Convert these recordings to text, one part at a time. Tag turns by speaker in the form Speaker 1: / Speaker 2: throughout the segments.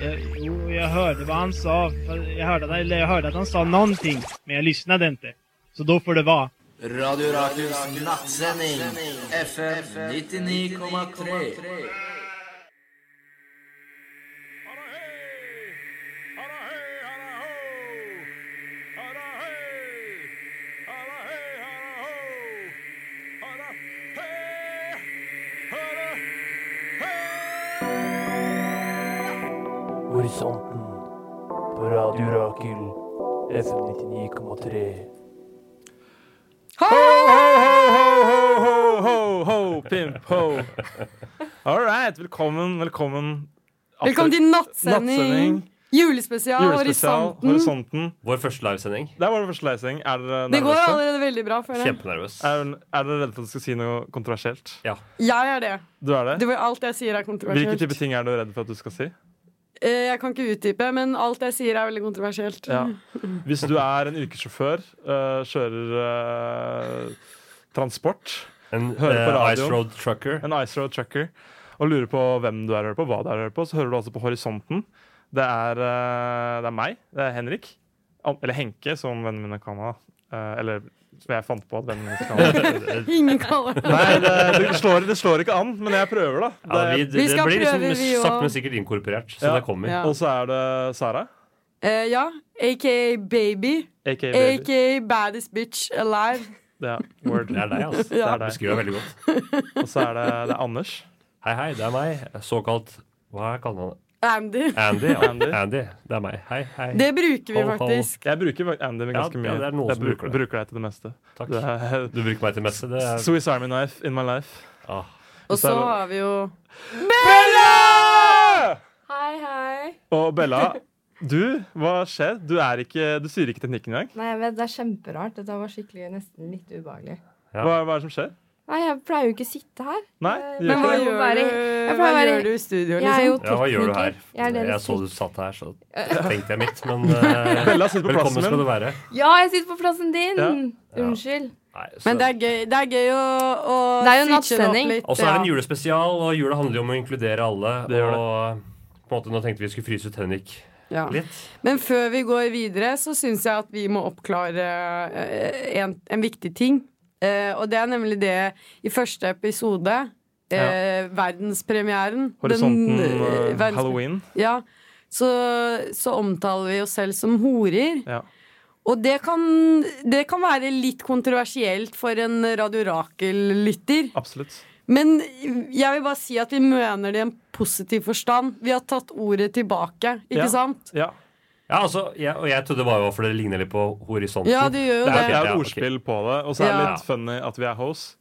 Speaker 1: Jag, Eh, jo, jag hörde vad han sa. Jag hörde, eller jag hörde att han sa någonting, men jag lyssnade inte. Så då får det vara.
Speaker 2: Radio Rakus nattsending. FM 99,3.
Speaker 3: Horisonten på Radio Rakel FM 99,3.
Speaker 4: Ho, ho, ho, pimp, ho. All right, velkommen, velkommen.
Speaker 5: Velkommen til nattsending.
Speaker 4: Nattsending, julespesial,
Speaker 5: Julespesial, Horisonten.
Speaker 4: Horisonten.
Speaker 6: Vår første livesending.
Speaker 4: Der var det første lesing. Er dere
Speaker 5: Det går
Speaker 4: nervøse?
Speaker 5: allerede veldig bra, føler jeg.
Speaker 6: Kjempenervøs.
Speaker 4: Er, er dere redde for at du skal si noe kontroversielt?
Speaker 5: Jeg er det.
Speaker 4: Du er det?
Speaker 5: det var alt jeg sier er
Speaker 4: Hvilke type
Speaker 5: kontroversielt.
Speaker 4: ting er du redd for at du skal si?
Speaker 5: Eh, Jeg kan ikke utdype, men alt jeg sier er veldig kontroversielt.
Speaker 4: Ja. Hvis du er en yrkessjåfør, øh, kjører øh, transport,
Speaker 6: En
Speaker 4: Hører på
Speaker 6: eh,
Speaker 4: radioen.
Speaker 6: Ice Road Trucker.
Speaker 4: en ice road trucker, og lurer på hvem du er hører på, hva du er hører på, så hører du altså på Horisonten. Det er, øh, det er meg, det er Henrik, An- eller Henke, som vennene mine kan ha. Eh, eller som jeg fant på at vennene mine skal ha.
Speaker 5: Ingen kaller det
Speaker 4: Nei, det, det, slår, det slår ikke an, men jeg prøver, da.
Speaker 6: Ja, vi,
Speaker 4: Det,
Speaker 6: det,
Speaker 5: Vi
Speaker 6: det
Speaker 5: skal
Speaker 6: blir liksom
Speaker 5: prøve, vi
Speaker 6: sakte,
Speaker 5: også.
Speaker 6: men sikkert inkorporert. Så
Speaker 4: Ja.
Speaker 6: det kommer.
Speaker 5: Ja.
Speaker 4: og så er det Sara,
Speaker 5: Eh, Ja, aka Baby.
Speaker 4: aka Baby.
Speaker 5: Aka Baddest Bitch Alive.
Speaker 4: Ja, word.
Speaker 6: Det er deg, altså.
Speaker 4: Det
Speaker 5: Ja.
Speaker 4: er deg.
Speaker 6: Beskriver deg veldig godt.
Speaker 4: Og så er det, det er Anders.
Speaker 6: Hei, hei, det er meg. Såkalt Hva er kaller han det?
Speaker 5: Andy.
Speaker 6: Andy, ja.
Speaker 4: Andy.
Speaker 6: Andy. Det er meg. Hei, hei.
Speaker 5: Det bruker vi
Speaker 6: Ho, ho.
Speaker 5: faktisk.
Speaker 4: Jeg bruker Andy
Speaker 6: Ja,
Speaker 4: ganske
Speaker 6: ja,
Speaker 4: mye.
Speaker 6: det er noen
Speaker 4: jeg
Speaker 6: som
Speaker 4: bruk-
Speaker 6: bruker det.
Speaker 4: bruker deg til det meste.
Speaker 6: Takk.
Speaker 4: Det er
Speaker 6: Du bruker meg til messe. Det er
Speaker 4: Swiss Army Knife in my life.
Speaker 6: ah.
Speaker 5: Og
Speaker 4: er
Speaker 5: så
Speaker 4: det-
Speaker 5: har vi jo
Speaker 4: Bella!
Speaker 7: Hei, hei.
Speaker 4: Og Bella, du, hva skjer? Du, er ikke, du styrer ikke teknikken engang.
Speaker 7: Nei, jeg vet, Det er kjemperart. Dette var skikkelig nesten litt ubehagelig.
Speaker 6: Ja.
Speaker 4: Hva, hva er det som skjer?
Speaker 7: Nei, Jeg pleier jo ikke å sitte her.
Speaker 4: Nei,
Speaker 7: Eh,
Speaker 4: du
Speaker 5: Men hva
Speaker 4: gjør ikke det.
Speaker 5: gjør
Speaker 7: Jeg må være-
Speaker 5: du,
Speaker 7: jeg
Speaker 5: hva
Speaker 7: pleier å være-
Speaker 5: gjør du i studio,
Speaker 7: Jeg er jo
Speaker 5: liksom?
Speaker 6: Ja, hva gjør du her?
Speaker 7: tekniker. Jeg er
Speaker 6: Jeg så
Speaker 7: deres
Speaker 6: du
Speaker 7: tekniker.
Speaker 6: satt her, så tenkte jeg mitt. Men eh,
Speaker 4: Bella sitter på
Speaker 6: velkommen
Speaker 4: plassen
Speaker 6: skal du
Speaker 4: min.
Speaker 6: være.
Speaker 7: Ja, jeg sitter på plassen din!
Speaker 4: Ja.
Speaker 7: Unnskyld.
Speaker 6: Nei, så-
Speaker 5: Men det er gøy, det er gøy å, å
Speaker 7: Det er jo
Speaker 5: switche opp
Speaker 7: nattsending.
Speaker 5: litt,
Speaker 6: Og så er det en
Speaker 5: ja.
Speaker 6: julespesial, og jula handler jo om å inkludere alle.
Speaker 4: Det gjør det.
Speaker 6: og på en måte nå tenkte vi skulle fryse ut Henrik
Speaker 5: Ja.
Speaker 6: litt.
Speaker 5: Men før vi går videre, så syns jeg at vi må oppklare eh, en, en viktig ting. Eh, og det er nemlig det i første episode, eh, verdenspremieren
Speaker 4: Horisonten,
Speaker 5: den, eh,
Speaker 4: eh,
Speaker 5: verdens-
Speaker 4: Halloween.
Speaker 5: Ja. Så, så omtaler vi oss selv som horer.
Speaker 4: Ja.
Speaker 5: Og det kan, det kan være litt kontroversielt for en Radio Rakel-lytter.
Speaker 4: Absolutt.
Speaker 5: Men jeg vil bare si at vi mener det i en positiv forstand. Vi har tatt ordet tilbake, ikke
Speaker 4: Ja.
Speaker 5: sant?
Speaker 4: Ja.
Speaker 6: Ja, altså, jeg, og jeg trodde det bare var fordi det ligner litt på horisonten.
Speaker 5: Ja, det gjør jo
Speaker 4: Det er,
Speaker 5: det.
Speaker 4: det er et
Speaker 6: Ja, ok.
Speaker 4: ordspill på det, og så er det
Speaker 5: Ja.
Speaker 4: litt funny at vi er hoes.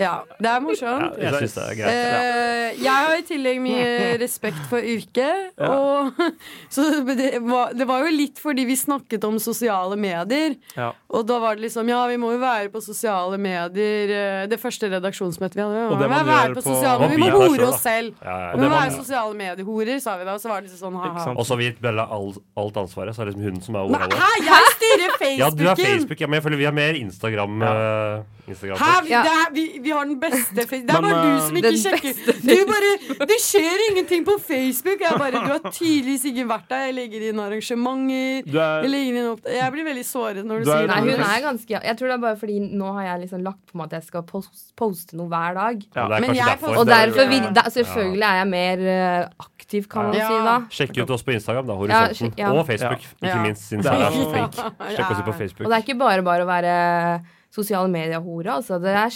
Speaker 5: Ja, det er morsomt.
Speaker 6: jeg synes det er greit.
Speaker 5: Eh, jeg har i tillegg mye respekt for yrket. Og, så det var, det var jo litt fordi vi snakket om sosiale medier.
Speaker 4: Ja.
Speaker 5: Og da var det liksom Ja, vi må jo være på sosiale medier. eh, Det første redaksjonsmøtet vi hadde,
Speaker 4: Og det
Speaker 5: var
Speaker 4: man
Speaker 5: å være
Speaker 4: gjør
Speaker 5: på
Speaker 4: på-
Speaker 5: sosiale
Speaker 6: Hva
Speaker 5: Vi må
Speaker 6: vi gjør selv,
Speaker 5: hore
Speaker 6: da.
Speaker 5: oss selv.
Speaker 6: Ja, ja,
Speaker 5: Vi må
Speaker 4: det var-
Speaker 5: være sosiale mediehorer, sa vi da. Og så var det liksom sånn
Speaker 4: Ikke
Speaker 5: ha-ha.
Speaker 4: sant?
Speaker 6: Og så har vi gitt Bella all, alt ansvaret, så er det liksom hun som er
Speaker 5: Nei,
Speaker 6: overholdet.
Speaker 5: Hæ, jeg styrer Facebooken!
Speaker 6: Ja, du er Facebook, ja, men jeg føler vi har mer Instagram. eh, Instagram
Speaker 5: Hæ, vi,
Speaker 7: Ja.
Speaker 5: det er, vi, vi har den beste face... Det er
Speaker 4: Men,
Speaker 5: bare du som ikke
Speaker 7: Den
Speaker 5: sjekker. Du bare, det skjer ingenting på Facebook. Jeg bare, Du har tydeligvis ikke vært der. Jeg legger inn arrangementer.
Speaker 4: Du er,
Speaker 5: Jeg, legger inn opp... jeg blir veldig såret når du,
Speaker 4: Du er-
Speaker 5: sier
Speaker 7: Nei,
Speaker 5: det.
Speaker 7: hun er ganske Jeg tror det er bare fordi nå har jeg liksom lagt på meg at jeg skal pos- poste noe hver dag.
Speaker 4: Ja.
Speaker 6: Det er
Speaker 5: Men
Speaker 6: kanskje
Speaker 5: jeg
Speaker 6: derfor.
Speaker 7: Og
Speaker 5: Det er
Speaker 7: derfor
Speaker 5: jo-
Speaker 7: vil, da, Selvfølgelig er jeg mer eh, aktiv, kan man
Speaker 5: Ja.
Speaker 7: si da.
Speaker 6: Sjekk ut oss på Instagram, da. Horisonten.
Speaker 7: sjekk- ja.
Speaker 6: Og Facebook, ikke
Speaker 5: Ja.
Speaker 6: minst. Siden
Speaker 4: Det er
Speaker 6: Sara
Speaker 4: jo-
Speaker 6: er fake. Sjekk oss ut på
Speaker 7: Og
Speaker 6: Facebook.
Speaker 7: det er ikke bare bare å være sosiale medier-hore. Altså, det er
Speaker 5: Det er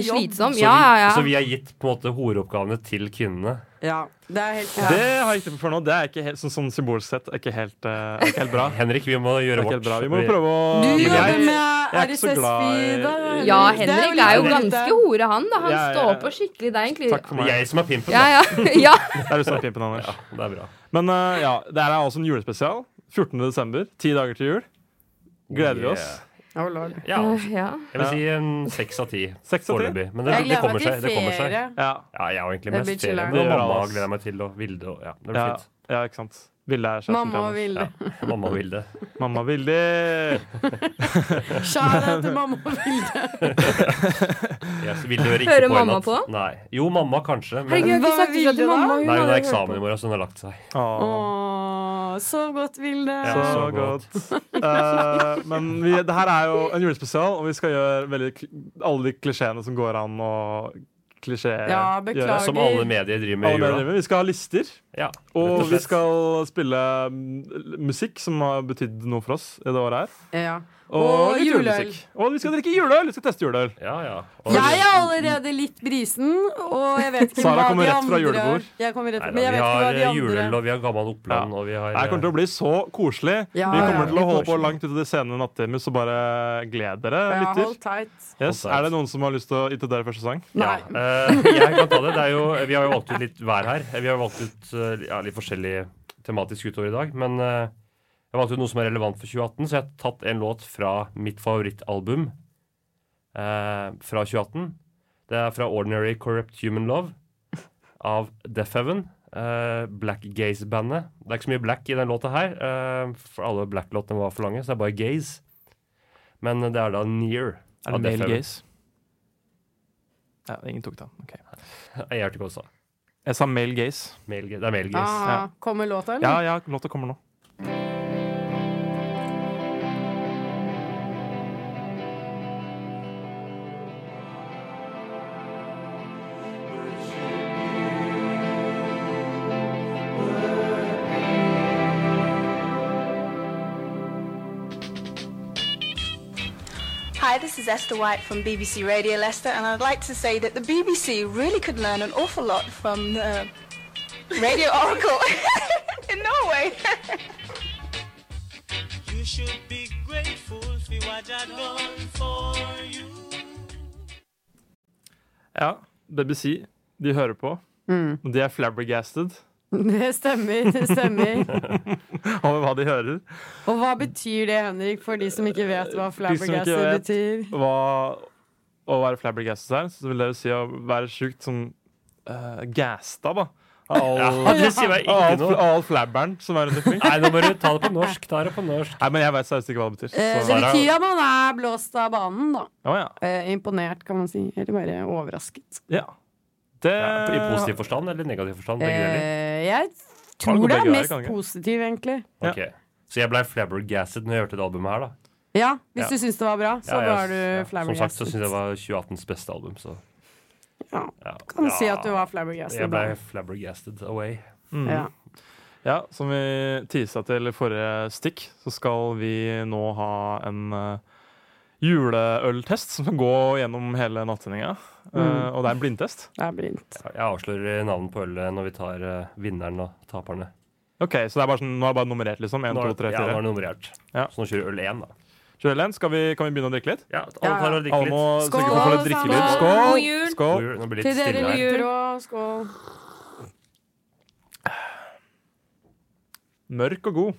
Speaker 7: skikkelig
Speaker 5: jobb.
Speaker 7: slitsom.
Speaker 6: Så vi,
Speaker 7: Ja, ja, ja.
Speaker 6: så vi har gitt på en måte horeoppgavene til kvinnene.
Speaker 5: Ja, det er helt
Speaker 4: det har jeg ikke for nå. Det er ikke helt, sånn, sånn symbolsk sett er ikke helt, eh, er ikke helt bra.
Speaker 6: Henrik, vi må
Speaker 4: Det
Speaker 6: gjøre
Speaker 4: er ikke
Speaker 6: vårt.
Speaker 4: helt bra. Vi må prøve å
Speaker 5: Du
Speaker 4: Men
Speaker 5: jobber
Speaker 4: jeg-
Speaker 5: med
Speaker 4: jeg er ikke så glad i-
Speaker 5: RSS-feed. da,
Speaker 7: ja,
Speaker 5: eller? Det
Speaker 7: Henrik er jo eh,
Speaker 5: litt-
Speaker 7: ganske hore, han. da Han
Speaker 4: Ja, ja, ja.
Speaker 7: står på skikkelig. Det er egentlig
Speaker 4: Takk for
Speaker 6: Det
Speaker 4: meg.
Speaker 6: er jeg som er pimpen,
Speaker 7: Ja,
Speaker 6: da.
Speaker 7: ja. ja.
Speaker 4: Det er sånn du som er pimpen, Anders.
Speaker 6: Ja, det er bra.
Speaker 4: Men eh, ja, det her er altså en julespesial. 14. desember, ti dager til jul. Gleder vi oss.
Speaker 6: Oh, Yeah.
Speaker 5: Å, lord.
Speaker 6: Ja,
Speaker 7: Øh, ja.
Speaker 6: jeg vil si en seks av ti
Speaker 4: Seks av ti.
Speaker 6: foreløpig. Men det,
Speaker 5: Jeg
Speaker 6: det
Speaker 5: gleder
Speaker 6: kommer
Speaker 5: meg
Speaker 6: seg.
Speaker 5: til
Speaker 6: Det kommer seg.
Speaker 5: ferie.
Speaker 4: Ja,
Speaker 6: Ja, jeg har egentlig
Speaker 5: Det
Speaker 6: mest
Speaker 5: blir
Speaker 6: ferie.
Speaker 5: chiller'n.
Speaker 6: Men
Speaker 4: Det gjør
Speaker 6: mamma
Speaker 4: alle, ass.
Speaker 6: gleder jeg meg til, og Vilde og Ja, det blir
Speaker 4: ja,
Speaker 6: fint.
Speaker 4: ja, ikke sant. Vilde er kjæresten
Speaker 5: Mamma og
Speaker 4: til
Speaker 5: Vilde.
Speaker 6: Ja, mamma vil det.
Speaker 4: hennes. Mamma Vilde!
Speaker 5: Kjære til mamma og Vilde.
Speaker 6: Yes, Vilde hører ikke
Speaker 7: Hører
Speaker 6: på i
Speaker 7: mamma
Speaker 6: natt.
Speaker 7: på?
Speaker 6: Nei. Jo, mamma kanskje. Men
Speaker 7: Herregud, jeg har
Speaker 5: Hva
Speaker 7: ikke sagt
Speaker 5: ville
Speaker 7: ifra til
Speaker 5: da?
Speaker 7: mamma.
Speaker 6: nei, hun har
Speaker 7: aldri hørt
Speaker 6: eksamen
Speaker 7: på.
Speaker 6: i morgen, så hun har lagt seg.
Speaker 4: Åh,
Speaker 5: Åh, sov godt, Vilde.
Speaker 6: Ja.
Speaker 4: så
Speaker 6: så
Speaker 4: godt. Eh, men vi, det her er jo en julespesial, og vi skal gjøre veldig, kl- alle de klisjeene som går an å klisjé
Speaker 5: Ja, beklager.
Speaker 6: Som alle medier driver med i
Speaker 4: Alle
Speaker 6: jula.
Speaker 4: medier. Vi skal ha lister.
Speaker 6: Ja, rett
Speaker 4: Og
Speaker 6: og
Speaker 4: vi
Speaker 6: slett.
Speaker 4: skal spille mm, musikk som har betydd noe for oss i det året her.
Speaker 5: Ja.
Speaker 4: Og,
Speaker 5: Og
Speaker 4: litt
Speaker 5: juleøl.
Speaker 4: julemusikk. Og vi skal drikke juleøl! Vi skal teste juleøl.
Speaker 6: Ja, ja. Og-
Speaker 5: Jeg er allerede litt brisen, og jeg vet ikke
Speaker 4: Sara
Speaker 5: hva
Speaker 4: kommer
Speaker 5: de
Speaker 4: rett fra
Speaker 5: andre
Speaker 4: julebord.
Speaker 5: Jeg kommer rett,
Speaker 6: Neida,
Speaker 5: men jeg vet ikke hva
Speaker 6: vi
Speaker 5: de
Speaker 6: har eh,
Speaker 5: andre
Speaker 6: juleøl, og vi har gammel Oppland,
Speaker 4: Ja.
Speaker 6: og vi har
Speaker 4: Det her kommer til å bli så koselig.
Speaker 5: Ja,
Speaker 4: vi
Speaker 5: ja,
Speaker 4: kommer til å
Speaker 5: ja.
Speaker 4: holde på langt utover de sene nattimer, så bare gled dere,
Speaker 5: Ja,
Speaker 4: lytter.
Speaker 5: hold tight.
Speaker 4: Yes.
Speaker 6: Hold tight.
Speaker 4: Er det noen som har lyst til å introdusere første sang?
Speaker 5: Nei.
Speaker 6: Ja, eh, jeg kan ta det. det er jo, vi har jo valgt ut litt hver her. Vi har valgt ut eh, ja, litt forskjellig tematisk utover i dag. Men eh, jeg valgte ut noe som er relevant for 2018, så jeg har tatt en låt fra mitt favorittalbum eh, fra 2018. Det er fra Ordinary Corrupt Human Love av Deaf Heaven. eh, black Gaze-bandet. Det er ikke så mye black i den låta her, eh, for alle black-låtene var for lange, så det er bare gaze. Men det er da Near. av Def Heaven.
Speaker 4: gaze? Ja, ingen tok den. Ok.
Speaker 6: Nei, Jeg hørte ikke hva du sa.
Speaker 4: Jeg sa male gaze.
Speaker 6: Male gaze. Det er male gaze.
Speaker 5: Ah, kommer låta,
Speaker 4: Ja,
Speaker 5: eller?
Speaker 4: ja, låta kommer nå.
Speaker 8: Hi, this is Esther White from BBC Radio Leicester, and I'd like to say that the BBC really could learn an awful lot from the Radio Oracle in Norway.
Speaker 9: You should be grateful for what I done for you.
Speaker 4: Ja, BBC. De hører på.
Speaker 5: Mm.
Speaker 4: Og De er flabbergasted
Speaker 5: Det stemmer. det stemmer
Speaker 4: over hva de hører.
Speaker 5: Og hva betyr det, Henrik, for de som ikke vet hva
Speaker 4: De som ikke
Speaker 5: flabbergasted
Speaker 4: vet
Speaker 5: betyr?
Speaker 4: hva å være flabbergasted er, så vil dere si å være sjukt som uh, gasta, da. Av all,
Speaker 6: Ja, det sier
Speaker 4: av
Speaker 6: meg ikke
Speaker 4: all,
Speaker 6: noe.
Speaker 4: av all flabberen som er rundt omkring.
Speaker 6: Nei, nå må du ta det på norsk. Ta det på norsk.
Speaker 4: Nei, men jeg veit seriøst ikke hva det betyr.
Speaker 5: Eh,
Speaker 4: Så,
Speaker 5: Det
Speaker 6: Sara-
Speaker 5: betyr at man er blåst av banen, da.
Speaker 4: Å, ja.
Speaker 5: Eh, imponert, kan man si. Eller bare overrasket.
Speaker 4: ja. Det
Speaker 6: Ja, I positiv forstand eller negativ forstand? Begge deler.
Speaker 5: Eh, jeg
Speaker 4: Kan det gå
Speaker 5: tror det
Speaker 4: begge veier,
Speaker 5: er mest
Speaker 4: kan det ikke?
Speaker 5: positiv, egentlig.
Speaker 4: ja.
Speaker 6: Ok. Så jeg ble flabbergasted når jeg hørte det albumet her, da.
Speaker 5: Ja, hvis
Speaker 6: Ja.
Speaker 5: du syns det var bra, så
Speaker 6: Ja, jeg-
Speaker 5: var du
Speaker 6: ja, Som sagt så
Speaker 5: flabbergasted.
Speaker 6: syns jeg det var 2018s beste album, så
Speaker 5: Ja,
Speaker 6: ja.
Speaker 5: kan si
Speaker 6: Ja,
Speaker 5: at du var flabbergasted.
Speaker 6: Jeg
Speaker 5: da.
Speaker 6: ble flabbergasted away.
Speaker 4: mm.
Speaker 5: Ja.
Speaker 4: ja, som vi tisa til i forrige stikk, så skal vi nå ha en eh, juleøltest som kan gå gjennom hele nattsendinga. Eh,
Speaker 5: Mm.
Speaker 4: Og det er en blindtest.
Speaker 5: Det er blindt.
Speaker 6: Ja, Jeg avslører navnet på ølet når vi tar eh, vinneren og taperne.
Speaker 4: Ok, Så det er bare sånn, nå er det bare nummerert, liksom? En,
Speaker 6: Nå er
Speaker 4: to, tre,
Speaker 6: ja, nå
Speaker 4: fire.
Speaker 6: er det nummerert.
Speaker 4: Ja.
Speaker 6: Så nå kjører øl én, da.
Speaker 4: Kjør, Ellen. Skal vi, kan vi begynne å drikke litt?
Speaker 6: Ja, alle tar og drikker
Speaker 4: Alle må
Speaker 6: litt.
Speaker 4: sørge for å få litt
Speaker 5: Skål,
Speaker 4: drikkelyd.
Speaker 5: sammen.
Speaker 4: Skål!
Speaker 7: God jul!
Speaker 4: Skål.
Speaker 6: Nå blir det
Speaker 7: Til
Speaker 6: litt
Speaker 7: dere,
Speaker 6: stille her.
Speaker 7: Jul.
Speaker 5: Brå, skål.
Speaker 4: Mørk og god.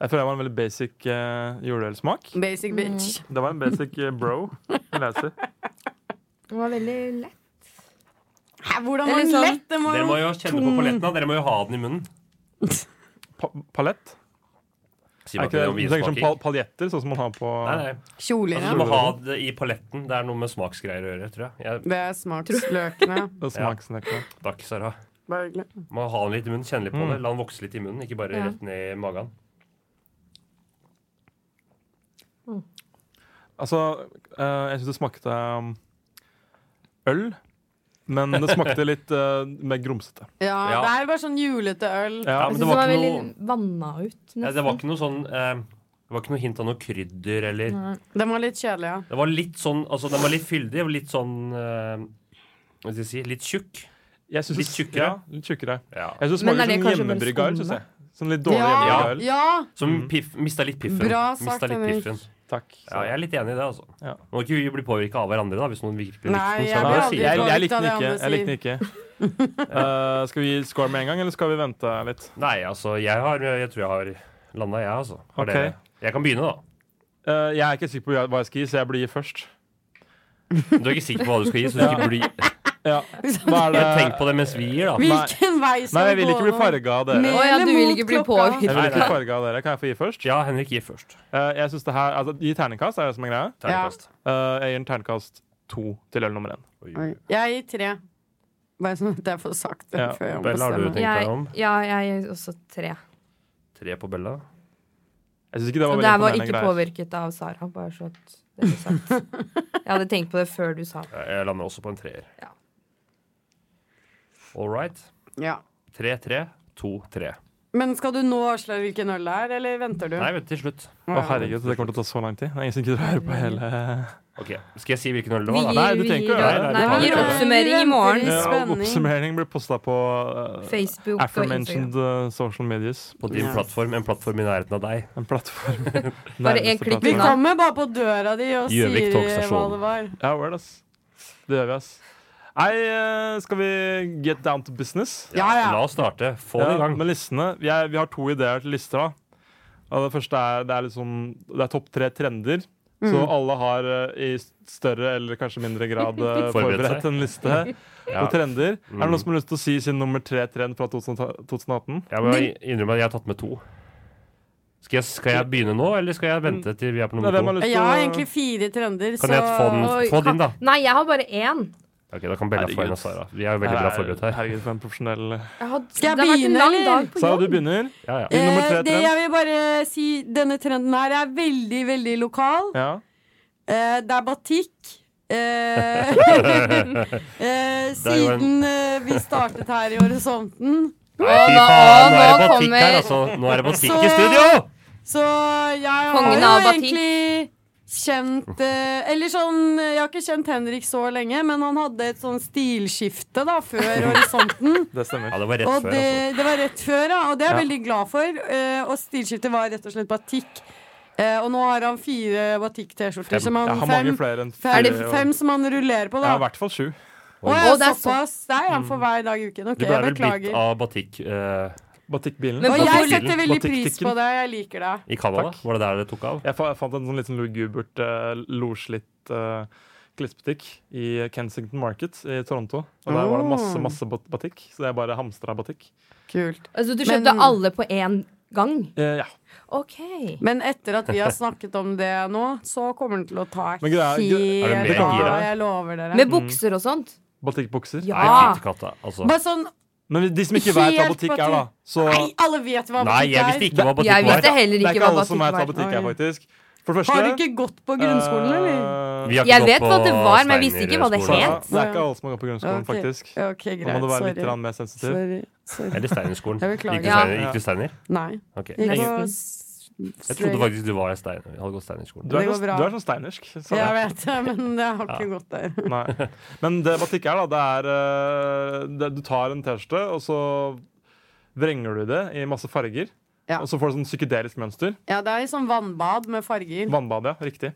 Speaker 4: Jeg føler det var en veldig basic uh, juleølsmak.
Speaker 7: Mm.
Speaker 5: Basic bitch.
Speaker 4: Det var en basic eh, bro. vil jeg si.
Speaker 7: Den var veldig lett.
Speaker 5: Hæ, hvordan
Speaker 7: Det er
Speaker 5: var den
Speaker 7: litt sånn-
Speaker 5: lett? Den var
Speaker 6: Dere må
Speaker 5: jo
Speaker 6: jo kjenne på paletten, da. Dere må jo ha den i munnen.
Speaker 4: Pa palett?
Speaker 6: Si
Speaker 4: Er ikke
Speaker 6: meg ikke
Speaker 4: det,
Speaker 6: noe
Speaker 4: du tenker sånn
Speaker 6: vinsmaking.
Speaker 4: pal paljetter, sånn som man har på
Speaker 6: Nei, nei.
Speaker 5: kjoler,
Speaker 6: Altså,
Speaker 5: ja.
Speaker 6: du må ha det i paletten. Det er noe med smaksgreier å gjøre, tror jeg. jeg
Speaker 5: Det er smaksløkene.
Speaker 4: Det smakssnekkene.
Speaker 6: takk, Sara.
Speaker 5: Bare-
Speaker 6: Må ha den litt i munnen, kjenne litt på
Speaker 4: Mm.
Speaker 6: det. La den vokse litt i munnen, ikke bare
Speaker 7: Ja.
Speaker 6: rett ned i magen.
Speaker 4: Altså, eh, jeg syns det smakte um, øl, men det smakte litt eh, mer grumsete.
Speaker 5: Ja,
Speaker 6: Ja.
Speaker 5: det er bare sånn julete øl.
Speaker 4: Ja, men det
Speaker 7: Jeg synes den
Speaker 4: var
Speaker 7: Altså, var
Speaker 4: ikke
Speaker 7: veldig
Speaker 4: noe
Speaker 7: vanna ut.
Speaker 6: Ja,
Speaker 7: nesten.
Speaker 6: det var ikke noe sånn eh, Det var ikke noe hint av noe krydder eller
Speaker 5: Den var litt kjedelig, ja.
Speaker 6: Det var litt sånn Altså, den var litt fyldig og litt sånn eh, Hva skal jeg si Litt tjukk.
Speaker 4: jeg synes det-
Speaker 6: Litt tjukkere.
Speaker 4: Ja, litt tjukkere.
Speaker 6: Ja.
Speaker 4: Jeg syns det
Speaker 7: Men er
Speaker 4: smaker
Speaker 7: det
Speaker 4: som
Speaker 7: kanskje bare
Speaker 4: hjemmebrygga øl.
Speaker 7: skummet?
Speaker 4: synes jeg. Sånn litt dårlig
Speaker 5: Ja,
Speaker 4: hjemmebrygga øl.
Speaker 5: ja!
Speaker 6: Som piff, mista litt piffen.
Speaker 5: Mm. Bra sagt,
Speaker 6: Mista litt
Speaker 5: Henrik.
Speaker 6: piffen.
Speaker 4: Takk.
Speaker 6: Ja, jeg er litt enig i det, altså.
Speaker 4: Ja.
Speaker 6: Nå må ikke vi bli påvirka av hverandre, da, hvis noen virkelig likte
Speaker 5: Nei,
Speaker 6: den.
Speaker 5: jeg blir
Speaker 6: så er det
Speaker 5: aldri
Speaker 6: å si.
Speaker 4: Jeg, jeg
Speaker 5: påvirket
Speaker 4: likte
Speaker 5: av
Speaker 4: den
Speaker 5: det
Speaker 4: ikke.
Speaker 5: andre
Speaker 4: Jeg likte den ikke. Eh, skal vi score med en gang, eller skal vi vente litt?
Speaker 6: Nei, altså, jeg har Jeg tror jeg har landa, jeg, altså. Har
Speaker 4: Ok.
Speaker 6: dere- Jeg kan begynne, da.
Speaker 4: Eh, jeg er ikke sikker på hva jeg skal gi, så jeg blir først.
Speaker 6: Du er ikke sikker på hva du skal gi, så du ikke blir
Speaker 4: Ja. Hva er det
Speaker 6: Jeg tenk på det mens vi gir, da.
Speaker 5: Hvilken vei som
Speaker 4: Nei, jeg vil ikke bli
Speaker 5: går nå.
Speaker 4: farga av dere.
Speaker 5: Med
Speaker 7: Å ja, du
Speaker 5: eller
Speaker 7: vil
Speaker 5: mot
Speaker 7: ikke bli
Speaker 5: klokka?
Speaker 7: påvirket.
Speaker 4: Jeg vil
Speaker 6: Nei,
Speaker 4: ikke bli
Speaker 6: nei.
Speaker 4: farget av dere. Kan jeg få gi først?
Speaker 6: Ja, Henrik gir først.
Speaker 4: Eh, jeg synes det her, altså, Gi terningkast, er det som er greia.
Speaker 6: Terningkast.
Speaker 4: Eh, jeg gir en terningkast to til øl nummer én.
Speaker 5: Oi. Jeg gir tre. Bare sånn at jeg får sagt det
Speaker 4: Ja,
Speaker 5: før jeg
Speaker 6: Bella, har du
Speaker 5: ombestemmer.
Speaker 6: tenkt
Speaker 7: Jeg,
Speaker 6: deg om?
Speaker 7: ja, jeg er også tre.
Speaker 6: Tre på Bella.
Speaker 4: Jeg synes ikke det var
Speaker 7: Og det
Speaker 4: veldig
Speaker 7: her var
Speaker 4: imponerende
Speaker 7: ikke
Speaker 4: greier.
Speaker 7: påvirket av Sara. Bare så at det ble sagt. Jeg hadde tenkt på det før du sa det.
Speaker 6: Jeg jeg lander også på en treer.
Speaker 7: Ja.
Speaker 6: All right.
Speaker 5: Ja.
Speaker 6: Tre, tre, to, tre.
Speaker 5: Men skal du nå avsløre hvilken øl det er, eller venter du?
Speaker 6: Nei, vet du, til slutt.
Speaker 4: Å, herregud, det kommer til å ta så lang tid. Det er ingen som gidder å høre på hele
Speaker 6: Ok, Skal jeg si hvilken øl det
Speaker 7: Vi
Speaker 6: var, da?
Speaker 4: Nei, du
Speaker 7: gir, vi
Speaker 4: tenker jo
Speaker 7: gir,
Speaker 4: det.
Speaker 7: nei, vi
Speaker 6: Det
Speaker 7: gir
Speaker 6: tar vi.
Speaker 7: oppsummering i morgen.
Speaker 5: Ja.
Speaker 4: Eh,
Speaker 5: Spenning.
Speaker 4: Oppsummering blir posta på eh,
Speaker 7: Facebook og Instagram.
Speaker 4: aforementioned eh, social medias.
Speaker 6: På din
Speaker 5: Ja.
Speaker 6: plattform. En plattform i nærheten av deg.
Speaker 4: En plattform.
Speaker 7: Bare
Speaker 4: Nærmeste
Speaker 7: en klikk
Speaker 5: Vi
Speaker 4: plattform.
Speaker 7: unna.
Speaker 5: kommer bare på døra di og
Speaker 6: Gjøvik
Speaker 5: sier hva
Speaker 6: togstasjon.
Speaker 5: det var.
Speaker 4: Ja, word, ass. Det gjør vi, ass. Nei, eh, skal vi get down to business?
Speaker 5: Ja, ja.
Speaker 6: La oss starte. Få det
Speaker 4: Ja,
Speaker 6: i gang.
Speaker 4: men listene vi, er, vi har to ideer til lister. da og Det første er, det er, liksom, det er topp tre trender. Så alle har eh, i større eller kanskje mindre grad eh,
Speaker 6: Forberedt
Speaker 4: forberedt
Speaker 6: seg.
Speaker 4: en liste på
Speaker 6: Ja. Mm.
Speaker 4: trender. Er det noen som har lyst til å si sin nummer tre-trend fra 2000 2018?
Speaker 6: Jeg må innrømme at jeg har tatt med to. Skal jeg, skal jeg begynne nå, eller skal jeg vente til vi er på
Speaker 4: Nei,
Speaker 6: nummer
Speaker 4: hvem
Speaker 6: to?
Speaker 4: har lyst
Speaker 5: Jeg
Speaker 4: til å
Speaker 5: har egentlig fire trender, så
Speaker 6: Kan jeg få den,
Speaker 7: Oi,
Speaker 6: få din, da?
Speaker 7: kan- Nei, jeg har bare én.
Speaker 6: Ok, Da kan Bella få en
Speaker 4: Herregud.
Speaker 6: av Sara. Vi er jo veldig bra forberedt her.
Speaker 4: Herregud, for en profesjonell
Speaker 7: Jeg har-
Speaker 5: Skal jeg
Speaker 7: det har vært en
Speaker 5: begynne,
Speaker 7: lang
Speaker 5: eller?
Speaker 7: dag på
Speaker 4: Sara,
Speaker 7: jobb.
Speaker 4: du begynner.
Speaker 6: Ja, ja.
Speaker 4: Din nummer
Speaker 5: Eh,
Speaker 4: tre
Speaker 5: det
Speaker 4: trend.
Speaker 5: jeg vil bare si, denne trenden her er veldig, veldig lokal.
Speaker 4: Ja.
Speaker 5: Eh, det er batikk. Eh, eh,
Speaker 6: er jo en-
Speaker 5: siden eh, vi startet her i horisonten.
Speaker 6: Nei, fy
Speaker 7: nå-
Speaker 6: faen, nå er det
Speaker 7: nå
Speaker 6: batikk her,
Speaker 7: kommer-
Speaker 6: altså. Nå er det batikk
Speaker 5: Så-
Speaker 6: i studio!
Speaker 5: Så jeg har
Speaker 7: Kongen
Speaker 5: jo
Speaker 7: av batikk.
Speaker 5: egentlig kjent eh, Eller sånn Jeg har ikke kjent Henrik så lenge, men han hadde et sånn stilskifte da før horisonten.
Speaker 4: Det stemmer.
Speaker 6: Ja, det var rett
Speaker 5: Og
Speaker 6: før,
Speaker 5: det,
Speaker 6: altså.
Speaker 5: det var rett før, ja. Og det er jeg
Speaker 4: Ja.
Speaker 5: veldig glad for. eh, og stilskiftet var rett og slett batikk. Eh, og nå har han fire batikk-T-skjorter
Speaker 6: Fem.
Speaker 5: som han
Speaker 4: Jeg har mange
Speaker 5: fem,
Speaker 4: flere enn
Speaker 5: fem,
Speaker 7: Er det
Speaker 4: og-
Speaker 5: fem som han rullerer på,
Speaker 4: Ja,
Speaker 5: da.
Speaker 4: i hvert fall sju.
Speaker 5: Å,
Speaker 7: Å, det
Speaker 5: ja,
Speaker 7: er
Speaker 5: såpass. Det er en for hver dag i uken.
Speaker 6: Mm. Du
Speaker 5: Ok,
Speaker 6: ble
Speaker 5: jeg
Speaker 6: vel bitt
Speaker 5: beklager.
Speaker 6: av batikk eh,
Speaker 4: Batikkbilen.
Speaker 7: Men
Speaker 5: Og
Speaker 7: på
Speaker 5: jeg
Speaker 7: bilen.
Speaker 5: setter veldig pris
Speaker 4: Batikktikken.
Speaker 5: på det. Jeg liker det.
Speaker 6: i Canada?
Speaker 4: Takk.
Speaker 6: Var det der det tok av?
Speaker 4: Jeg, fa jeg fant en sånn litt sånn lugubert, uh, loslitt uh, klesbutikk i Kensington Market i Toronto. Og der var det masse masse bat batikk, så jeg bare hamstra batikk.
Speaker 5: Kult.
Speaker 7: Altså, du
Speaker 5: Men-
Speaker 7: kjøpte alle på én gang?
Speaker 4: Eh, ja.
Speaker 7: OK.
Speaker 5: Men etter at vi har snakket om det nå, så kommer den til å ta
Speaker 4: Men greia-
Speaker 6: Er det
Speaker 5: helt
Speaker 6: mer
Speaker 5: av.
Speaker 6: gira?
Speaker 5: Jeg lover dere.
Speaker 7: Med bukser og sånt?
Speaker 4: Batikkbukser.
Speaker 7: Ja.
Speaker 6: Nei, fytti katta, altså.
Speaker 5: Bare sånn
Speaker 4: Men de som ikke vet hva
Speaker 5: Helt
Speaker 4: batikk er, da så
Speaker 5: Nei, alle vet hva butikk
Speaker 6: Nei, jeg visste
Speaker 5: er.
Speaker 6: ikke hva batikk
Speaker 7: Jeg
Speaker 6: var.
Speaker 7: visste heller
Speaker 4: Det er
Speaker 7: ikke
Speaker 4: ikke
Speaker 7: hva
Speaker 4: alle som vet hva
Speaker 7: batikk var.
Speaker 4: batikk er,
Speaker 5: Nei.
Speaker 4: faktisk. For det første
Speaker 5: Har du ikke gått på grunnskolen, eller?
Speaker 4: eh,
Speaker 6: Vi har ikke
Speaker 7: Jeg
Speaker 6: gått
Speaker 7: vet
Speaker 6: på
Speaker 7: hva det var, men jeg visste ikke hva det
Speaker 6: Steinerskolen.
Speaker 4: Sara,
Speaker 7: het.
Speaker 4: det er ikke alle som har gått på grunnskolen,
Speaker 5: Ok.
Speaker 4: faktisk.
Speaker 5: Ok, greit.
Speaker 4: Da må du være litt
Speaker 5: sorry.
Speaker 4: grann mer sensitiv.
Speaker 5: sorry. sorry.
Speaker 6: Eller Steinerskolen.
Speaker 5: Jeg
Speaker 6: Gikk
Speaker 5: beklager.
Speaker 6: du
Speaker 7: Ja.
Speaker 6: Steiner? Gikk du Steiner?
Speaker 5: Nei.
Speaker 6: Ok.
Speaker 5: Jeg
Speaker 6: Ingen-
Speaker 5: går-
Speaker 6: Jeg trodde faktisk du var stein, hadde gått Steinerskolen.
Speaker 4: Du
Speaker 5: Det
Speaker 4: er,
Speaker 5: går
Speaker 4: sånn,
Speaker 5: bra.
Speaker 4: du er sånn steinersk. Sara.
Speaker 5: Jeg vet det, men det har ikke gått der.
Speaker 4: Nei. Men det batikk er, da, det er eh, det, Du tar en T-skjorte, og så vrenger du det i masse farger.
Speaker 5: Ja.
Speaker 4: Og så får du sånn psykedelisk mønster.
Speaker 5: Ja, det er i sånn vannbad med farger.
Speaker 4: Vannbad, ja. Riktig.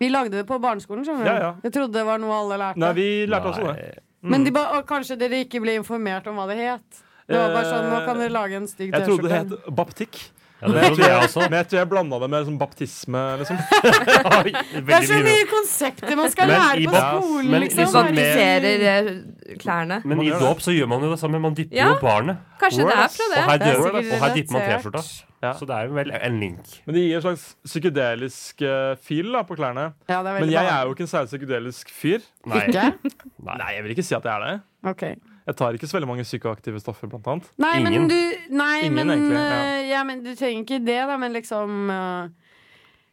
Speaker 5: Vi lagde det på barneskolen, skjønner du.
Speaker 4: Ja, ja.
Speaker 5: Jeg trodde det var noe alle lærte.
Speaker 4: Nei, vi Mm. lærte også det.
Speaker 5: Men de ba, å, kanskje dere ikke ble informert om hva det het. Det var bare sånn, Nå kan dere lage en stygg
Speaker 4: Jeg trodde det
Speaker 5: T-skjorte.
Speaker 4: het baptikk.
Speaker 6: Ja,
Speaker 4: Men
Speaker 6: det
Speaker 4: jeg tror
Speaker 6: trodde jeg
Speaker 4: jeg,
Speaker 6: også.
Speaker 4: men jeg, tror jeg blanda det med sånn baptisme, liksom.
Speaker 6: Oi,
Speaker 5: Det er
Speaker 6: veldig
Speaker 5: så
Speaker 6: mye.
Speaker 5: mye konsepter man skal
Speaker 6: Men
Speaker 5: lære
Speaker 6: i
Speaker 5: på
Speaker 6: bas-
Speaker 5: skolen,
Speaker 6: men
Speaker 5: liksom.
Speaker 6: liksom
Speaker 4: sånn
Speaker 5: Herregud.
Speaker 6: med-
Speaker 7: Baptiserer eh, klærne.
Speaker 6: Men i dåp så gjør man jo det samme. Man dypper
Speaker 7: Ja.
Speaker 6: jo barnet.
Speaker 7: Kanskje det er
Speaker 4: Word,
Speaker 7: fra
Speaker 6: Og
Speaker 7: det.
Speaker 6: her,
Speaker 7: det er
Speaker 6: dør,
Speaker 7: sikkert
Speaker 6: og her dypper man
Speaker 7: relatert.
Speaker 6: T-skjorta.
Speaker 4: Ja.
Speaker 6: Så det er jo vel en link.
Speaker 4: Men det gir en slags psykedelisk eh, feel da, på klærne.
Speaker 5: Ja, det er
Speaker 4: Men
Speaker 5: veldig
Speaker 4: jeg
Speaker 5: bra.
Speaker 4: er jo ikke en særlig psykedelisk fyr.
Speaker 6: Nei.
Speaker 5: Ikke?
Speaker 4: Nei, jeg vil ikke si at jeg er det.
Speaker 5: Ok.
Speaker 4: Jeg tar ikke så veldig mange psykoaktive stoffer, blant annet.
Speaker 5: Nei,
Speaker 6: Ingen.
Speaker 5: men du Nei,
Speaker 4: Ingen,
Speaker 5: men,
Speaker 4: egentlig, ja.
Speaker 5: øh, ja, men du trenger ikke det, da, men liksom øh,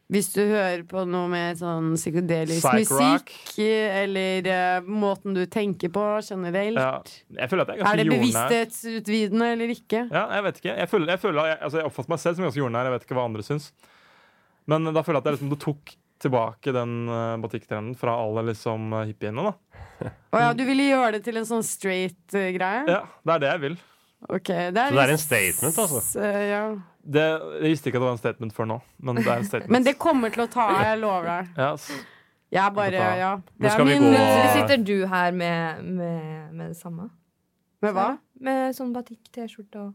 Speaker 5: Hvis du hører på noe med sånn psykedelisk
Speaker 4: Psych-rock.
Speaker 5: musikk, eller øh, måten du tenker på generelt
Speaker 4: Ja. Jeg føler at jeg er
Speaker 5: Er
Speaker 4: ganske
Speaker 5: det
Speaker 4: jordnær.
Speaker 5: bevissthetsutvidende eller ikke?
Speaker 4: Ja, jeg vet ikke. Jeg, føler, jeg, føler, jeg, altså, jeg oppfatter meg selv som ganske jordnær. Jeg vet ikke hva andre syns. Men da føler jeg at jeg liksom, du tok tilbake den uh, batikktrenden fra alle liksom, eh, hippiene. da.
Speaker 5: Å ja, du ville gjøre det til en sånn straight øh, greie?
Speaker 4: Ja, Det er det jeg vil.
Speaker 5: Ok, det er
Speaker 6: Så det er
Speaker 5: litt
Speaker 6: en statement, altså.
Speaker 5: s- øh, ja.
Speaker 4: Det, jeg visste ikke at det var en statement før nå, men det er en statement.
Speaker 5: Men det kommer til å ta av, jeg lover deg.
Speaker 4: Ja, s-
Speaker 5: Jeg bare,
Speaker 4: ta av.
Speaker 5: ja.
Speaker 6: Men
Speaker 5: Det
Speaker 6: skal
Speaker 5: er
Speaker 6: vi
Speaker 5: min
Speaker 6: gå-
Speaker 5: øh,
Speaker 7: Plutselig sitter du her med, med, med det samme.
Speaker 5: Med hva?
Speaker 7: Med sånn batikk-T-skjorte og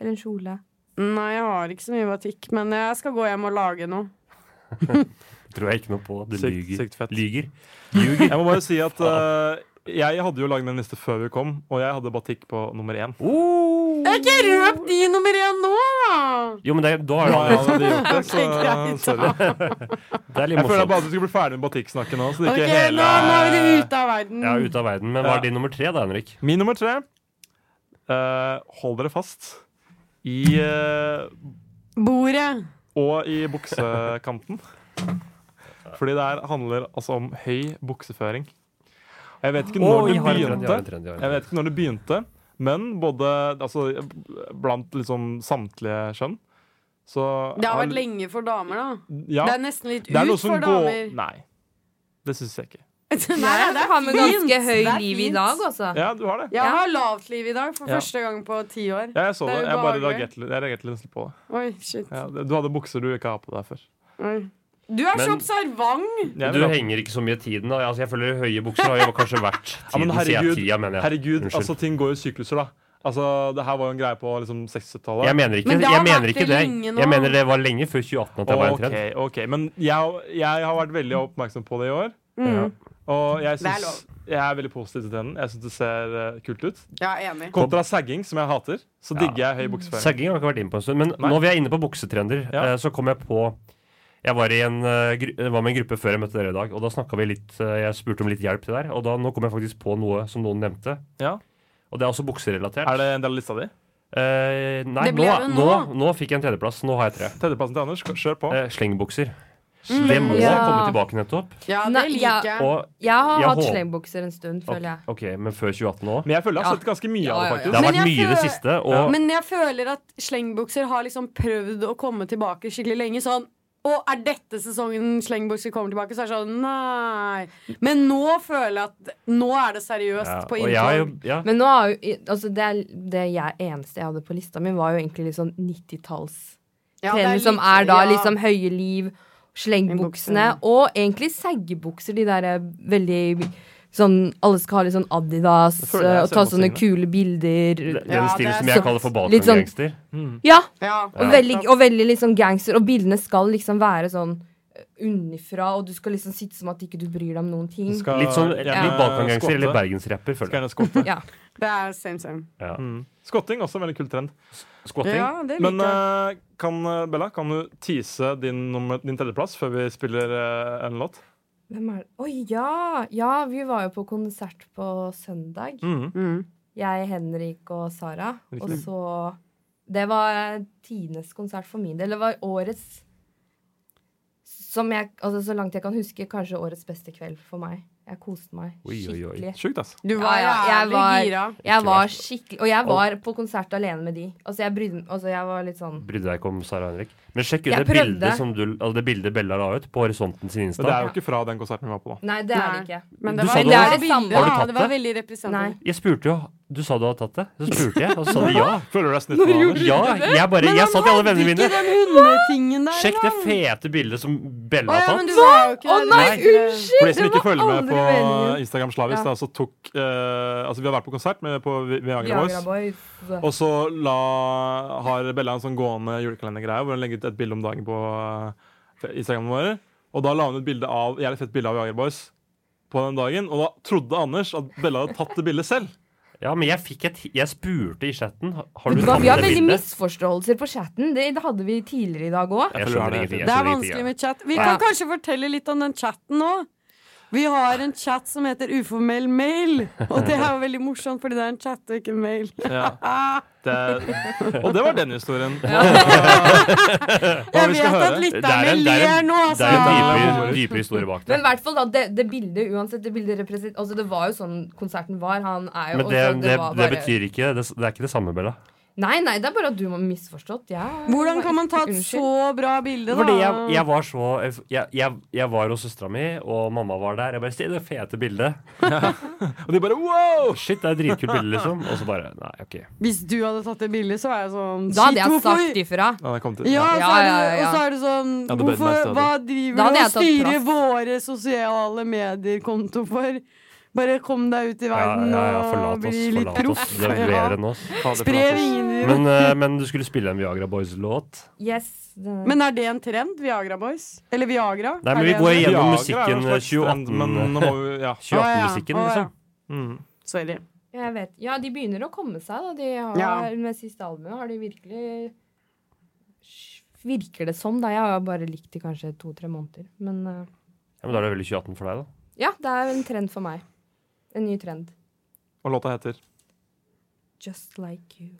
Speaker 7: Eller en kjole.
Speaker 5: Nei, jeg har ikke så mye batikk, men jeg skal gå hjem og lage noe.
Speaker 6: Tror jeg ikke noe på. Du
Speaker 4: Sykt-
Speaker 6: lyger.
Speaker 4: sykt fett.
Speaker 6: Lyger.
Speaker 4: Jeg må bare si at eh, Jeg hadde jo lagd den liste før vi kom, og jeg hadde Batikk på nummer én.
Speaker 5: Jeg ikke røp de nummer én nå!
Speaker 6: Jo, men det, da er
Speaker 4: Ja,
Speaker 6: det,
Speaker 4: jeg hadde gjort det, så eh,
Speaker 5: Ok, greit, da.
Speaker 4: sorry.
Speaker 6: det er litt
Speaker 4: Jeg føler
Speaker 6: morsomt.
Speaker 4: bare at vi skulle bli ferdig med Batikk-snakken nå. Så det
Speaker 5: Ok,
Speaker 4: ikke
Speaker 5: nå,
Speaker 4: hele
Speaker 5: nå er vi ute av verden.
Speaker 6: Ja, ute av verden. Men hva er din nummer tre, da, Henrik?
Speaker 4: Min nummer tre eh, Hold dere fast i eh,
Speaker 5: Bordet.
Speaker 4: Og i buksekanten. Fordi det her handler altså om høy bukseføring. Og Jeg vet ikke når
Speaker 6: Oi,
Speaker 4: det
Speaker 6: jeg har en trend, jeg har en
Speaker 4: begynte,
Speaker 6: trend, jeg har en
Speaker 4: jeg
Speaker 6: trend.
Speaker 4: vet ikke når det begynte men både altså, blant liksom samtlige kjønn så
Speaker 5: Det har vært lenge for damer, da.
Speaker 4: ja,
Speaker 5: Det er nesten litt
Speaker 4: det er noe
Speaker 5: ut
Speaker 4: som
Speaker 5: for
Speaker 4: går-
Speaker 5: damer.
Speaker 4: Nei. Det syns jeg ikke.
Speaker 5: Nei,
Speaker 7: Nei,
Speaker 5: det
Speaker 7: det
Speaker 5: er
Speaker 7: har med
Speaker 5: fint.
Speaker 7: ganske høy
Speaker 5: Det er
Speaker 7: liv i
Speaker 5: fint.
Speaker 7: dag, altså.
Speaker 4: Ja, du har det.
Speaker 5: Jeg har lavt liv i dag for
Speaker 4: Ja.
Speaker 5: første gang på ti år.
Speaker 4: Ja, jeg så
Speaker 5: Det
Speaker 4: det.
Speaker 5: er
Speaker 4: Jeg bare
Speaker 5: ubehagelig.
Speaker 4: reagerte litt- jeg reagerte litt på det.
Speaker 5: Oi, shit.
Speaker 4: Ja, det- du hadde bukser du ikke har på deg før.
Speaker 5: Oi. Du er så
Speaker 6: Men-
Speaker 5: observant!
Speaker 4: Jeg
Speaker 6: Du
Speaker 4: vil ha-
Speaker 6: henger ikke så mye i tiden. Da. Altså, jeg føler høye bukser har jo kanskje vært
Speaker 4: Ja, men
Speaker 6: tiden, sier jeg
Speaker 4: herregud,
Speaker 6: tida, mener jeg.
Speaker 4: Herregud,
Speaker 6: Unnskyld.
Speaker 4: altså ting går i sykluser, da. Altså, Det her var jo en greie på liksom, 60-tallet.
Speaker 6: Jeg mener ikke,
Speaker 5: Men det har
Speaker 6: jeg mener
Speaker 5: vært det
Speaker 6: ikke det.
Speaker 5: lenge nå.
Speaker 6: Jeg mener det var lenge før 2018 at det var en
Speaker 4: Ok,
Speaker 6: trend.
Speaker 4: ok, Men jeg, jeg har vært veldig oppmerksom på det i år.
Speaker 5: Mm.
Speaker 6: Ja.
Speaker 4: Og jeg,
Speaker 5: Det er
Speaker 4: synes, jeg er veldig positiv til trenden. Jeg syns det ser eh, kult ut.
Speaker 5: Jeg er enig.
Speaker 4: Kontra sagging, som jeg hater, så
Speaker 6: Ja.
Speaker 4: digger jeg høy bukseføring.
Speaker 6: Sagging har ikke vært inne på en stund. Men
Speaker 4: Nei.
Speaker 6: når vi er inne på buksetrender,
Speaker 4: Ja.
Speaker 6: eh, så kom jeg på jeg var, i en, eh, gru- jeg var med en gruppe før jeg møtte dere i dag, og da snakket vi litt eh, Jeg spurte om litt hjelp til der, og da, nå kom jeg faktisk på noe som noen nevnte.
Speaker 4: Ja.
Speaker 6: Og det er også bukserelatert.
Speaker 4: Er det en del av lista di?
Speaker 6: Eh, nei,
Speaker 5: Det
Speaker 6: nå,
Speaker 5: ble
Speaker 6: er-
Speaker 5: jo
Speaker 6: nå,
Speaker 5: nå.
Speaker 6: nå fikk jeg en tredjeplass. Nå har jeg tre.
Speaker 4: Tredjeplassen til Anders. Kjør på.
Speaker 6: Eh, slengbukser. Det må
Speaker 7: Ja.
Speaker 6: komme tilbake nettopp.
Speaker 5: Mm, Ja, det
Speaker 7: Nei, ja.
Speaker 5: liker jeg.
Speaker 6: Og,
Speaker 7: Jeg har
Speaker 6: Jeg
Speaker 7: hatt
Speaker 6: håper-
Speaker 7: slengbukser en stund, føler jeg.
Speaker 6: ok, men før 2018 òg?
Speaker 4: Men jeg føler jeg har
Speaker 7: Ja.
Speaker 4: sett ganske mye
Speaker 7: Ja,
Speaker 4: av det,
Speaker 7: ja, ja.
Speaker 4: faktisk.
Speaker 6: Det har
Speaker 5: Men
Speaker 6: vært
Speaker 5: jeg
Speaker 6: mye i det
Speaker 5: føler-
Speaker 6: siste. Og
Speaker 5: Men jeg føler at slengbukser har liksom prøvd å komme tilbake skikkelig lenge. Sånn Å, er dette sesongen slengbukser kommer tilbake? Så er det sånn Nei. Men nå føler jeg at Nå er det seriøst
Speaker 6: Ja,
Speaker 5: på
Speaker 6: og jeg har jo,
Speaker 5: inntog.
Speaker 6: ja.
Speaker 7: Men nå har jo altså det, er- det jeg, eneste jeg hadde på lista mi, var jo egentlig litt sånn 90-talls.
Speaker 5: Ja, det
Speaker 7: trenden
Speaker 5: litt-
Speaker 7: som er da
Speaker 5: ja.
Speaker 7: liksom høye liv, slengbuksene og egentlig seggebukser. De der er veldig sånn Alle skal ha litt sånn Adidas
Speaker 4: Jeg føler jeg
Speaker 7: eh, og ta
Speaker 4: ser på
Speaker 7: sånne
Speaker 4: tingene.
Speaker 7: kule bilder.
Speaker 6: Den
Speaker 5: Ja, det
Speaker 6: stilen
Speaker 5: er
Speaker 6: som jeg
Speaker 5: sant.
Speaker 6: kaller for
Speaker 7: Litt sånn-
Speaker 6: balkonggangster.
Speaker 7: Ja!
Speaker 5: ja.
Speaker 7: Og, Veldig, og veldig liksom gangster. Og bildene skal liksom være sånn eh, unnifra, og du skal liksom sitte som at ikke du bryr deg om noen ting.
Speaker 4: Skal
Speaker 6: Litt sånn
Speaker 4: gjerne
Speaker 6: litt balkonggangster eller
Speaker 4: skotte. Skal
Speaker 6: bergensrapper, føler jeg.
Speaker 4: gjerne skotte.
Speaker 7: Ja.
Speaker 5: Det er same, same.
Speaker 6: Ja.
Speaker 4: Mm. Skotting også en veldig kul trend.
Speaker 6: Squatting.
Speaker 5: Ja, det
Speaker 4: Men
Speaker 5: liker jeg.
Speaker 4: eh, kan, eh, Bella, kan du tease din, nummer, din tredjeplass før vi spiller eh, en låt?
Speaker 7: Hvem er det? Oi, ja! Ja, vi var jo på konsert på søndag.
Speaker 4: Mm.
Speaker 5: Mm.
Speaker 7: Jeg, Henrik og Sara. Og
Speaker 4: Riktig.
Speaker 7: så Det var tidenes konsert for min del. Det var årets Som jeg Altså, så langt jeg kan huske, kanskje årets beste kveld for meg. Jeg koste meg
Speaker 6: Oi, oi, oi.
Speaker 7: skikkelig.
Speaker 4: Sjukt, ass.
Speaker 5: Du
Speaker 7: Ja,
Speaker 5: var
Speaker 7: ja, jeg
Speaker 5: jævlig
Speaker 7: var-
Speaker 5: gira.
Speaker 7: Jeg var skikkelig Og jeg var på konsert alene med de. Altså, jeg brydde Altså, jeg var litt sånn
Speaker 6: Brydde deg ikke om Sara Henrik. Men sjekk ut
Speaker 7: Jeg
Speaker 6: det
Speaker 7: prøvde.
Speaker 6: bildet, som du, altså det bildet Bella la ut på horisonten
Speaker 4: Men
Speaker 6: sin
Speaker 4: det
Speaker 6: Insta.
Speaker 4: er jo ikke fra den konserten vi var på, da.
Speaker 7: Nei, det er det
Speaker 5: Nei.
Speaker 7: ikke.
Speaker 5: Men
Speaker 6: Du
Speaker 5: det var,
Speaker 6: sa
Speaker 5: det
Speaker 6: du
Speaker 5: var
Speaker 6: hadde-
Speaker 5: bilder,
Speaker 6: Har du
Speaker 5: da.
Speaker 6: tatt
Speaker 5: Det var
Speaker 6: det?
Speaker 5: veldig
Speaker 7: Nei.
Speaker 5: representativt.
Speaker 6: Jeg spurte jo Du sa du hadde tatt det. Så spurte jeg, og så sa du ja.
Speaker 4: Føler du deg snytt nå, Anders?
Speaker 6: Ja, jeg bare Jeg sa til alle vennene mine
Speaker 5: den hundetingen der,
Speaker 6: Sjekk det
Speaker 5: da.
Speaker 6: fete bildet som Bella
Speaker 5: Å, ja,
Speaker 6: har
Speaker 5: men
Speaker 6: tatt.
Speaker 5: du var jo ikke
Speaker 7: Å nei,
Speaker 5: det.
Speaker 7: unnskyld!
Speaker 4: For de som
Speaker 7: Det
Speaker 4: ikke
Speaker 7: var
Speaker 4: følger med
Speaker 7: aldri
Speaker 4: på
Speaker 7: meningen.
Speaker 4: Instagram Slavis,
Speaker 7: Ja.
Speaker 4: da, så tok eh, Altså, vi har vært på konsert med, på Vi- Viagra
Speaker 7: Viagra
Speaker 4: Boys.
Speaker 7: Boys.
Speaker 4: Og så la, har Bella en sånn gående julekalendergreie hvor hun legger ut et bilde om dagen på eh, Instagramen vår. Og da la hun et bilde av, jævlig fett bilde av Viagra Boys på den dagen. Og da trodde Anders at Bella hadde tatt det bildet selv.
Speaker 6: Ja, men jeg fikk et Jeg spurte i chatten Har
Speaker 7: Vet
Speaker 6: du
Speaker 7: du hva,
Speaker 6: tatt
Speaker 7: vi har
Speaker 6: det
Speaker 7: veldig
Speaker 6: bildet.
Speaker 7: misforståelser på chatten. Det, det hadde vi tidligere i dag òg.
Speaker 6: Jeg
Speaker 4: føler
Speaker 6: skjønner
Speaker 4: det.
Speaker 6: ingenting. jeg
Speaker 5: Det er
Speaker 6: skjønner
Speaker 5: vanskelig
Speaker 6: ingenting, jeg.
Speaker 5: med chat. Vi
Speaker 7: Ja.
Speaker 5: kan kanskje fortelle litt om den chatten nå. Vi har en chat som heter uformell mail, og det er jo veldig morsomt, fordi det er en chat og ikke en mail.
Speaker 4: Ja. Det, og det var den historien.
Speaker 5: Jeg
Speaker 4: vi skal
Speaker 5: vet at
Speaker 4: høre.
Speaker 6: Det er
Speaker 5: lytterne
Speaker 6: en- det er
Speaker 5: ler
Speaker 6: en-
Speaker 5: nå,
Speaker 6: Det er
Speaker 5: altså.
Speaker 6: en
Speaker 4: Ja.
Speaker 6: dypere, dypere historie bak det.
Speaker 7: Men i hvert fall da, det, det bildet uansett det bildet represent- altså, Det var jo sånn konserten var. Han er jo
Speaker 6: Men det,
Speaker 7: også, det,
Speaker 6: det,
Speaker 7: var
Speaker 6: det
Speaker 7: bare,
Speaker 6: betyr ikke det, det er ikke det samme, Bella.
Speaker 7: Nei, nei, det er bare at du har misforstått. Jeg-
Speaker 5: Hvordan kan man ta et
Speaker 7: Unnskyld.
Speaker 5: så bra bilde,
Speaker 6: Fordi jeg,
Speaker 5: da?
Speaker 6: jeg var så jeg, jeg, jeg var hos søstera mi, og mamma var der. Jeg bare Se det fete bildet!
Speaker 4: Og de bare wow!
Speaker 6: Shit, det er et dritkult bilde, liksom. Og så bare Nei, OK.
Speaker 5: Hvis du hadde tatt det bildet, så er jeg sånn
Speaker 7: Da hadde jeg
Speaker 5: shit, hvorfor-
Speaker 7: sagt ifra.
Speaker 4: Ja, den kom til,
Speaker 5: Ja,
Speaker 7: Ja,
Speaker 5: så er det,
Speaker 7: ja, ja, ja.
Speaker 5: og så er det sånn
Speaker 4: Ja, det ble det
Speaker 5: hvorfor,
Speaker 4: neste,
Speaker 5: Hva
Speaker 7: Da
Speaker 5: driver
Speaker 7: hadde
Speaker 5: du og
Speaker 7: jeg tatt
Speaker 5: styrer
Speaker 7: plass.
Speaker 5: våre sosiale medier-konto for? Bare kom deg ut i
Speaker 6: Ja,
Speaker 5: verden
Speaker 6: ja, ja, forlat
Speaker 5: og
Speaker 6: oss.
Speaker 5: bli litt
Speaker 6: Forlat oss.
Speaker 5: proff.
Speaker 6: Det er
Speaker 5: Ja.
Speaker 6: bedre enn oss.
Speaker 4: Ta det
Speaker 5: Spre
Speaker 4: fra oss.
Speaker 5: vingene dine.
Speaker 6: Men, eh, men du skulle spille en Viagra Boys-låt.
Speaker 7: Yes. Det,
Speaker 5: Men er det en trend? Viagra Boys? Eller Viagra?
Speaker 6: Nei, men
Speaker 5: Er
Speaker 6: vi
Speaker 5: det
Speaker 6: går
Speaker 5: en-
Speaker 4: Viagra
Speaker 6: igjennom
Speaker 4: er jo en slags trend, eh, Men nå
Speaker 6: musikken
Speaker 4: må vi, ja.
Speaker 6: 2018-musikken,
Speaker 5: Å, ja. Å, ja.
Speaker 6: liksom.
Speaker 4: Mm.
Speaker 5: Sorry.
Speaker 7: Jeg vet. Ja, de begynner å komme seg, da. De har,
Speaker 5: Ja.
Speaker 7: Med siste albumet har de virkelig Virker det som, da. Jeg har bare likt de kanskje to-tre måneder. Men eh,
Speaker 6: Ja, men Da er det veldig 2018 for deg, da.
Speaker 7: ja, det er en trend for meg. En ny trend.
Speaker 4: Og låta heter
Speaker 7: Just like you.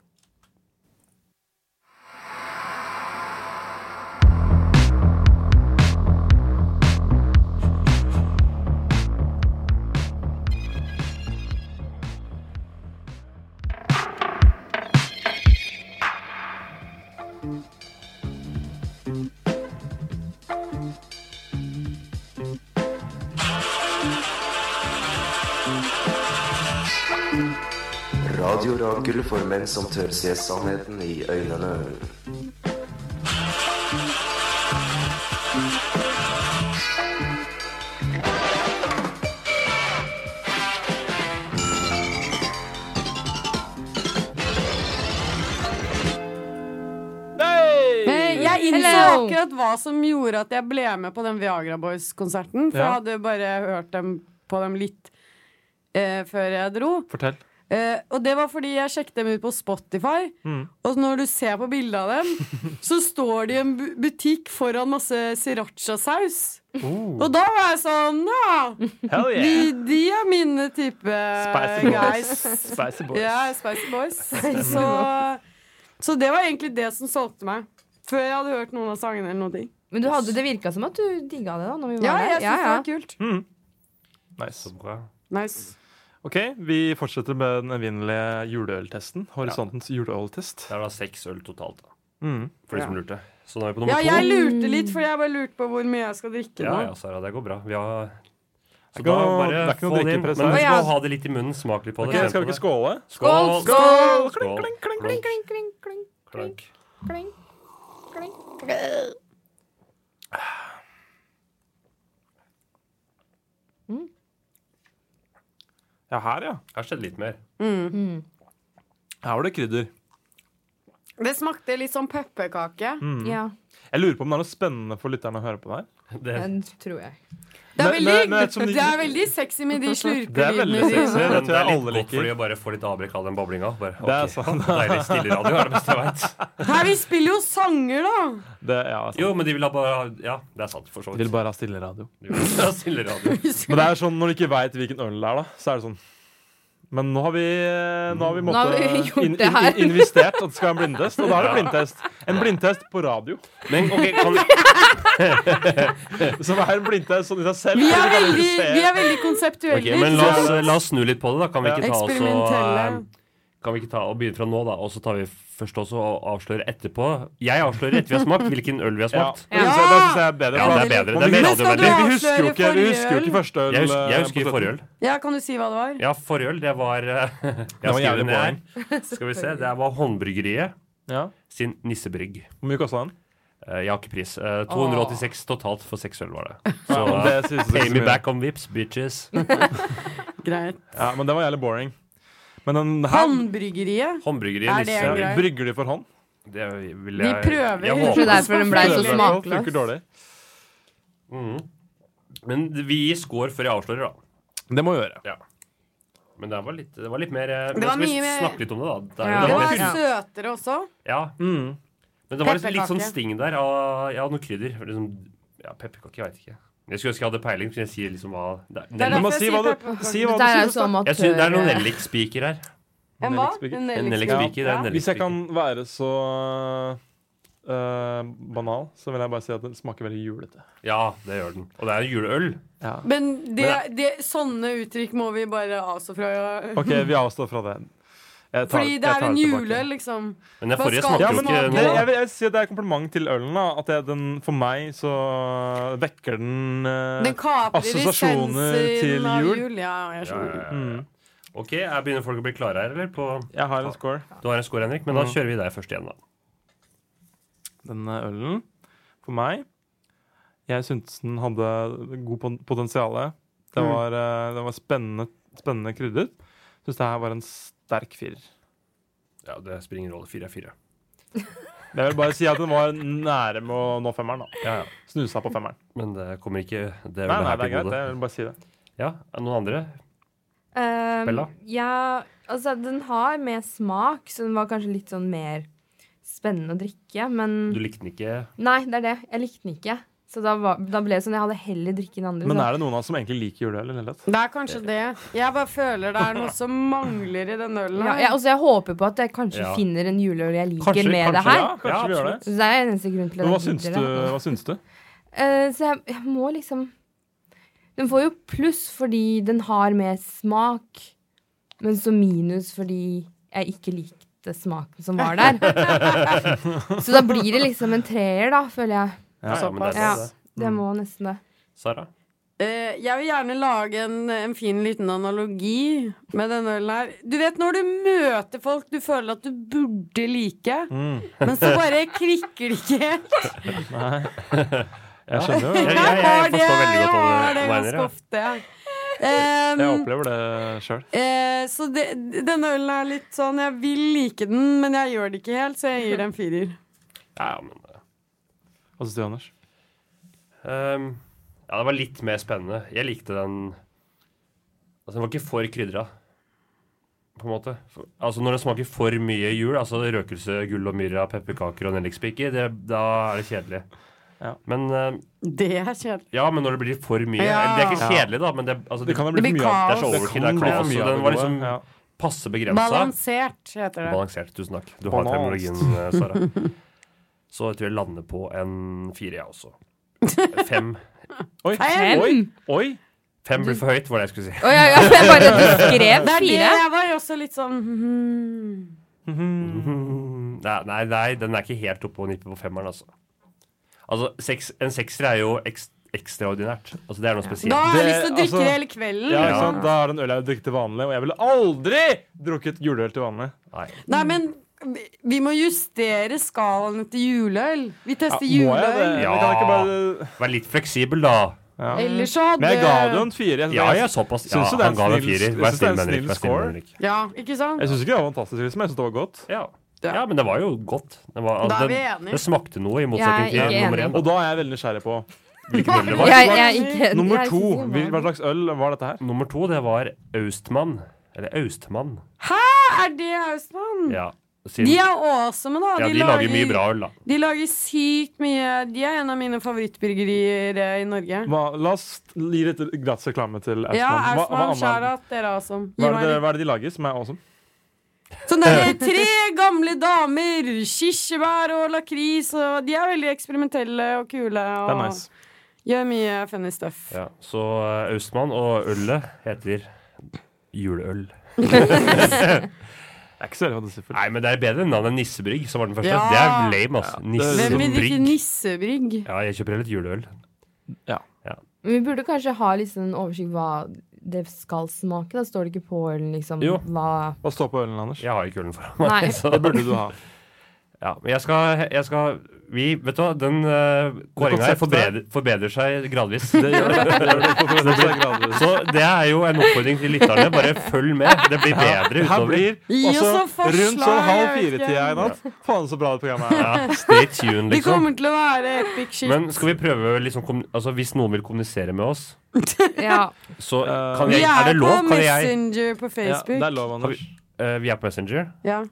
Speaker 2: Radiorakel for menn som tør se sannheten i øynene.
Speaker 5: Men Eh, jeg innså
Speaker 7: Hello.
Speaker 5: akkurat hva som gjorde at jeg ble med på den Viagra Boys-konserten. For
Speaker 4: Ja.
Speaker 5: jeg hadde jo bare hørt dem på dem litt eh, før jeg dro.
Speaker 4: Fortell.
Speaker 5: Eh, og det var fordi jeg sjekket dem ut på Spotify.
Speaker 4: Mm.
Speaker 5: Og når du ser på bildet av dem, så står de i en bu butikk foran masse sriracha-saus.
Speaker 4: Oh.
Speaker 5: Og da var jeg sånn Ja,
Speaker 4: Hell
Speaker 5: de, de er mine type
Speaker 4: Spicy boys.
Speaker 5: guys.
Speaker 4: Spicy boys.
Speaker 5: Ja, Spice Boys. Så, så det var egentlig det som solgte meg. Før jeg hadde hørt noen av sangene. eller noen ting
Speaker 7: Men du hadde, det virka som at du digga det da når vi var
Speaker 5: Ja,
Speaker 7: der.
Speaker 5: jeg synes det var kult.
Speaker 4: Mm. Nice.
Speaker 6: Så bra.
Speaker 5: Nice.
Speaker 4: Ok, vi fortsetter med den evinnelige juleøltesten. Horisontens juleøltest.
Speaker 6: Det er da seks øl totalt, da.
Speaker 4: Mm.
Speaker 6: For de som lurte. Så nå er vi på
Speaker 5: Ja,
Speaker 6: nummer
Speaker 5: jeg
Speaker 6: to.
Speaker 5: lurte litt, for jeg bare lurte på hvor mye jeg skal drikke.
Speaker 6: Ja,
Speaker 5: nå.
Speaker 6: ja, Sara, det går bra. Vi har
Speaker 4: Det er
Speaker 6: Så
Speaker 4: ikke
Speaker 6: da
Speaker 4: noe-
Speaker 6: bare
Speaker 4: det er ikke noe
Speaker 6: få det inn. Men
Speaker 4: drikkepress
Speaker 6: du
Speaker 4: her.
Speaker 7: Å,
Speaker 6: skal
Speaker 7: ja.
Speaker 6: ha det litt i munnen. Smak litt på
Speaker 4: Ok,
Speaker 6: det.
Speaker 4: Skal vi ikke skåle?
Speaker 6: Skål!
Speaker 7: Skål!
Speaker 6: Skål! Klunk,
Speaker 7: Kling, kling, kling,
Speaker 6: klunk.
Speaker 7: kling, kling.
Speaker 4: Ja, her, ja.
Speaker 6: Her skjedde litt mer.
Speaker 4: Her var det krydder.
Speaker 5: Det smakte litt sånn pepperkake.
Speaker 6: Mm.
Speaker 7: Ja,
Speaker 4: Jeg lurer på om det er noe spennende for lytterne å høre på det her.
Speaker 6: Det,
Speaker 7: den tror jeg.
Speaker 5: Det
Speaker 4: Men-
Speaker 5: er
Speaker 4: men- men
Speaker 5: veldig,
Speaker 4: ettersom de-
Speaker 5: det er veldig sexy med de
Speaker 4: Det er veldig sexy.
Speaker 5: slurpelydene dine.
Speaker 4: Det
Speaker 6: Men
Speaker 4: tror
Speaker 6: det er
Speaker 4: jeg
Speaker 6: litt
Speaker 4: alle
Speaker 6: godt for de
Speaker 4: liker.
Speaker 6: å bare få litt avbrekk av den bablinga. Bare,
Speaker 4: Det er
Speaker 6: ok,
Speaker 4: sant.
Speaker 6: Deilig stilleradio er det beste jeg vet.
Speaker 5: Nei, vi spiller jo sanger, da!
Speaker 4: Det, ja, sant.
Speaker 6: Jo, men de vil ha bare Ja, det er sant, for så
Speaker 4: De
Speaker 6: vidt.
Speaker 4: vil bare ha stille radio.
Speaker 6: De vil ha Stilleradio.
Speaker 4: Men det er sånn, når du ikke veit hvilken øl det er, da, så er det sånn Men nå har vi, eh, nå har vi, måtte,
Speaker 7: har vi gjort
Speaker 4: in,
Speaker 7: det her.
Speaker 4: in, investert at det skal være en blindtest, og da er det blindtest. En blindtest på radio.
Speaker 6: Men ok, kan vi
Speaker 4: Som er en blindtest sånn i seg selv.
Speaker 5: Vi er
Speaker 4: eller kan
Speaker 5: veldig,
Speaker 4: du se-
Speaker 5: vi er veldig konseptuelle.
Speaker 6: Ok, men la oss, la oss snu litt på det, da. Kan vi ikke ta oss og
Speaker 5: Eksperimentelle.
Speaker 6: eh, Kan vi ikke ta og begynne fra nå, da? Og så tar vi først også og avslører etterpå. Jeg avslører etter vi har smakt hvilken øl vi har
Speaker 4: Ja.
Speaker 6: smakt.
Speaker 4: Det syns jeg, det synes jeg er bedre.
Speaker 6: Ja,
Speaker 4: for
Speaker 6: det er
Speaker 4: da- man-
Speaker 6: bedre. Det er mer
Speaker 5: Men skal du
Speaker 6: radiovennlig.
Speaker 5: ha-
Speaker 4: Vi husker jo ikke, vi
Speaker 5: Avsløre
Speaker 4: husker jo ikke
Speaker 5: forrige øl.
Speaker 4: første øl.
Speaker 6: Jeg husker, jeg
Speaker 4: eh,
Speaker 6: husker
Speaker 4: på
Speaker 6: forrige øl.
Speaker 5: Ja, kan du si hva det var?
Speaker 6: Ja, forrige øl, det var eh, Jeg
Speaker 4: var
Speaker 6: skriver
Speaker 4: jævlig
Speaker 6: ned her. Skal vi se. Det var Håndbryggeriet
Speaker 4: Ja.
Speaker 6: sin nissebrygg.
Speaker 4: Hvor mye kosta den?
Speaker 6: Eh, Jeg har ikke pris. Eh, 286 totalt for seks øl var det. Så
Speaker 4: Ja,
Speaker 6: eh,
Speaker 4: det synes jeg
Speaker 6: pay
Speaker 4: ikke så
Speaker 6: me
Speaker 4: mye.
Speaker 6: back on vips, bitches.
Speaker 5: Greit.
Speaker 4: Ja, men den var jævlig boring. Men den her
Speaker 5: Pannbryggeriet. Er
Speaker 6: Håndbryggeriet
Speaker 5: det
Speaker 6: Nisse.
Speaker 5: en grei?
Speaker 4: brygger de for hånd.
Speaker 6: Det vil
Speaker 5: De
Speaker 6: jeg
Speaker 5: prøver.
Speaker 6: Jeg
Speaker 7: Kanskje
Speaker 6: håper.
Speaker 7: derfor den blei
Speaker 4: Prøver
Speaker 7: så
Speaker 4: i hvert fall, Funker
Speaker 7: smakløs.
Speaker 4: dårlig.
Speaker 6: Mm. Men vi gir score før jeg avslører, da.
Speaker 4: Det må vi gjøre.
Speaker 6: Ja. Men det var litt, det var litt mer eh,
Speaker 5: Det
Speaker 6: men
Speaker 5: var
Speaker 6: skal vi
Speaker 5: mye mer-
Speaker 6: Snakke litt om det, da. Det, er
Speaker 7: Ja.
Speaker 6: jo-
Speaker 5: Det
Speaker 6: det var
Speaker 5: var
Speaker 6: litt,
Speaker 7: Ja.
Speaker 5: søtere også.
Speaker 6: ja.
Speaker 4: Mm.
Speaker 6: Men det var liksom litt
Speaker 5: Pepperkake.
Speaker 6: sånn sting der av ja, noe krydder. Liksom, ja, Pepperkake, jeg veit ikke. Jeg skulle ønske jeg hadde peiling, kunne jeg si liksom hva det er.
Speaker 5: er
Speaker 4: Du
Speaker 5: derfor
Speaker 4: må
Speaker 5: jeg
Speaker 4: si
Speaker 5: sier
Speaker 4: hva du,
Speaker 5: pepperkake.
Speaker 4: si hva
Speaker 7: Det
Speaker 4: du
Speaker 7: der er
Speaker 4: synes.
Speaker 7: så
Speaker 4: da.
Speaker 6: Jeg synes, det er noen
Speaker 7: amatør...
Speaker 6: nellikspiker
Speaker 5: En hva?
Speaker 6: her.
Speaker 4: Nellikspiker.
Speaker 6: En
Speaker 5: nellikspiker.
Speaker 6: nellikspiker. det er en
Speaker 5: Ja.
Speaker 4: Hvis jeg kan
Speaker 6: nellikspiker.
Speaker 4: være så øh, banal, så vil jeg bare si at den smaker veldig julete.
Speaker 6: Ja, det gjør den. Og det er juleøl.
Speaker 5: Men det,
Speaker 6: Men
Speaker 5: det, sånne uttrykk må vi bare avstå fra.
Speaker 4: OK, vi avstår fra det. Jeg tar-
Speaker 5: Fordi
Speaker 4: jeg
Speaker 5: det
Speaker 4: tar
Speaker 5: er en
Speaker 4: tilbake.
Speaker 5: jule, liksom.
Speaker 6: Men den
Speaker 5: Hva
Speaker 6: forrige
Speaker 5: skal
Speaker 6: smakte
Speaker 4: Ja,
Speaker 6: jo
Speaker 4: men
Speaker 5: den
Speaker 6: ikke
Speaker 5: smake?
Speaker 4: det,
Speaker 6: noe.
Speaker 4: jeg, vil, jeg vil si at det er kompliment til ølen. da At jeg, den, For meg så vekker den øh,
Speaker 5: Den kaprer
Speaker 4: assosiasjoner
Speaker 5: essensen
Speaker 4: til
Speaker 5: av
Speaker 4: jul.
Speaker 5: Ja, jeg
Speaker 6: Ja,
Speaker 5: skjønner.
Speaker 6: ja, ja.
Speaker 4: mm,
Speaker 6: Ok, jeg Begynner folk å bli klare her, eller? På,
Speaker 4: Jeg har en score.
Speaker 6: du har en score, Henrik, men da
Speaker 4: Mm.
Speaker 6: kjører vi deg først igjen, da.
Speaker 4: Denne ølen, for meg Jeg syntes den hadde god pon- potensiale. Det
Speaker 5: Mm.
Speaker 4: var, øh, det var spennende, spennende krydret. Syns det her var en sterk firer.
Speaker 6: Ja, Det spiller ingen rolle. Fire er fire.
Speaker 4: Jeg vil bare si at den var nære med å nå femmeren. da
Speaker 6: Ja, ja.
Speaker 4: Snusa på femmeren.
Speaker 6: Men det kommer ikke
Speaker 4: Nei,
Speaker 6: det
Speaker 4: nei,
Speaker 6: ølet her
Speaker 4: det er
Speaker 6: til
Speaker 4: greit.
Speaker 6: gode.
Speaker 4: Jeg vil bare si det.
Speaker 6: Ja, er det noen andre?
Speaker 7: Ehm,
Speaker 6: Bella?
Speaker 7: Ja, altså den har mer smak, så den var kanskje litt sånn mer spennende å drikke. Men
Speaker 6: Du likte den ikke?
Speaker 7: nei, det er det. Jeg likte den ikke. Så da, var, da ble det sånn jeg hadde heller drikke den andre.
Speaker 4: Men
Speaker 7: så.
Speaker 4: er det noen av oss som egentlig liker juleøl? i det hele tatt?
Speaker 5: Det er kanskje det. Jeg bare føler det er noe som mangler i den ølen.
Speaker 7: Ja,
Speaker 5: her.
Speaker 7: jeg, altså, jeg håper på at jeg kanskje
Speaker 6: Ja.
Speaker 7: finner en juleøl jeg liker
Speaker 6: Kanskje-
Speaker 7: med det
Speaker 6: kanskje,
Speaker 7: her.
Speaker 4: Ja, kanskje
Speaker 6: Ja,
Speaker 4: vi gjør det.
Speaker 7: Så det er eneste grunn til
Speaker 4: Men
Speaker 7: at
Speaker 4: hva
Speaker 7: jeg
Speaker 4: syns
Speaker 7: gidder
Speaker 4: du?
Speaker 7: det.
Speaker 4: Hva syns du?
Speaker 7: Eh, så jeg, jeg må liksom Den får jo pluss fordi den har mer smak, men så minus fordi jeg ikke likte smaken som var der. så da blir det liksom en treer, da, føler jeg.
Speaker 4: Ja, ja,
Speaker 6: men det er
Speaker 7: Ja,
Speaker 6: det.
Speaker 7: det må nesten det.
Speaker 6: Sara?
Speaker 5: Eh, jeg vil gjerne lage en, en fin liten analogi med denne ølen her. Du vet når du møter folk du føler at du burde like, men så bare klikker det ikke helt.
Speaker 4: Jeg skjønner jo.
Speaker 6: Jeg, jeg, jeg
Speaker 5: det,
Speaker 6: forstår veldig
Speaker 5: jeg
Speaker 6: godt hva
Speaker 5: har
Speaker 6: du
Speaker 5: det
Speaker 6: mener.
Speaker 5: ganske
Speaker 6: ja.
Speaker 5: ofte. jeg. Em,
Speaker 4: Jeg opplever det sjøl.
Speaker 5: eh, så det, denne ølen er litt sånn Jeg vil like den, men jeg gjør det ikke helt, så jeg gir det en firer.
Speaker 6: Ja, ja, men
Speaker 4: Hva syns du, Anders?
Speaker 6: Ehm, ja, det var litt mer spennende. Jeg likte den Altså, den var ikke for krydra, på en måte. For, altså, når det smaker for mye jul, altså røkelse, gull og myrra, pepperkaker og nellikspiker, det- da er det kjedelig.
Speaker 4: Ja.
Speaker 6: Men ehm,
Speaker 5: Det er kjedelig.
Speaker 6: Ja, men når det blir for mye
Speaker 5: Ja.
Speaker 6: Det er ikke
Speaker 4: Ja.
Speaker 6: kjedelig, da, men det, altså,
Speaker 4: Det kan jo
Speaker 5: Det
Speaker 4: bli for
Speaker 5: blir
Speaker 4: mye av
Speaker 5: kaos.
Speaker 6: Det er så
Speaker 4: det. kan
Speaker 6: overkill, det er
Speaker 4: bli
Speaker 6: kaos,
Speaker 4: for mye av
Speaker 6: så den var
Speaker 4: det gode.
Speaker 6: liksom
Speaker 4: Ja.
Speaker 6: passe begrensa.
Speaker 5: Balansert, heter det.
Speaker 6: Balansert. Tusen takk. Du har
Speaker 4: Balanst.
Speaker 6: terminologien, eh, Sara. Så jeg tror jeg lander på en fire, jeg også. Fem.
Speaker 4: Oi,
Speaker 5: Fem!
Speaker 4: oi, oi!
Speaker 6: Fem blir for høyt, var det jeg skulle si.
Speaker 7: Å ja, ja, jeg bare du skrev
Speaker 5: Det er det
Speaker 7: fire.
Speaker 5: jeg var jo også litt sånn hmm.
Speaker 6: Mm, Nei, nei, nei, den er ikke helt oppe og nipper på femmeren, altså. Altså, seks, En sekser er jo ekst, ekstraordinært. Altså, Det er noe spesielt.
Speaker 5: Da har
Speaker 4: Det-
Speaker 5: jeg lyst til å drikke
Speaker 4: altså-
Speaker 5: det hele kvelden.
Speaker 4: Ja, ikke sant? Da er det en øl jeg drikker til vanlig, og jeg ville aldri drukket juleøl til vanlig.
Speaker 6: Nei.
Speaker 5: Nei, men vi- vi må justere skalaen etter juleøl. Vi
Speaker 4: må
Speaker 5: tester
Speaker 4: jeg det?
Speaker 5: juleøl.
Speaker 4: Kan
Speaker 6: Ja.
Speaker 4: jeg ikke bare...
Speaker 6: Vær litt fleksibel, da.
Speaker 5: Ellers så hadde
Speaker 4: Men jeg ga det jo en fire. Jeg-
Speaker 6: Ja, ja, såpass. Ja,
Speaker 4: Syns du det er en
Speaker 6: han ga deg
Speaker 4: snill-
Speaker 6: firer.
Speaker 4: jeg
Speaker 6: Vær
Speaker 4: syns det er
Speaker 6: snill,
Speaker 4: en
Speaker 6: Henrik.
Speaker 4: snill
Speaker 6: Vær snill,
Speaker 4: score.
Speaker 6: Henrik.
Speaker 5: Ja, ikke sant?
Speaker 4: Jeg syns ikke det var fantastisk, liksom. Jeg syns det var godt.
Speaker 6: Ja.
Speaker 5: Ja.
Speaker 6: ja, men det var jo godt. Det,
Speaker 5: Da
Speaker 6: var,
Speaker 5: er
Speaker 6: altså,
Speaker 5: vi
Speaker 6: det,
Speaker 5: enige.
Speaker 6: det smakte noe, i
Speaker 7: Jeg er
Speaker 6: motsetning
Speaker 7: ikke
Speaker 6: til nummer
Speaker 7: enig.
Speaker 6: én.
Speaker 4: Og da er jeg veldig nysgjerrig på
Speaker 6: Hvilken øl det var.
Speaker 7: Jeg, jeg, er ikke,
Speaker 4: Nummer
Speaker 7: jeg
Speaker 4: to.
Speaker 7: synes ikke
Speaker 4: Hvil-
Speaker 7: det
Speaker 4: Hva
Speaker 7: var-
Speaker 4: slags øl var dette her?
Speaker 6: Nummer to, det var Austmann. Eller Austmann.
Speaker 5: Er det Hausmann?
Speaker 6: Ja. Siden,
Speaker 5: De
Speaker 6: ja,
Speaker 5: er awesome, da.
Speaker 6: de lager mye bra øl, da.
Speaker 5: De lager sykt mye De er en av mine favorittbyrgerier eh, i Norge.
Speaker 4: Hva, la oss gi litt gratis reklame til Austmann.
Speaker 5: Ja,
Speaker 4: Hva- hva
Speaker 5: Ersmann,
Speaker 4: annet-
Speaker 5: Sharat, dere er awesome. Gi
Speaker 4: hva, er
Speaker 5: meg
Speaker 4: det,
Speaker 5: litt.
Speaker 4: hva er det de lager som er awesome?
Speaker 5: Sånn der, tre gamle damer, kirsebær og lakris, og de er veldig eksperimentelle og kule.
Speaker 4: Det er
Speaker 5: Og
Speaker 4: nice.
Speaker 5: gjør mye funny stuff.
Speaker 6: Ja, så eh, Austmann og ølet heter juleøl.
Speaker 4: Jeg er ikke så veldig fantasifullt.
Speaker 6: Nei, men det er bedre navn enn Nissebrygg, som var den første.
Speaker 5: Ja.
Speaker 6: Det er lame, altså.
Speaker 4: det-
Speaker 5: Hvem vil drikke
Speaker 6: Nissebrygg.
Speaker 5: nissebrygg?
Speaker 6: Ja, jeg kjøper heller et juleøl.
Speaker 7: Men Vi burde kanskje ha liksom en oversikt hva det skal smake. Da står det ikke på ølen liksom
Speaker 6: Jo.
Speaker 7: hva
Speaker 4: Hva står på ølen, Anders?
Speaker 6: Jeg har ikke ølen foran meg.
Speaker 7: Nei.
Speaker 6: Så,
Speaker 4: Det burde du ha.
Speaker 6: ja, men jeg skal, jeg skal Vi, vet du hva, den uh, kåringa her forbedrer,
Speaker 4: konseptet-
Speaker 6: forbedrer seg gradvis.
Speaker 4: Det gjør det. det, gjør det på progressiv gradvis.
Speaker 6: Så det er jo en oppfordring til lytterne. Bare følg med. Det blir
Speaker 4: Her
Speaker 6: bedre utover.
Speaker 4: blir
Speaker 5: Gi oss
Speaker 4: også
Speaker 5: noen forslag,
Speaker 4: rundt sånn halv
Speaker 5: jeg vet
Speaker 4: fire-tida i
Speaker 5: ikke.
Speaker 4: natt. Faen, så bra det programmet er.
Speaker 6: Ja, stay tuned,
Speaker 5: Det
Speaker 6: liksom.
Speaker 5: kommer til å være epic shit.
Speaker 6: Men skal vi prøve liksom, kommu- altså, Hvis noen vil kommunisere med oss,
Speaker 7: Ja.
Speaker 6: så
Speaker 4: Eh,
Speaker 6: kan
Speaker 5: vi
Speaker 6: jeg,
Speaker 5: er,
Speaker 6: er det lov?
Speaker 5: på
Speaker 6: Kan jeg,
Speaker 5: Messenger på
Speaker 4: Ja, det
Speaker 5: Facebook.
Speaker 4: er lov, Anders.
Speaker 6: Eh, vi er på Messenger.
Speaker 5: Ja.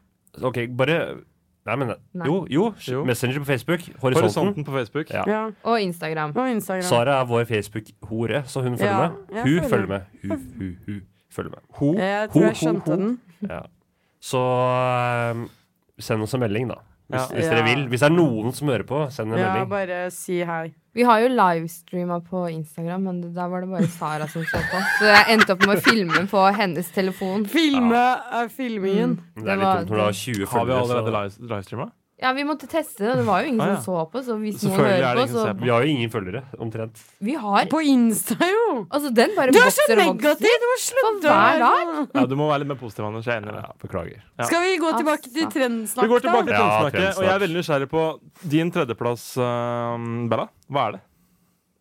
Speaker 6: Ok, bare Nei, men
Speaker 7: Nei.
Speaker 6: Jo, jo.
Speaker 4: Jo.
Speaker 6: Messenger på Facebook. Horisonten.
Speaker 4: Horisonten på Facebook.
Speaker 6: Ja.
Speaker 5: Ja.
Speaker 7: Og Instagram.
Speaker 5: Og Instagram.
Speaker 6: Sara er vår Facebook-hore, så hun følger
Speaker 5: Ja,
Speaker 6: med.
Speaker 5: jeg
Speaker 6: Hun
Speaker 5: følger
Speaker 6: følger, med. Hun, hun, hun følger med.
Speaker 5: Jeg
Speaker 6: Ho,
Speaker 5: tror jeg
Speaker 6: ho,
Speaker 5: skjønte
Speaker 6: ho.
Speaker 5: den.
Speaker 6: Ja. Så eh, send oss en melding, da. Hvis,
Speaker 4: Ja.
Speaker 6: hvis dere
Speaker 5: Ja.
Speaker 6: vil. Hvis det er noen som hører på, send en
Speaker 5: Ja,
Speaker 6: melding.
Speaker 5: bare si hei.
Speaker 7: Vi har jo livestreama på Instagram, men det- der var det bare Sara som så på. Så jeg endte opp med å filme på hennes telefon.
Speaker 5: Filme er filmingen.
Speaker 6: Det er
Speaker 7: det var-
Speaker 6: litt dumt når du har 20
Speaker 4: Har vi allerede
Speaker 6: følgere.
Speaker 4: live- livestreama?
Speaker 7: Ja, vi måtte teste det. Det var jo ingen
Speaker 4: Ah, ja.
Speaker 7: som så på, så hvis noen
Speaker 4: Selvfølgelig er
Speaker 7: hører
Speaker 4: det
Speaker 7: på,
Speaker 4: ingen som ser
Speaker 7: så
Speaker 4: på.
Speaker 6: Så vi har jo ingen følgere, omtrent.
Speaker 7: Vi har
Speaker 5: På Insta, jo!
Speaker 7: Altså, den Mm. bare
Speaker 5: Du er så
Speaker 7: vokser og vokser.
Speaker 5: negativ! Du må
Speaker 7: For
Speaker 5: slutte!
Speaker 7: hver
Speaker 5: å
Speaker 7: dag.
Speaker 5: være sånn.
Speaker 4: Ja, du må være litt mer positiv, Anders. Jeg er enig i det.
Speaker 6: Ja, beklager.
Speaker 4: Ja.
Speaker 5: Skal vi gå tilbake til
Speaker 7: Altså.
Speaker 4: Vi
Speaker 5: trendsnakk,
Speaker 4: går tilbake til
Speaker 6: Ja,
Speaker 4: Tønsnakket, og jeg er
Speaker 6: Tønsnakk.
Speaker 4: veldig nysgjerrig på din tredjeplass, eh, Bella. Hva er det?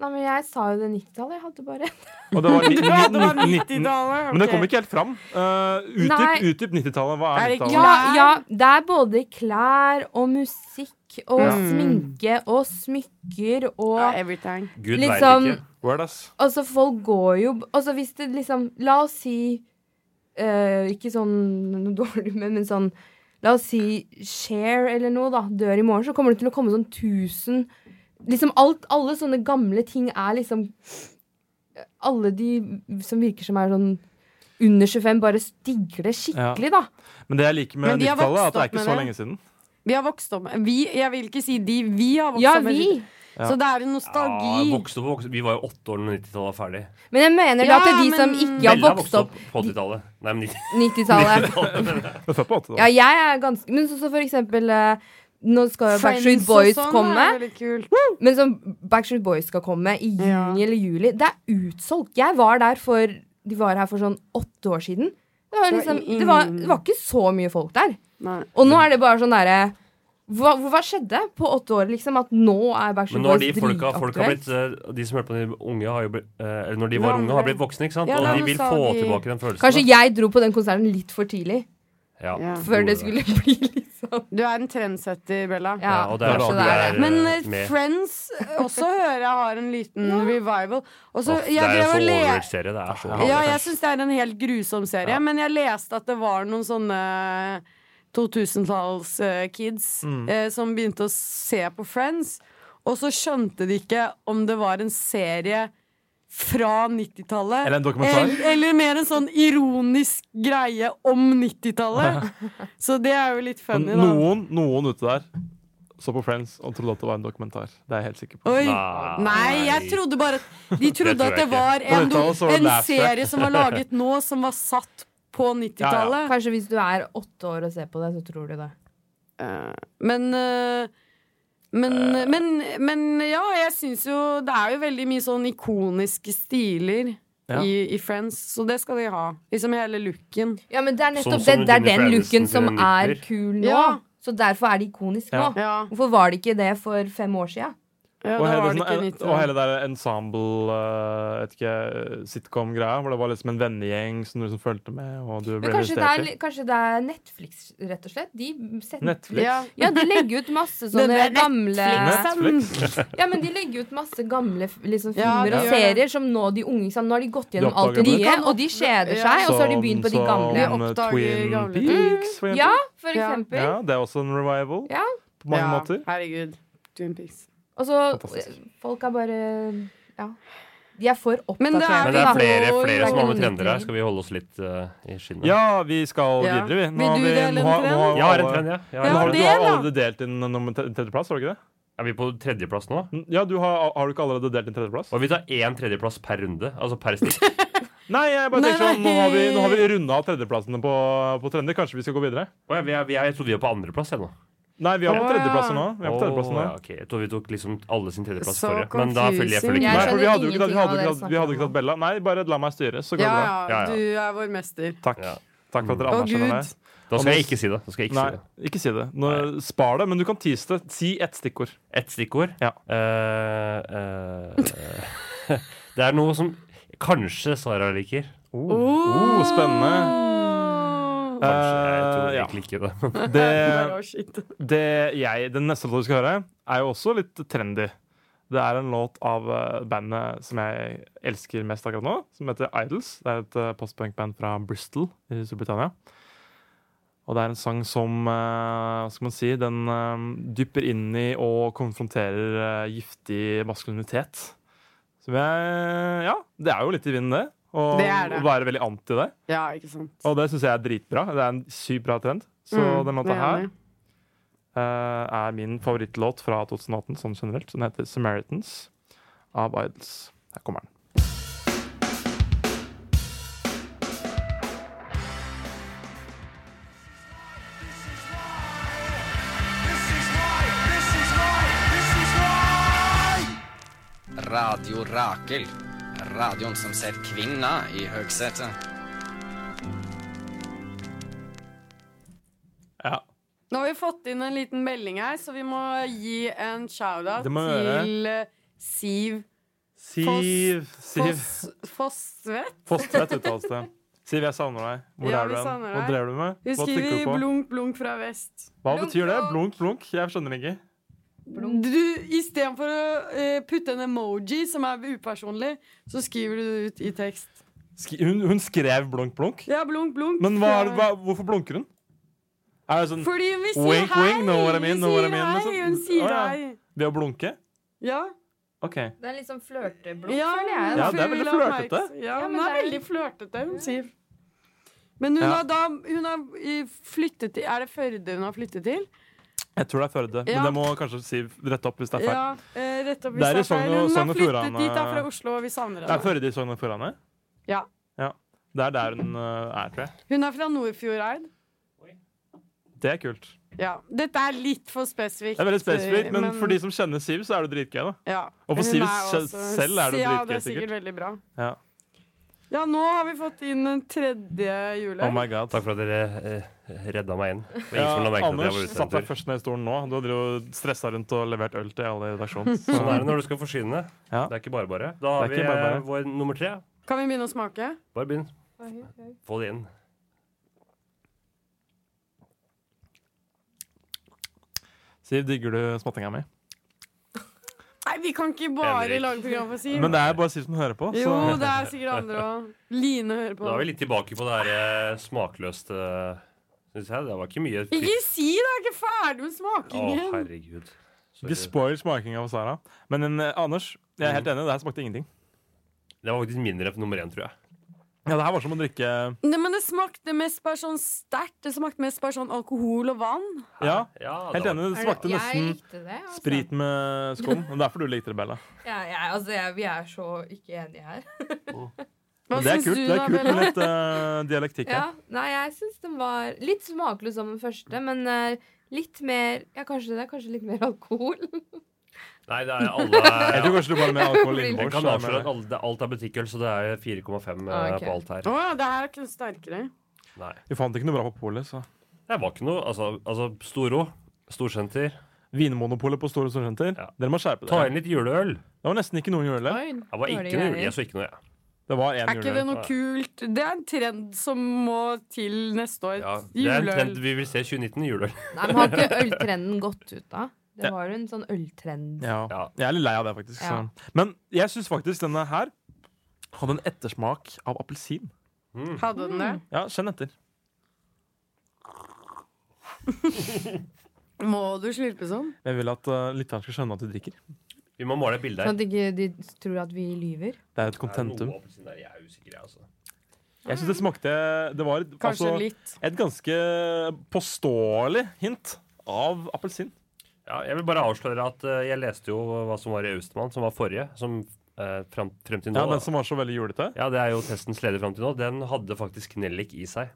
Speaker 7: Nei, men jeg sa jo det 90-tallet. Jeg hadde bare
Speaker 4: Og det var ni-
Speaker 5: Ja, det var
Speaker 4: ni- 19
Speaker 5: 90-tallet.
Speaker 4: Men det
Speaker 5: ok.
Speaker 4: kom ikke helt fram. Eh,
Speaker 7: Nei.
Speaker 4: utdyp utdyp 90-tallet. Hva
Speaker 5: Er
Speaker 4: er
Speaker 5: det ikke-
Speaker 4: 90-tallet?
Speaker 7: ja,
Speaker 5: Klær.
Speaker 7: ja, det er både klær og musikk og
Speaker 5: Mm.
Speaker 7: sminke og smykker og
Speaker 5: Ja, everything.
Speaker 6: Gud
Speaker 5: sånn
Speaker 7: Liksom-
Speaker 6: veit ikke.
Speaker 4: Word, ass.
Speaker 7: Altså, folk går jo Altså, hvis det liksom La oss si eh, Ikke sånn noe dårlig, men, men sånn La oss si Share eller noe, da, dør i morgen, så kommer det til å komme sånn 1000 Liksom alt, alle sånne gamle ting er liksom Alle de som virker som er sånn under 25, bare digger det skikkelig, da.
Speaker 4: Men det jeg liker med
Speaker 5: Men de har
Speaker 4: 90-tallet, er at det er
Speaker 5: vokst opp
Speaker 4: ikke
Speaker 5: med
Speaker 4: så
Speaker 5: det.
Speaker 4: lenge siden.
Speaker 5: Vi har vokst opp med vi, Jeg vil ikke si de, vi har vokst
Speaker 7: Ja,
Speaker 5: opp med
Speaker 7: vi.
Speaker 4: Ja.
Speaker 5: Så det er en
Speaker 6: Ja,
Speaker 5: nostalgi.
Speaker 6: vokste opp, og vokste. Vi var jo åtte år da 90-tallet var ferdig.
Speaker 7: Men jeg mener
Speaker 5: Ja,
Speaker 7: da til de
Speaker 5: men-
Speaker 7: som ikke har
Speaker 6: Bella
Speaker 7: vokst opp
Speaker 6: på 80-tallet. Nei, men 90
Speaker 7: 90-tallet.
Speaker 4: Det er født på 80-tallet.
Speaker 7: Ja, jeg er ganske Men sånn som for eksempel eh, Nå skal jo Backstreet
Speaker 5: Friends og
Speaker 7: Boys
Speaker 5: sånn
Speaker 7: komme.
Speaker 5: er veldig kult.
Speaker 7: Men som Backstreet Boys skal komme i juni
Speaker 5: Ja.
Speaker 7: eller juli Det er utsolgt. Jeg var der for De var her for sånn åtte år siden. Det var,
Speaker 5: var
Speaker 7: liksom,
Speaker 5: ingen-
Speaker 7: det var, det var ikke så mye folk der.
Speaker 5: Nei.
Speaker 7: Og
Speaker 6: Mm.
Speaker 7: nå er det bare sånn derre hva, hva skjedde på åtte år, liksom? At nå er Backstreet
Speaker 6: Men nå har de
Speaker 7: Boys
Speaker 6: folka, folk har
Speaker 7: dritaktuelt?
Speaker 6: blitt eh, De som hørte på de unge, har jo blitt, eh, eller når de var
Speaker 5: Gamle.
Speaker 6: unge, har blitt voksne, ikke sant?
Speaker 5: Ja,
Speaker 6: og
Speaker 5: da
Speaker 6: de vil få
Speaker 5: nostalgi.
Speaker 6: tilbake den følelsen.
Speaker 7: Kanskje
Speaker 6: da.
Speaker 7: jeg dro på den konserten litt for tidlig.
Speaker 6: ja.
Speaker 5: Ja.
Speaker 7: Før det skulle bli liksom
Speaker 5: Du er en trendsetter, Bella.
Speaker 7: Ja,
Speaker 6: Ja, og det er
Speaker 7: kanskje
Speaker 6: da
Speaker 7: det
Speaker 6: du
Speaker 7: er det.
Speaker 6: er eh,
Speaker 5: Men eh,
Speaker 6: med.
Speaker 5: Friends eh, også hører jeg har en liten revival. Og så
Speaker 6: Åh,
Speaker 5: jeg
Speaker 6: det er
Speaker 5: drev
Speaker 6: en
Speaker 5: og
Speaker 6: så
Speaker 5: le...
Speaker 6: overvurdert serie. Det er så
Speaker 5: Ja,
Speaker 6: overvurdert.
Speaker 5: jeg syns det er en helt grusom serie,
Speaker 6: Ja.
Speaker 5: men jeg leste at det var noen sånne 2000-talls-kids eh, som begynte å se på Friends, og så skjønte de ikke om det var en serie fra 90-tallet.
Speaker 4: Eller en dokumentar.
Speaker 5: Eller, eller mer en sånn ironisk greie om 90-tallet. Så det er jo litt
Speaker 4: Men
Speaker 5: funny, da.
Speaker 4: Noen, noen ute der så på Friends og trodde at det var en dokumentar. Det er jeg helt sikker på.
Speaker 5: Oi.
Speaker 6: Nei.
Speaker 5: Nei, jeg trodde bare at De
Speaker 6: Det
Speaker 5: trodde
Speaker 6: tror
Speaker 5: at det
Speaker 6: jeg ikke.
Speaker 5: var en,
Speaker 4: På 90-tallet så var det
Speaker 5: en
Speaker 4: laugh track.
Speaker 5: serie som var laget nå, som var satt på 90-tallet.
Speaker 7: Kanskje hvis du er åtte år og ser på det, så tror du det.
Speaker 5: Eh, Men eh, men,
Speaker 4: Eh.
Speaker 5: men, men ja, jeg syns jo Det er jo veldig mye sånn ikoniske stiler
Speaker 4: Ja.
Speaker 5: i, i Friends, så det skal de ha. Liksom hele looken.
Speaker 7: Ja, men det er nettopp
Speaker 6: Sånn som
Speaker 7: det. Det er
Speaker 6: Jennifer
Speaker 7: den looken
Speaker 6: Aniston
Speaker 7: som
Speaker 6: til en
Speaker 7: er
Speaker 6: nipper.
Speaker 7: kul nå.
Speaker 5: Ja.
Speaker 7: Så derfor er det ikonisk
Speaker 4: Ja.
Speaker 7: nå.
Speaker 5: Ja,
Speaker 7: Hvorfor var det ikke det for fem år sia?
Speaker 5: ja
Speaker 4: og,
Speaker 5: da
Speaker 4: hele
Speaker 5: var det
Speaker 4: sånn,
Speaker 5: ikke
Speaker 4: og hele
Speaker 5: 90-tallet.
Speaker 4: der ensemble, eh, vet ikke, sitcom-greia, hvor det var liksom en vennegjeng som du liksom fulgte med, og du ble
Speaker 7: Kanskje, det er
Speaker 4: investert i.
Speaker 7: li- kanskje det er Netflix, rett og slett? De, setter,
Speaker 4: Netflix.
Speaker 5: Ja.
Speaker 7: Ja, de legger ut masse
Speaker 5: Den
Speaker 7: sånne
Speaker 5: der
Speaker 7: gamle
Speaker 4: Netflix.
Speaker 7: Ja, men de legger ut masse gamle f- liksom,
Speaker 5: Ja,
Speaker 7: filmer
Speaker 5: de
Speaker 7: og
Speaker 5: gjør det.
Speaker 7: serier som nå de unge ikke sant? Nå har de gått gjennom alt
Speaker 4: oppdager
Speaker 7: det
Speaker 4: det.
Speaker 7: nye, og de kjeder
Speaker 5: Ja.
Speaker 7: seg, og så har de begynt på de
Speaker 4: Sånn
Speaker 7: gamle.
Speaker 4: som, eh,
Speaker 5: Oppdager
Speaker 4: Twin
Speaker 5: gamle ting.
Speaker 4: Peaks, for eksempel.
Speaker 7: Ja, for
Speaker 5: Ja.
Speaker 7: eksempel.
Speaker 4: Ja, det er også en revival
Speaker 7: Ja.
Speaker 4: på mange
Speaker 5: ja,
Speaker 4: måter.
Speaker 5: Herregud. Twin Peaks.
Speaker 7: Og så
Speaker 4: Fantastisk.
Speaker 7: folk er bare Ja. De er liksom- for oppdaterte.
Speaker 5: Men det er
Speaker 6: Men det er
Speaker 7: da.
Speaker 5: Oi,
Speaker 6: flere,
Speaker 5: det
Speaker 6: flere
Speaker 5: er
Speaker 6: som har
Speaker 7: ikke
Speaker 6: med trender her.
Speaker 7: nyttig.
Speaker 6: Skal vi holde oss litt eh, i skinnet?
Speaker 4: Ja, vi skal
Speaker 5: Ja.
Speaker 4: videre, vi.
Speaker 5: Vil
Speaker 4: har
Speaker 5: du
Speaker 4: vi
Speaker 5: dele en
Speaker 4: nå har- nå
Speaker 5: trend?
Speaker 4: har
Speaker 6: Jeg har en
Speaker 4: alle-
Speaker 6: trend, ja. Jeg
Speaker 5: Ja,
Speaker 6: har
Speaker 4: Nå
Speaker 6: en
Speaker 4: har, du-
Speaker 5: det-
Speaker 4: du har
Speaker 6: trend.
Speaker 5: da.
Speaker 4: allerede delt din nummer tre- tredjeplass, har du ikke det?
Speaker 6: Er vi på tredjeplass nå?
Speaker 4: Ja, du har, har du ikke allerede delt din tredjeplass?
Speaker 6: Og vi tar én tredjeplass per runde. Altså per stikk.
Speaker 4: Nei, jeg bare
Speaker 5: Nei,
Speaker 4: tenker sånn, nå har vi, nå har vi
Speaker 5: nei.
Speaker 4: runda av tredjeplassene på, på trender. Kanskje vi skal gå videre?
Speaker 6: Å ja, vi er, vi er, jeg trodde vi var på andreplass ennå.
Speaker 4: Nei, vi er på
Speaker 5: Å, ja.
Speaker 4: tredjeplasser nå. Vi er på tredjeplasser
Speaker 6: Å,
Speaker 4: nå.
Speaker 6: ja, ok. Jeg trodde vi tok liksom alle sin tredjeplass
Speaker 5: Så
Speaker 6: forrige. Men da følger jeg følger
Speaker 4: Nei,
Speaker 5: confusing.
Speaker 6: ikke
Speaker 7: Jeg
Speaker 6: med.
Speaker 4: for vi
Speaker 7: skjønner
Speaker 4: hadde jo ikke tatt, vi hadde ikke
Speaker 7: ingenting av det
Speaker 4: tatt, vi hadde ikke
Speaker 7: dere
Speaker 4: tatt Bella. Nei, bare la meg styre, så går
Speaker 5: Ja,
Speaker 4: det bra.
Speaker 5: ja,
Speaker 6: Ja, ja.
Speaker 5: du er vår mester.
Speaker 4: Takk.
Speaker 6: Ja.
Speaker 4: Takk for at dere
Speaker 5: Å,
Speaker 4: anerkjenner
Speaker 5: Gud.
Speaker 4: meg.
Speaker 6: Da skal jeg ikke si det. Da skal jeg ikke
Speaker 4: Nei,
Speaker 6: si det.
Speaker 4: ikke si det. Nå, spar det, men du kan tease det. Si ett stikkord.
Speaker 6: Ett stikkord.
Speaker 4: Ja.
Speaker 6: Eh, eh, det er noe som kanskje Sara liker.
Speaker 4: Oh, spennende.
Speaker 6: Kanskje. Jeg tror
Speaker 4: Eh, ja.
Speaker 6: egentlig ikke det. men-
Speaker 4: Det,
Speaker 5: Bare, å, shit.
Speaker 4: det jeg, den neste låta vi skal høre, er jo også litt trendy. Det er en låt av eh, bandet som jeg elsker mest akkurat nå, som heter Idols. Det er et eh, postpunk-band fra Bristol i Storbritannia. Og det er en sang som eh, hva skal man si, den eh, dypper inn i og konfronterer eh, giftig maskulinitet. Som jeg Ja, det er jo litt i vinden, det. Og,
Speaker 5: Det er det.
Speaker 4: og være veldig anti det.
Speaker 5: Ja, ikke sant.
Speaker 4: Og det syns jeg er dritbra. Det er en sykt bra trend. Så
Speaker 5: Mm,
Speaker 4: den
Speaker 5: det
Speaker 4: låta
Speaker 5: er
Speaker 4: her
Speaker 5: det.
Speaker 4: eh, er min favorittlåt fra 2018 sånn generelt. Den heter 'Samaritans' av Idols. Her kommer den.
Speaker 10: Radio Rakel. Radioen som setter kvinna i høgsetet.
Speaker 4: Ja.
Speaker 5: Nå har vi fått inn en liten melding her, så vi må gi en shout-out
Speaker 4: Det må vi gjøre.
Speaker 5: til eh, Siv
Speaker 4: Siv Siv
Speaker 5: Foss- Fossvedt.
Speaker 4: Fostvedt uttales det. Siv, jeg savner deg. Hvor
Speaker 5: Ja,
Speaker 4: er du
Speaker 5: vi
Speaker 4: hen?
Speaker 5: savner
Speaker 4: Hva
Speaker 5: deg.
Speaker 4: drev du med?
Speaker 5: Hun
Speaker 4: Hva tenker du
Speaker 5: skriver
Speaker 4: på?
Speaker 5: 'blunk, blunk fra vest'.
Speaker 4: Hva
Speaker 7: Blunk,
Speaker 4: betyr det?
Speaker 7: blunk.
Speaker 4: Blunk, blunk? Jeg skjønner ikke.
Speaker 5: Du, Istedenfor å eh, putte en emoji som er upersonlig, så skriver du det ut i tekst.
Speaker 4: Sk hun, hun skrev blunk, blunk.
Speaker 5: Ja, blunk, blunk.
Speaker 4: Men hva, er- hva, hvorfor blunker hun? Er det sånn
Speaker 5: Fordi hun vil si
Speaker 4: Wink,
Speaker 5: hei!
Speaker 4: wink, know what I mean,
Speaker 5: hun
Speaker 4: know what I
Speaker 5: sier
Speaker 4: mean,
Speaker 5: hei,
Speaker 4: liksom.
Speaker 5: hun sier
Speaker 4: Å, ja.
Speaker 5: hei.
Speaker 4: ved å blunke?
Speaker 5: Ja.
Speaker 4: OK.
Speaker 7: Det er litt sånn flørteblokk,
Speaker 5: Ja,
Speaker 7: føler jeg.
Speaker 4: Ja,
Speaker 5: hun
Speaker 4: det er veldig
Speaker 5: vil ha
Speaker 4: flørtete.
Speaker 5: oppmerksom- Ja,
Speaker 7: Ja,
Speaker 5: hun
Speaker 7: men
Speaker 5: er
Speaker 7: det er-
Speaker 5: veldig flørtete, hun sier. Men hun
Speaker 4: Ja.
Speaker 5: har da hun har eh, flyttet til Er det Førde hun har flyttet til?
Speaker 4: Jeg tror det er Førde,
Speaker 5: Ja.
Speaker 4: men det må kanskje si rette opp hvis det er feil.
Speaker 5: Ja, eh, rett opp
Speaker 4: Det
Speaker 5: hvis
Speaker 4: er i
Speaker 5: det er
Speaker 4: Sogn
Speaker 5: feil.
Speaker 4: og-
Speaker 5: Hun
Speaker 4: Sogn
Speaker 5: har
Speaker 4: og
Speaker 5: flyttet
Speaker 4: Fjordane.
Speaker 5: dit da fra Oslo, og vi savner
Speaker 4: Det er
Speaker 5: henne.
Speaker 4: Førde i Sogn og Fjordane?
Speaker 5: Ja.
Speaker 4: Det er der hun øh, er, tror jeg.
Speaker 5: Hun er fra Nordfjordeid.
Speaker 4: Det er kult.
Speaker 5: Ja. Dette er litt for spesifikt.
Speaker 4: Det er veldig spesifikt, men,
Speaker 5: men-
Speaker 4: for de som kjenner Siv, så er det dritgøy. da
Speaker 5: Ja.
Speaker 4: Og for
Speaker 5: Hun
Speaker 4: Siv
Speaker 5: er
Speaker 4: se-
Speaker 5: også-
Speaker 4: selv er det
Speaker 5: Ja,
Speaker 4: dritgøy,
Speaker 5: det er sikkert
Speaker 4: sikkert.
Speaker 5: veldig bra.
Speaker 4: Ja.
Speaker 5: Ja, nå har vi fått inn en tredje jule.
Speaker 4: Oh my god.
Speaker 6: Takk for at dere eh, redda meg inn. Det var
Speaker 4: Ja,
Speaker 6: ingen som la merke til at jeg var
Speaker 4: Anders
Speaker 6: ute
Speaker 4: satt deg
Speaker 6: etter.
Speaker 4: først ned i stolen nå. Du hadde jo stressa rundt og levert øl til alle i redaksjonen. Så
Speaker 6: Sånn er det når du skal forsyne.
Speaker 4: Ja.
Speaker 6: Det er ikke bare bare. Da har
Speaker 4: Det er
Speaker 6: vi
Speaker 4: ikke bare
Speaker 6: eh,
Speaker 4: bare.
Speaker 6: vår nummer tre.
Speaker 5: Kan vi begynne å smake?
Speaker 6: Bare begynn.
Speaker 7: Oi, oi.
Speaker 6: Få det inn.
Speaker 4: Siv, digger du smattinga mi?
Speaker 5: Nei, vi kan ikke bare
Speaker 6: Henrik.
Speaker 5: lage program for Siv.
Speaker 4: Men Altså- det er bare Siv som hører på. Så.
Speaker 5: Jo, det er sikkert andre òg. Line hører på.
Speaker 6: Da er vi litt tilbake på det her eh, smakløste Synes jeg. Det var ikke mye fritt.
Speaker 5: Ikke si det! Jeg er ikke ferdig med
Speaker 6: Å,
Speaker 5: smakingen.
Speaker 6: herregud. Sorry.
Speaker 4: Ikke spoil smakinga hos Sara. Men eh, Anders, jeg er helt enig. Det her smakte ingenting.
Speaker 6: Det var faktisk mindre enn nummer én, tror jeg.
Speaker 4: Ja, Det her var som å drikke
Speaker 5: Nei, men det smakte mest bare sånn sterkt. Det smakte mest bare sånn alkohol og vann.
Speaker 4: Ja,
Speaker 6: Ja, det
Speaker 4: helt
Speaker 6: var-
Speaker 4: enig. Det smakte
Speaker 7: Jeg
Speaker 4: nesten
Speaker 7: likte det. Altså.
Speaker 4: sprit med skum. Og derfor du likte det, Bella.
Speaker 7: Ja, jeg, altså, jeg, vi er så ikke enige her.
Speaker 5: Hva
Speaker 4: Men det er
Speaker 5: syns
Speaker 4: kult,
Speaker 5: du
Speaker 4: det
Speaker 5: da,
Speaker 4: er kult med
Speaker 5: Bella?
Speaker 4: litt eh, dialektikk her.
Speaker 7: Ja, nei, jeg syns den var litt smakløs som den første, men eh, litt mer Ja, kanskje det er kanskje litt mer alkohol.
Speaker 6: Nei, det er alle
Speaker 4: Jeg tror kanskje du bare med alkohol
Speaker 6: Jeg
Speaker 4: innbords.
Speaker 6: kan
Speaker 4: da,
Speaker 6: avsløre at
Speaker 4: men-
Speaker 6: alt, det- alt er butikkøl, så det er 4,5 eh,
Speaker 5: Ah,
Speaker 7: Ok.
Speaker 6: på alt her.
Speaker 5: Å ja, det her er ikke sterkere.
Speaker 6: Nei.
Speaker 4: Vi fant ikke noe bra på polet, så
Speaker 6: Det var ikke noe Altså, altså Storo, Storsenter
Speaker 4: Vinmonopolet på Store Storsenter,
Speaker 6: Ja.
Speaker 4: dere må skjerpe
Speaker 6: Ta
Speaker 4: dere.
Speaker 6: inn litt juleøl.
Speaker 4: Det var nesten ikke noe juleøl.
Speaker 7: Oi,
Speaker 6: Det var ikke noe jule. Jeg så ikke noe, jeg.
Speaker 4: Det var én
Speaker 5: Er ikke det
Speaker 4: juleøl.
Speaker 5: noe kult? Det er en trend som må til neste år.
Speaker 6: Ja, det er en trend
Speaker 5: Juleøl.
Speaker 6: vi vil se 2019, juleøl.
Speaker 7: Nei, men har ikke øltrenden gått ut, da? Det var jo en sånn øltrend.
Speaker 4: Ja.
Speaker 6: Ja.
Speaker 4: Jeg er litt lei av det, faktisk.
Speaker 7: Ja.
Speaker 4: Så. Men jeg syns faktisk denne her hadde en ettersmak av appelsin.
Speaker 5: Hadde den det?
Speaker 4: Ja, kjenn etter.
Speaker 5: Mm. Må du slurpe sånn?
Speaker 4: Jeg vil at uh, lytteren skal skjønne at du drikker.
Speaker 6: Vi må måle et bilde her.
Speaker 7: Sånn at ikke de tror at vi lyver.
Speaker 4: Det er et
Speaker 6: Er det noe
Speaker 4: kontentum.
Speaker 6: appelsin der? Jeg er usikker, jeg, altså.
Speaker 4: Jeg syns det smakte Det var et-
Speaker 5: Kanskje
Speaker 4: altså,
Speaker 5: litt.
Speaker 4: et ganske påståelig hint av appelsin.
Speaker 6: Ja, jeg vil bare avsløre at eh, jeg leste jo hva som var i Austmann, som var forrige. Som eh, frem, frem til nå
Speaker 4: Ja,
Speaker 6: da.
Speaker 4: Den som var så veldig julete.
Speaker 6: ja, det er jo testens leder frem til nå. Den hadde faktisk nellik i seg.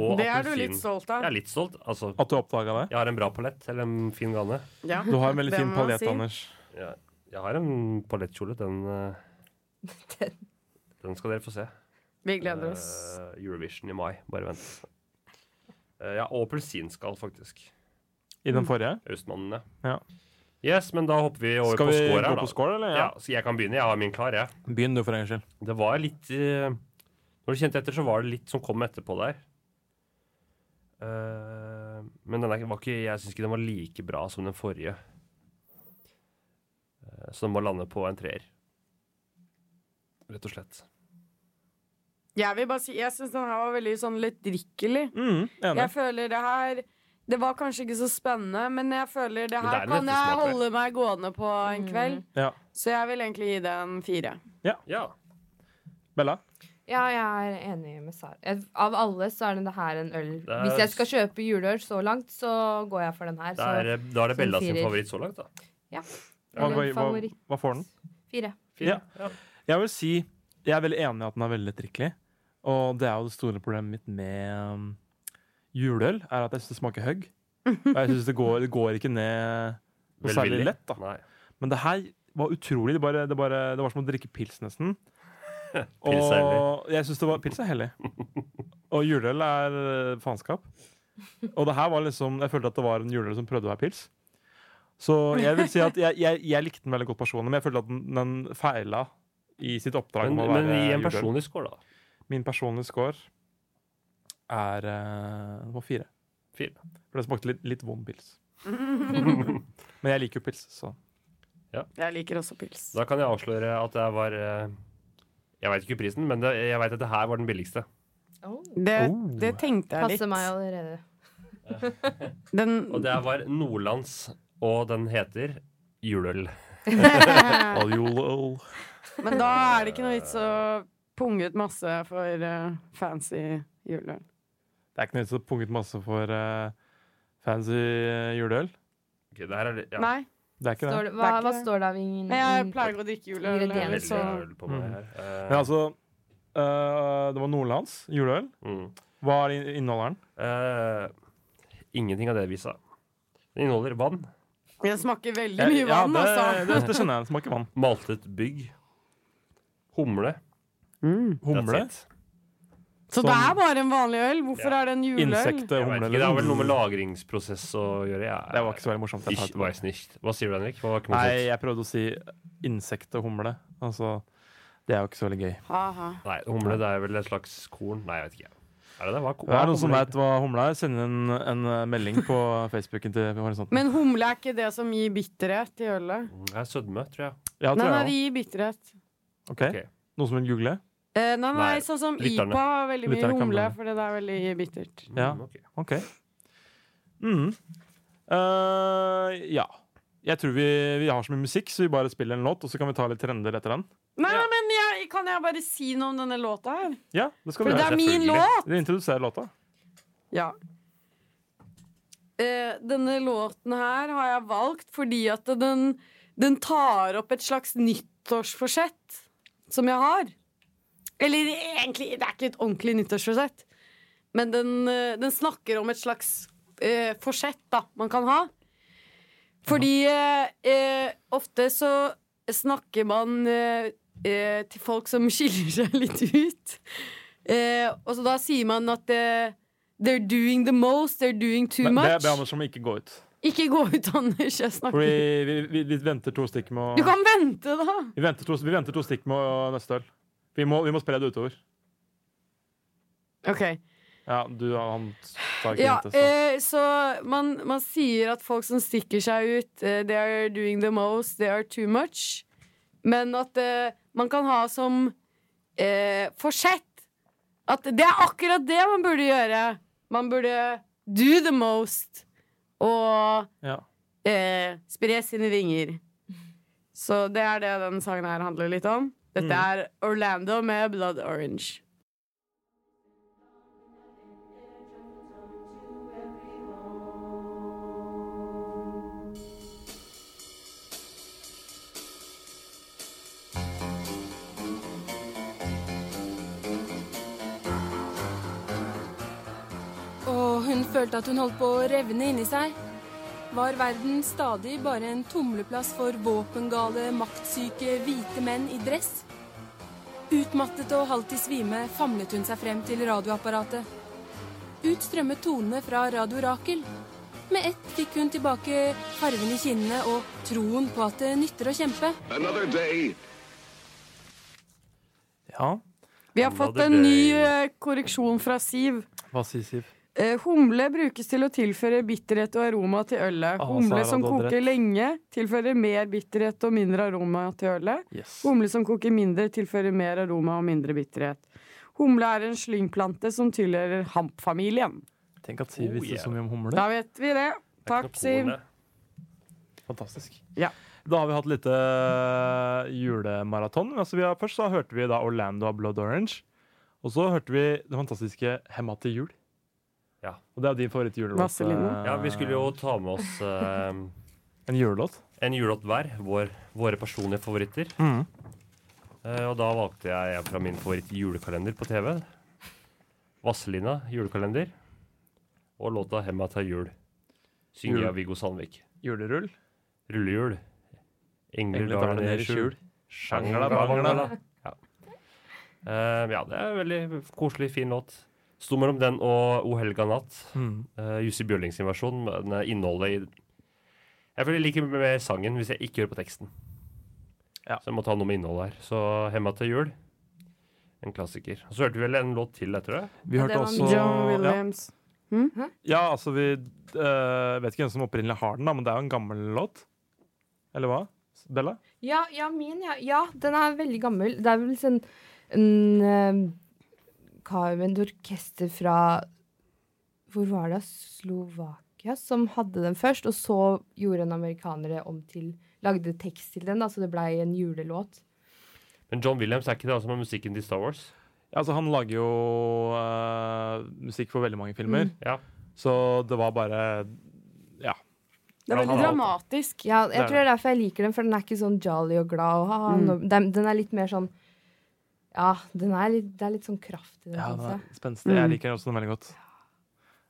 Speaker 6: Og
Speaker 5: Det er du
Speaker 6: appelsin.
Speaker 5: litt stolt
Speaker 6: Jeg
Speaker 5: av.
Speaker 6: er litt stolt. Altså,
Speaker 4: At du oppdaga det.
Speaker 6: jeg har en bra palett, eller en fin gane.
Speaker 5: Ja.
Speaker 4: Du har en veldig
Speaker 5: Det
Speaker 4: fin
Speaker 5: må man
Speaker 4: paljett,
Speaker 5: si.
Speaker 4: Anders.
Speaker 6: Jeg, jeg har en palettkjole. Den, eh,
Speaker 7: Den.
Speaker 6: den skal dere få se.
Speaker 5: Vi gleder oss.
Speaker 6: Eh, Eurovision i mai. Bare vent. Eh, ja, og appelsinskall, faktisk.
Speaker 4: I den forrige.
Speaker 6: Austmannen,
Speaker 4: Ja.
Speaker 6: Yes, men da hopper vi over
Speaker 4: Skal
Speaker 6: på
Speaker 4: vi
Speaker 6: score her,
Speaker 4: gå
Speaker 6: da.
Speaker 4: på score, eller?
Speaker 6: Ja, så jeg kan begynne. Jeg har min klar, jeg.
Speaker 4: Begynn du, for en gangs skyld.
Speaker 6: Det var litt eh, Når du kjente etter, så var det litt som kom etterpå der. Eh, men den er, var ikke, jeg syns ikke den var like bra som den forrige. Eh, så den må lande på en treer. Rett og slett.
Speaker 5: Jeg vil bare si, jeg syns den her var veldig sånn lettdrikkelig.
Speaker 4: Mm, enig.
Speaker 5: Jeg føler det her Det var kanskje ikke så spennende, men jeg føler det her
Speaker 6: Men det er en
Speaker 5: kan jeg
Speaker 6: ettersmak, vel?
Speaker 5: holde meg gående på en kveld.
Speaker 4: Ja.
Speaker 5: Så jeg vil egentlig gi det en fire.
Speaker 6: Ja.
Speaker 4: Bella?
Speaker 7: Ja, jeg er enig med Sara. Jeg- Av alle så er det her en øl.
Speaker 6: er-
Speaker 7: Hvis jeg skal kjøpe juleøl så langt, så går jeg for den her.
Speaker 6: Det er,
Speaker 7: Så
Speaker 6: eh, da er det
Speaker 7: som
Speaker 6: Bella sin
Speaker 7: firer.
Speaker 6: favoritt så langt, da.
Speaker 4: Hva,
Speaker 7: Eller
Speaker 4: hva, hva,
Speaker 7: favoritt.
Speaker 4: hva får den?
Speaker 7: fire.
Speaker 4: Ja. Jeg vil si jeg er veldig enig i at den er veldig drikkelig. Og det er jo det store problemet mitt med um, juleøl, er at jeg syns det smaker høgg. Og jeg synes det går, det går ikke ned noe
Speaker 6: Velvillig.
Speaker 4: særlig lett, da.
Speaker 6: Nei.
Speaker 4: Men det her var utrolig. Det, bare, det, bare, det var som å drikke pils, nesten.
Speaker 6: Pils er hellig.
Speaker 4: Og jeg synes det var Pils er hellig. Og juleøl er eh, faenskap. Og det her var liksom Jeg følte at det var en juleøl som prøvde å være pils. Så jeg vil si at jeg, jeg, jeg likte den veldig godt personlig, men jeg følte at den, den feila i sitt oppdrag.
Speaker 6: Men,
Speaker 4: om å
Speaker 6: men
Speaker 4: være
Speaker 6: gi en
Speaker 4: juleøl.
Speaker 6: personlig score, da.
Speaker 4: Min personlige score er eh, nummer fire.
Speaker 6: Fire.
Speaker 4: For det smakte litt, litt vond pils. men jeg liker jo pils, så
Speaker 5: Jeg liker også pils.
Speaker 6: Da kan jeg avsløre at jeg var eh, Jeg veit ikke prisen, men det, jeg veit at det her var den billigste.
Speaker 7: Oh,
Speaker 5: Det,
Speaker 4: Oh.
Speaker 5: det tenkte jeg
Speaker 7: passer meg
Speaker 5: litt.
Speaker 7: allerede.
Speaker 5: Den,
Speaker 6: Og det var Nordlands, og den heter Juleøl.
Speaker 4: All you lol.
Speaker 5: men da er det ikke noe vits å punge ut masse for eh, fancy juleøl.
Speaker 4: Det er ikke noe vits i å punge ut masse for eh, fancy eh, juleøl.
Speaker 6: Ok, det her er litt- ja,
Speaker 5: Nei,
Speaker 4: Det er ikke det.
Speaker 7: Står det, hva,
Speaker 5: Det er
Speaker 7: hva
Speaker 5: ikke det.
Speaker 7: står det av ingen
Speaker 5: men jeg pleier å drikke eh, juleøl.
Speaker 7: Ingredienser.
Speaker 5: eller
Speaker 6: veldig
Speaker 5: Så.
Speaker 6: mye øl på meg her. Eh,
Speaker 4: Men altså, eh, det var nordlands juleøl.
Speaker 6: mm.
Speaker 4: Hva er in- innholderen?
Speaker 6: Eh, ingenting av det vi sa. Den inneholder vann,
Speaker 5: Det smaker veldig mye
Speaker 4: ja,
Speaker 5: vann,
Speaker 4: det, det,
Speaker 5: altså.
Speaker 4: det skjønner jeg. Det smaker vann.
Speaker 6: maltet bygg, humle
Speaker 4: Humle.
Speaker 6: That's it.
Speaker 5: Så
Speaker 4: sånn-
Speaker 5: det er bare en vanlig øl? Hvorfor
Speaker 6: Ja.
Speaker 5: er det en juleøl?
Speaker 4: Insekte,
Speaker 6: Jeg vet
Speaker 4: eh, humle
Speaker 6: ikke, Det har vel noe med lagringsprosess å gjøre. Jeg,
Speaker 4: Det var ikke så veldig morsomt. Jeg tar
Speaker 6: Ich
Speaker 4: tilbake.
Speaker 6: weiß nicht. Hva sier du, Henrik? Hva var ikke
Speaker 4: Nei,
Speaker 6: morsomt?
Speaker 4: jeg prøvde å si insekt og humle. Altså, det er jo ikke så veldig gøy.
Speaker 5: Aha.
Speaker 6: Nei, humle det er vel et slags korn? Nei, jeg vet ikke. Er det det? Hva,
Speaker 4: Det
Speaker 6: hva
Speaker 4: er noen som
Speaker 6: humle?
Speaker 4: vet hva humle er, send en, en eh, melding på Facebooken til Horisonten.
Speaker 5: Men humle er ikke det som gir bitterhet i ølet?
Speaker 6: Mm, Det er sødme, tror jeg.
Speaker 4: ja,
Speaker 5: Nei,
Speaker 4: tror jeg
Speaker 5: nei, det
Speaker 4: også.
Speaker 5: gir bitterhet.
Speaker 4: Ok.
Speaker 6: Ok.
Speaker 4: Noen som vil google?
Speaker 5: Eh, nei, nei,
Speaker 6: Nei,
Speaker 5: sånn som
Speaker 6: lytterne.
Speaker 5: IPA har veldig mye
Speaker 4: Lytterne kan
Speaker 5: humle,
Speaker 4: blande.
Speaker 5: for det er veldig bittert.
Speaker 4: Ja.
Speaker 6: Mm, ok.
Speaker 4: Ok. Mm. Eh, ja. Jeg tror vi, vi har så mye musikk, så vi bare spiller en låt, og så kan vi ta litt trender etter den.
Speaker 5: Nei, men jeg, kan jeg bare si noe om denne låta her?
Speaker 4: Ja, det skal
Speaker 5: For
Speaker 4: vi
Speaker 5: det
Speaker 4: gjøre.
Speaker 5: er min
Speaker 6: selvfølgelig.
Speaker 5: låt!
Speaker 4: Vi introduserer låta.
Speaker 5: Ja. Eh, denne låten her har jeg valgt fordi at den, den tar opp et slags nyttårsforsett som jeg har. Eller egentlig, det er ikke et ordentlig nyttårsforsett. Men den, eh, den snakker om et slags eh, forsett da, man kan ha. Fordi eh, eh, ofte så snakker man eh, eh, til folk som skiller seg litt ut. Eh, og så da sier man at eh, they're doing the most, they're doing too
Speaker 4: Men det
Speaker 5: much.
Speaker 4: ber Anders om å ikke gå ut.
Speaker 5: Ikke gå ut, Anders. Jeg snakker
Speaker 4: Fordi vi, vi, vi venter to stikk med
Speaker 5: Du
Speaker 4: å
Speaker 5: kan vente, da!
Speaker 4: vi venter, to, vi venter to stikk med å- neste øl. Vi må, vi må spre det utover.
Speaker 5: Ok.
Speaker 4: Ja, du han tar ikke
Speaker 5: Ja,
Speaker 4: hint, altså.
Speaker 5: eh, så man, man sier at folk som stikker seg ut, eh, they are doing the most, they are too much. Men at eh, man kan ha som eh, forsett at det er akkurat det man burde gjøre. Man burde do the most og
Speaker 4: Ja.
Speaker 5: eh, spre sine vinger. Så det er det den sangen her handler litt om. Dette er Orlando med Blood Orange.
Speaker 11: Og hun følte at hun holdt på å revne inni seg. Var verden stadig bare en tumleplass for våpengale, maktsyke, hvite menn i dress? Utmattet og halvt i svime famlet hun seg frem til radioapparatet. Ut strømmet tonene fra Radio Rakel. Med ett fikk hun tilbake farven i kinnene og troen på at det nytter å kjempe.
Speaker 4: ja.
Speaker 5: Vi har fått en ny eh, korreksjon fra Siv.
Speaker 4: Hva sier Siv?
Speaker 5: Eh, humle brukes til å tilføre bitterhet og aroma til ølet.
Speaker 4: Ah,
Speaker 5: Humle
Speaker 4: Sara,
Speaker 5: som
Speaker 4: du hadde
Speaker 5: koker
Speaker 4: rett.
Speaker 5: lenge, tilfører mer bitterhet og mindre aroma til ølet.
Speaker 4: Yes.
Speaker 5: Humle som koker mindre, tilfører mer aroma og mindre bitterhet. Humle er en slyngplante som tilhører hampfamilien.
Speaker 4: Tenk at Siv visste
Speaker 6: yeah.
Speaker 4: så mye om humler.
Speaker 5: Da vet vi det. Takk, Siv.
Speaker 6: Kornet.
Speaker 4: Fantastisk.
Speaker 5: Ja.
Speaker 4: Da har vi hatt litt eh, julemaraton. Altså, vi har, først så hørte vi da Orlando av Blood Orange. Og så hørte vi det fantastiske Hemma til jul.
Speaker 6: Ja.
Speaker 4: Og det er din favorittjulelåt.
Speaker 5: Vaseline.
Speaker 4: eh,
Speaker 6: Ja, vi skulle jo ta med oss eh,
Speaker 4: En julelåt.
Speaker 6: en julelåt hver. Vår, våre personlige favoritter.
Speaker 4: Mhm.
Speaker 6: Eh, og da valgte jeg en fra min favoritt julekalender på TV. Vasselina julekalender. Og låta 'Hemma tar jul'. Synger
Speaker 4: Jul.
Speaker 6: av Viggo Sandvik.
Speaker 4: Julerull.
Speaker 6: Rullehjul. Engler
Speaker 4: Engler
Speaker 6: drar ned i skjul. Sjangla bangla. Ja. Eh, ja, det er en veldig koselig, fin låt. Sto mellom den og 'O helga natt'.
Speaker 4: Mm.
Speaker 6: Eh, Jussi Bjørlings sin versjon, men eh, innholdet i Jeg føler jeg liker mer sangen hvis jeg ikke hører på teksten.
Speaker 4: Ja.
Speaker 6: Så jeg må ta noe med innholdet her. Så 'Hemma til jul', en klassiker. Og så hørte vi vel en låt til etter det.
Speaker 4: Vi
Speaker 7: Ja, det
Speaker 4: hørte
Speaker 7: var
Speaker 4: også
Speaker 7: min.
Speaker 5: John
Speaker 4: ja.
Speaker 5: Williams.
Speaker 4: ja, altså vi eh, vet ikke hvem som opprinnelig har den, da, men det er jo en gammel låt. Eller hva? Bella?
Speaker 7: Ja, ja, min, ja. ja. Den er veldig gammel. Det er vel sånn en eh, kar med et orkester fra Hvor var det? Slovakia? Som hadde den først, og så gjorde en amerikanere om til Lagde tekst til den, da, så det blei en julelåt.
Speaker 6: Men John Williams er ikke det han som har musikken til Star Wars?
Speaker 4: Ja, altså Han lager jo eh, musikk for veldig mange filmer.
Speaker 6: Mm. Ja.
Speaker 4: Så det var bare Ja.
Speaker 5: Det er
Speaker 4: Han
Speaker 5: veldig
Speaker 4: har-
Speaker 5: dramatisk.
Speaker 7: Ja,
Speaker 4: Det er
Speaker 7: jeg tror det er derfor jeg liker den, for den er ikke sånn jolly og glad. Og, ha, ha,
Speaker 5: Mm.
Speaker 7: nå- den, den er litt mer sånn Ja, den er litt, det er litt sånn kraft i den,
Speaker 4: Ja,
Speaker 7: synes
Speaker 4: den er
Speaker 7: jeg.
Speaker 4: Spenstig. Jeg
Speaker 7: Mm.
Speaker 4: liker også den veldig godt.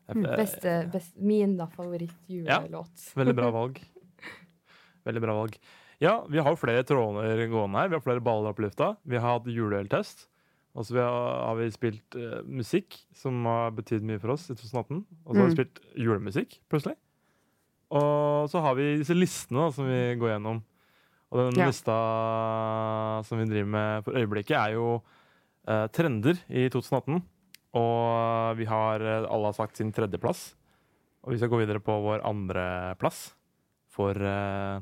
Speaker 4: Jeg- jeg-
Speaker 7: Beste, best, min da favoritt-julelåt.
Speaker 4: Ja, veldig bra valg. Veldig bra valg. Ja, vi har jo flere tråder gående her. Vi har flere baller opp i lufta. Vi har hatt juleøltest. Og så vi har, har vi spilt eh, musikk, som har betydd mye for oss i 2018. Og så har vi
Speaker 5: Mm.
Speaker 4: spilt julemusikk, plutselig. Og så har vi disse listene da, som vi går gjennom. Og den
Speaker 5: Ja.
Speaker 4: lista som vi driver med for øyeblikket, er jo eh, trender i 2018. Og vi har eh, alle har sagt sin tredjeplass. Og vi skal gå videre på vår andreplass for eh,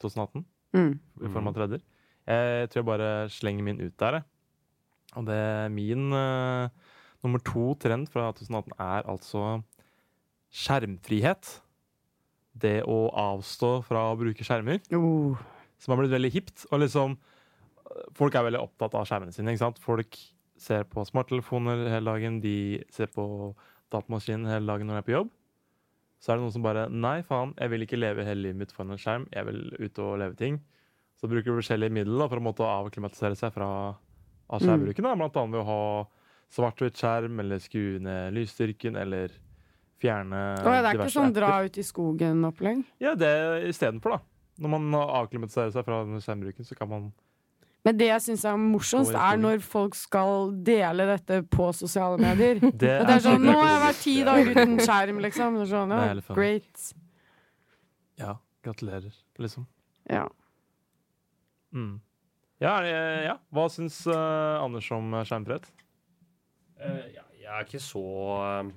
Speaker 4: 2018.
Speaker 5: Mm.
Speaker 4: I form av tredjer. Jeg tror jeg bare slenger min ut der. jeg. Og det er min eh, nummer to trend fra 2018 er altså skjermfrihet. Det å avstå fra å bruke skjermer.
Speaker 5: Oh.
Speaker 4: Som har blitt veldig hipt. Og liksom, folk er veldig opptatt av skjermene sine. ikke sant? Folk ser på smarttelefoner hele dagen, de ser på datamaskinen hele dagen når de er på jobb. Så er det noen som bare Nei, faen, jeg vil ikke leve hele livet mitt foran en skjerm. Jeg vil ut og leve ting. Så bruker du forskjellige midler da, for å måtte avklimatisere seg fra av
Speaker 5: Mm.
Speaker 4: skjermbruken. da, Blant annet ved å ha svart-hvitt skjerm, eller skru ned lysstyrken, eller fjerne
Speaker 5: Å, ja, det er ikke
Speaker 4: diverse
Speaker 5: sånn
Speaker 4: apper.
Speaker 5: dra ut i skogen-opplegg.
Speaker 4: Ja, det istedenfor, da. Når man avklimatiserer seg fra den skjermbruken, så kan man
Speaker 5: Men det jeg syns er morsomst,
Speaker 4: Gå i
Speaker 5: er
Speaker 4: skogen.
Speaker 5: når folk skal dele dette på sosiale medier.
Speaker 4: Det
Speaker 5: At
Speaker 4: er
Speaker 5: det er sånn, Nå har jeg
Speaker 4: kjempegodt.
Speaker 5: vært ti dager uten skjerm, liksom. Det er sånn,
Speaker 4: Det er
Speaker 5: ja,
Speaker 4: helt funny.
Speaker 5: great.
Speaker 4: Ja, gratulerer, liksom.
Speaker 5: Ja.
Speaker 4: Mm. Ja, er det- ja. Hva syns eh, Anders om eh, skjermfrihet?
Speaker 6: Eh, ja, jeg er ikke så eh,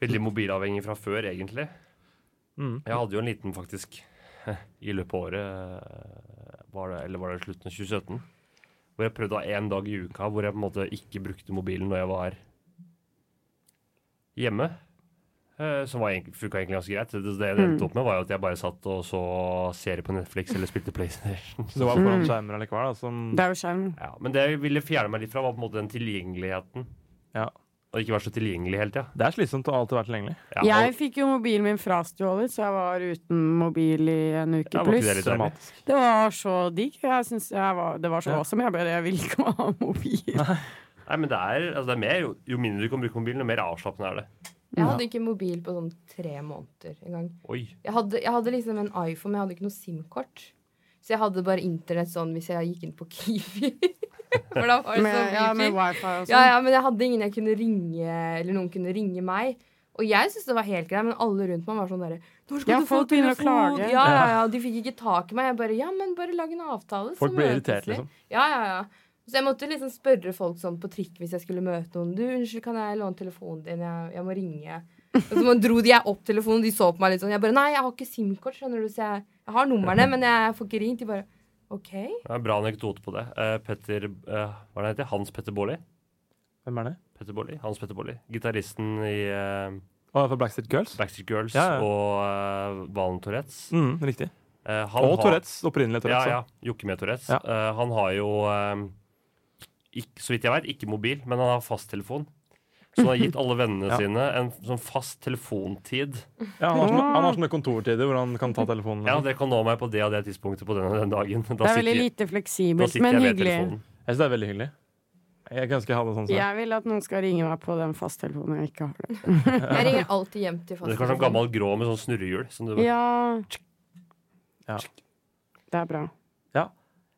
Speaker 6: veldig mobilavhengig fra før, egentlig.
Speaker 4: Mm.
Speaker 6: Jeg hadde jo en liten, faktisk, i løpet av året, eh, var det, eller var det slutten av 2017, hvor jeg prøvde å ha én dag i uka hvor jeg på en måte ikke brukte mobilen når jeg var hjemme. eh, Som var egentlig- funka egentlig ganske greit. Det det det endte opp med, var jo at jeg bare satt og så serie på Netflix eller spilte PlayStation.
Speaker 4: Så det var foran skjermer allikevel, da,
Speaker 6: Mm.
Speaker 4: som
Speaker 5: Mm. Det er jo skjerm.
Speaker 6: Ja, men det jeg ville fjerne meg litt fra, var på en måte den tilgjengeligheten.
Speaker 4: Ja.
Speaker 6: Og ikke være så tilgjengelig hele tida.
Speaker 4: Det er slitsomt å alltid være tilgjengelig.
Speaker 6: Ja,
Speaker 5: Jeg fikk jo mobilen min frastjålet, så jeg var uten mobil i en uke
Speaker 6: Ja, var ikke
Speaker 5: pluss.
Speaker 6: det litt deilig?
Speaker 4: Dramatisk.
Speaker 5: Det var så digg. Jeg synes jeg var, det var så
Speaker 4: Ja.
Speaker 5: awesome. Jeg, ble, jeg vil ikke ha mobil.
Speaker 6: og- Nei, men det er, altså, det er mer, jo, jo mindre du kan bruke mobilen, jo mer avslappende er det.
Speaker 7: Jeg hadde ikke mobil på sånn tre måneder en gang.
Speaker 6: Oi.
Speaker 7: Jeg hadde, jeg hadde liksom en iPhone, men jeg hadde ikke noe SIM-kort. Så jeg hadde bare internett sånn hvis jeg gikk inn på Kiwi. For da var det
Speaker 5: Med, ja,
Speaker 7: sånn
Speaker 5: med
Speaker 7: wifi.
Speaker 5: wifi og sånn.
Speaker 7: Ja, ja, men jeg hadde ingen jeg kunne ringe, eller noen kunne ringe meg. Og jeg syntes det var helt greit, men alle rundt meg var sånn derre Når skal
Speaker 5: Ja,
Speaker 7: du få
Speaker 5: folk begynner å
Speaker 7: telefon?
Speaker 5: klage.
Speaker 7: Ja, ja, ja. De fikk ikke tak i meg. Jeg bare Ja, men bare lag en avtale. så
Speaker 4: Folk blir
Speaker 7: møtes
Speaker 4: irritert,
Speaker 7: vi.»
Speaker 4: liksom.
Speaker 7: Ja, ja, ja. Så jeg måtte liksom spørre folk sånn på trikk hvis jeg skulle møte noen. Du, unnskyld, kan jeg låne telefonen din? Jeg, jeg må ringe. Og så man dro de jeg opp telefonen, de så på meg litt sånn. Jeg bare Nei, jeg har ikke SIM-kort, skjønner du, så jeg, jeg har numrene, men jeg får ikke ringt. De bare OK.
Speaker 6: Det er en bra anekdote på det. Eh, Petter, eh, hva er det han heter? Hans Petter Baarli?
Speaker 4: Hvem er det?
Speaker 6: Petter Baarli? Hans Petter Baarli. Gitaristen i eh,
Speaker 4: Å, for Blackstreet Girls?
Speaker 6: Backstreet Girls
Speaker 4: Ja, ja.
Speaker 6: og eh, Valen Tourettes.
Speaker 4: Mm, riktig.
Speaker 6: Eh, han
Speaker 4: Og
Speaker 6: har-
Speaker 4: Tourettes. Opprinnelig Tourettes.
Speaker 6: Ja,
Speaker 4: da.
Speaker 6: ja. Jokke med Tourettes.
Speaker 4: Ja.
Speaker 6: Eh, han har jo eh, ikk- Så vidt jeg vet, ikke mobil, men han har fasttelefon. Så han har gitt alle vennene
Speaker 4: Ja.
Speaker 6: sine en sånn fast telefontid.
Speaker 4: Ja, han, har sånne, han
Speaker 5: Mm.
Speaker 4: har sånne kontortider hvor han kan ta telefonen.
Speaker 6: Ja,
Speaker 4: liksom.
Speaker 6: dere kan nå meg på det og det tidspunktet på den, den dagen. Da
Speaker 5: Det er veldig
Speaker 6: sitter-
Speaker 5: lite
Speaker 6: da
Speaker 5: fleksibelt,
Speaker 6: sitter
Speaker 5: men
Speaker 6: jeg ved
Speaker 5: hyggelig.
Speaker 6: telefonen.
Speaker 4: Jeg
Speaker 6: altså.
Speaker 4: synes det er veldig hyggelig. Jeg kan ønske jeg hadde sånn selv.
Speaker 5: Jeg vil at noen skal ringe meg på den fasttelefonen jeg ikke har. det.
Speaker 7: Jeg ringer alltid hjem til
Speaker 6: Det er kanskje en
Speaker 7: fasttelefonen.
Speaker 6: gammel grå med sånn snurrehjul. Som du,
Speaker 5: Ja.
Speaker 4: Ja.
Speaker 5: Det er bra.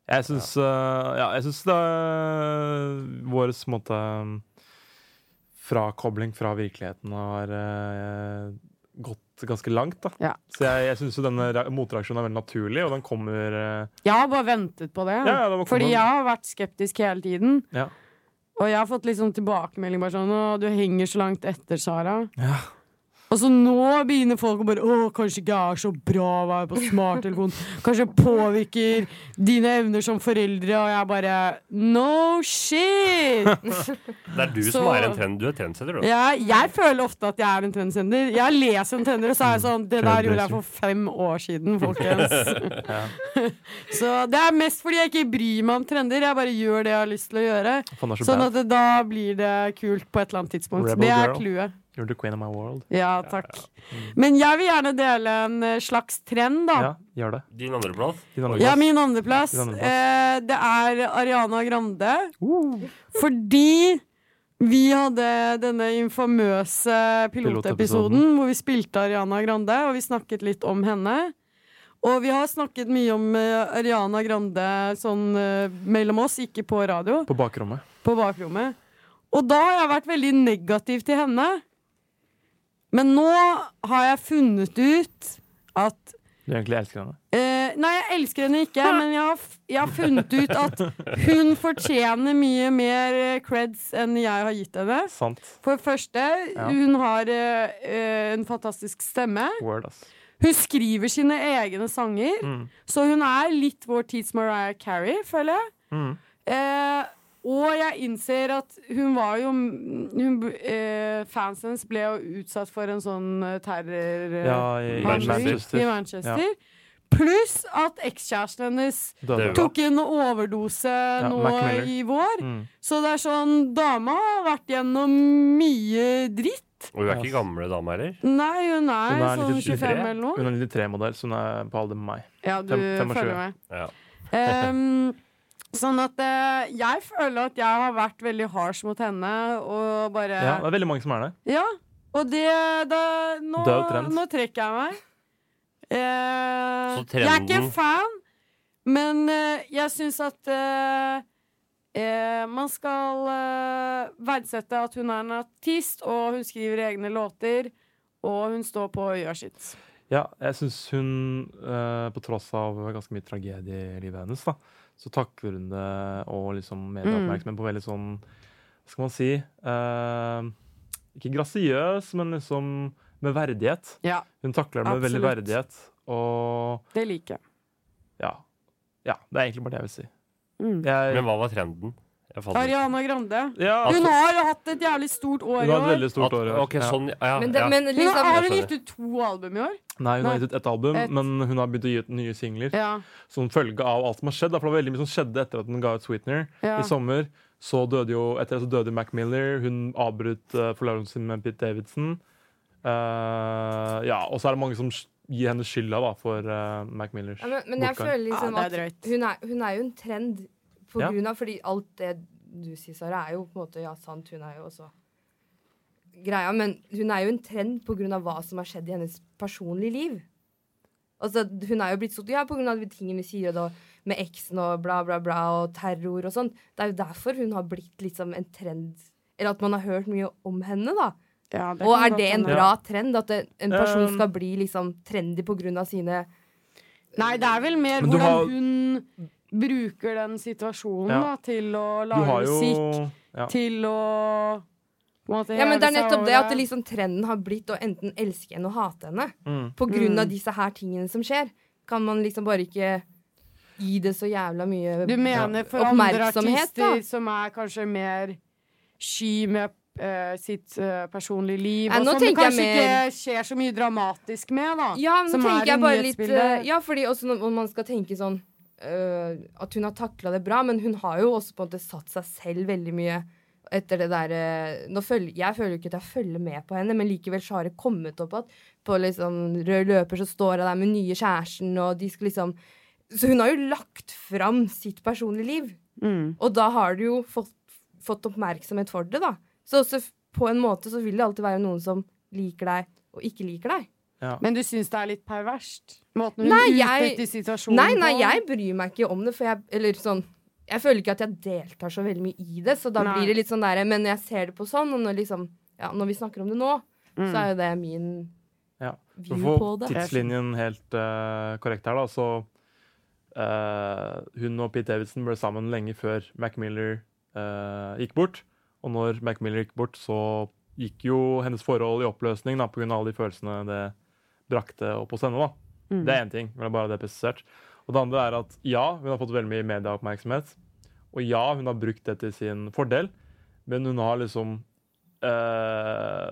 Speaker 4: Jeg syns, øh, ja, jeg syns det er vår måte um, frakobling fra virkeligheten har øh, gått ganske langt. Da.
Speaker 5: Ja.
Speaker 4: Så jeg, jeg syns jo denne re- motreaksjonen er veldig naturlig, og den kommer øh,
Speaker 5: Jeg har bare ventet på det.
Speaker 4: Ja, ja, det må komme.
Speaker 5: Fordi jeg har vært skeptisk hele tiden.
Speaker 4: Ja.
Speaker 5: Og jeg har fått liksom tilbakemelding bare sånn Å, du henger så langt etter, Sara.
Speaker 4: Ja.
Speaker 5: Og Og så nå begynner folk å bare Å, kanskje ikke jeg er så bra å være på smarttelefon. Kanskje jeg påvirker dine evner som foreldre, og jeg bare No shit!
Speaker 6: Det er du som
Speaker 5: Så-
Speaker 6: er en trend, du er trendsetter, du.
Speaker 5: Ja, jeg føler ofte at jeg er en trendsender. Jeg leser en trender, og så er jeg sånn Det der gjorde jeg for fem år siden, folkens.
Speaker 4: Ja.
Speaker 5: Så det er mest fordi jeg ikke bryr meg om trender. Jeg bare gjør det jeg har lyst til å gjøre.
Speaker 4: Faen, det er så
Speaker 5: Sånn
Speaker 4: bad.
Speaker 5: at det, da blir det kult på et eller annet tidspunkt.
Speaker 4: Rebel
Speaker 5: det er
Speaker 4: girl.
Speaker 5: clouet.
Speaker 4: You're the queen of my world.
Speaker 5: Ja, takk. Men jeg vil gjerne dele en eh, slags trend, da.
Speaker 4: Ja, gjør det.
Speaker 6: Din andreplass?
Speaker 5: Ja, min andreplass. Uh.
Speaker 4: Din andreplass.
Speaker 5: Eh, det er Ariana Grande. Fordi vi hadde denne infamøse pilotepisoden
Speaker 4: Pilotepisoden.
Speaker 5: hvor vi spilte Ariana Grande, og vi snakket litt om henne. Og vi har snakket mye om eh, Ariana Grande sånn eh, mellom oss, ikke på radio,
Speaker 4: På bakrommet.
Speaker 5: på bakrommet. Og da har jeg vært veldig negativ til henne. Men nå har jeg funnet ut at
Speaker 4: Du egentlig elsker henne.
Speaker 5: Eh, nei, jeg elsker henne ikke, men jeg har, f- jeg har funnet ut at hun fortjener mye mer eh, creds enn jeg har gitt henne.
Speaker 4: Sant.
Speaker 5: For det første,
Speaker 4: Ja.
Speaker 5: hun har eh, eh, en fantastisk stemme.
Speaker 4: Word, ass.
Speaker 5: Hun skriver sine egne sanger,
Speaker 4: Mm.
Speaker 5: så hun er litt vår tids Mariah Carey, føler jeg.
Speaker 4: Mm.
Speaker 5: Eh, og jeg innser at hun var jo hun, b- eh, Fans hennes ble jo utsatt for en sånn eh, terror... eh,
Speaker 4: Ja, i, i
Speaker 5: handling
Speaker 4: Manchester.
Speaker 5: I Manchester. Pluss at ekskjæresten hennes
Speaker 4: Døde.
Speaker 5: tok en overdose nå
Speaker 4: Mac Miller.
Speaker 5: i vår.
Speaker 4: Mm.
Speaker 5: Så det er sånn Dama har vært gjennom mye dritt.
Speaker 6: Og hun er ikke gamle dame heller.
Speaker 5: Nei, hun er,
Speaker 4: Hun er
Speaker 5: sånn
Speaker 4: 93.
Speaker 5: 25 eller noe.
Speaker 4: Hun er 93-modell, så hun er på alder med meg.
Speaker 5: Ja, du
Speaker 4: Fem- 25.
Speaker 5: følger med.
Speaker 6: Ja.
Speaker 5: Ehm, sånn at eh, jeg føler at jeg har vært veldig harsh mot henne og bare
Speaker 4: Ja, det er veldig mange som er det.
Speaker 5: Ja, og det da, nå,
Speaker 4: Død trend.
Speaker 5: nå trekker jeg meg. Eh,
Speaker 4: Så
Speaker 5: jeg er ikke
Speaker 4: trenden-
Speaker 5: fan, men eh, jeg syns at eh, eh, man skal eh, verdsette at hun er en artist, og hun skriver egne låter, og hun står på og gjør sitt.
Speaker 4: Ja, jeg syns hun, eh, på tross av ganske mye tragedie i livet hennes, da, så takler hun det og liksom
Speaker 5: Mm.
Speaker 4: medieoppmerksomhet på veldig sånn Hva skal man si? eh, ikke grasiøs, men liksom med verdighet.
Speaker 5: Ja,
Speaker 4: hun takler det med veldig
Speaker 5: absolutt.
Speaker 4: verdighet. Og
Speaker 5: Det liker jeg.
Speaker 4: ja. ja. Det er egentlig bare det jeg vil si.
Speaker 5: Mm.
Speaker 4: Jeg,
Speaker 6: Men hva var trenden? Jeg fant ut.
Speaker 5: Ariana Grande.
Speaker 4: Ja,
Speaker 5: hun
Speaker 6: altså-
Speaker 5: har hatt et jævlig stort år
Speaker 4: Hun
Speaker 5: i
Speaker 4: har et
Speaker 5: år.
Speaker 4: veldig stort
Speaker 6: At-
Speaker 4: år. i år.
Speaker 6: ok, sånn, ja,
Speaker 7: Men det- ja. men liksom-
Speaker 5: Hun har
Speaker 4: Jeg
Speaker 5: hun
Speaker 4: skjønner.
Speaker 5: gitt ut to album i år.
Speaker 4: Nei, hun har gitt ut ett album,
Speaker 5: Ett.
Speaker 4: men hun har begynt å gi ut nye singler.
Speaker 5: Ja.
Speaker 4: Som følge av alt som har skjedd. da, For det var veldig mye som skjedde etter at hun ga ut Sweetener
Speaker 5: Ja.
Speaker 4: i sommer. Så døde jo, etter det så døde Mac Miller. Hun avbrøt uh, forlovelsen sin med Pete Davidson. Eh, ja, og så er det mange som sk- gir henne skylda da, for eh, Mac Millers
Speaker 7: Ja, men, men jeg
Speaker 4: bortgang.
Speaker 7: føler liksom
Speaker 5: Ja,
Speaker 7: at
Speaker 5: det er
Speaker 7: hun er, hun er jo en trend på
Speaker 4: Ja.
Speaker 7: grunn av Fordi alt det du sier, Sara, er jo på en måte Ja, sant, hun er jo også greia, men hun er jo en trend på grunn av hva som har skjedd i hennes personlige liv. Altså, hun er jo blitt sånn Ja, på grunn av de tingene vi sier, og da med eksen og bla, bla, bla, og terror og sånn. Det er jo derfor hun har blitt liksom en trend Eller at man har hørt mye om henne, da.
Speaker 5: Ja, det
Speaker 7: og
Speaker 5: kan
Speaker 7: er
Speaker 5: godt
Speaker 7: det en
Speaker 5: hende.
Speaker 7: bra trend? At en- en person
Speaker 4: Um,
Speaker 7: skal bli liksom trendy på grunn av sine
Speaker 5: Nei, det er vel mer
Speaker 4: Men du
Speaker 5: hvordan
Speaker 4: har-
Speaker 5: hun bruker den situasjonen
Speaker 4: Ja.
Speaker 5: da, til å
Speaker 4: Du
Speaker 5: lage
Speaker 4: har jo
Speaker 5: musikk,
Speaker 4: ja.
Speaker 5: til å på en måte,
Speaker 7: Ja,
Speaker 5: heve
Speaker 7: men det er
Speaker 5: seg
Speaker 7: nettopp
Speaker 5: over
Speaker 7: det at det liksom trenden har blitt å enten elske henne og hate henne.
Speaker 4: Mm.
Speaker 7: På grunn av
Speaker 5: Mm.
Speaker 7: disse her tingene som skjer. Kan man liksom bare ikke gi det så jævla mye
Speaker 5: Du mener for andre
Speaker 7: oppmerksomhet, da?
Speaker 5: artister som er kanskje mer sky med eh, sitt eh, personlige liv,
Speaker 7: Nei, nå
Speaker 5: og som det
Speaker 7: tenker jeg
Speaker 5: kanskje ikke
Speaker 7: mer-
Speaker 5: skjer så mye dramatisk med, da.
Speaker 7: Ja, men
Speaker 5: Ah,
Speaker 7: nå
Speaker 5: som
Speaker 7: tenker
Speaker 5: i
Speaker 7: jeg bare litt
Speaker 5: nyhetsbildet.
Speaker 7: eh, Ja, fordi også når man skal tenke sånn eh, At hun har takla det bra, men hun har jo også på en måte satt seg selv veldig mye etter det derre Jeg føler jo ikke at jeg følger med på henne, men likevel så har det kommet opp at på liksom rød løper så står hun der med nye kjæresten, og de skal liksom Så hun har jo lagt fram sitt personlige liv.
Speaker 5: Mm.
Speaker 7: Og da har du jo fått, fått oppmerksomhet for det, da. Så også f- på en måte så vil det alltid være noen som liker deg, og ikke liker deg.
Speaker 4: Ja.
Speaker 5: Men du syns det er litt perverst? Måten hun
Speaker 7: Nei, jeg-
Speaker 5: utnytter situasjonen
Speaker 7: Nei, nei,
Speaker 5: på?
Speaker 7: jeg bryr meg ikke om det, for jeg Eller sånn Jeg føler ikke at jeg deltar så veldig mye i det, så da
Speaker 5: Nei.
Speaker 7: blir det litt sånn derre Men jeg ser det på sånn, og når liksom Ja, når vi snakker om det nå,
Speaker 5: Mm.
Speaker 7: så er jo det min
Speaker 4: Ja.
Speaker 7: view
Speaker 4: For å
Speaker 7: på
Speaker 4: få
Speaker 7: det.
Speaker 4: tidslinjen helt eh, korrekt her, da, så eh, Hun og Pete Davidson ble sammen lenge før Mac Miller eh, gikk bort. Og når Mac Miller gikk bort, så gikk jo hennes forhold i oppløsning da, pga. alle de følelsene det brakte opp hos henne. da.
Speaker 12: Mm.
Speaker 4: Det er én ting. men det er bare det presisert. Og det andre er at ja, hun har fått veldig mye medieoppmerksomhet. Og ja, hun har brukt det til sin fordel, men hun har liksom eh,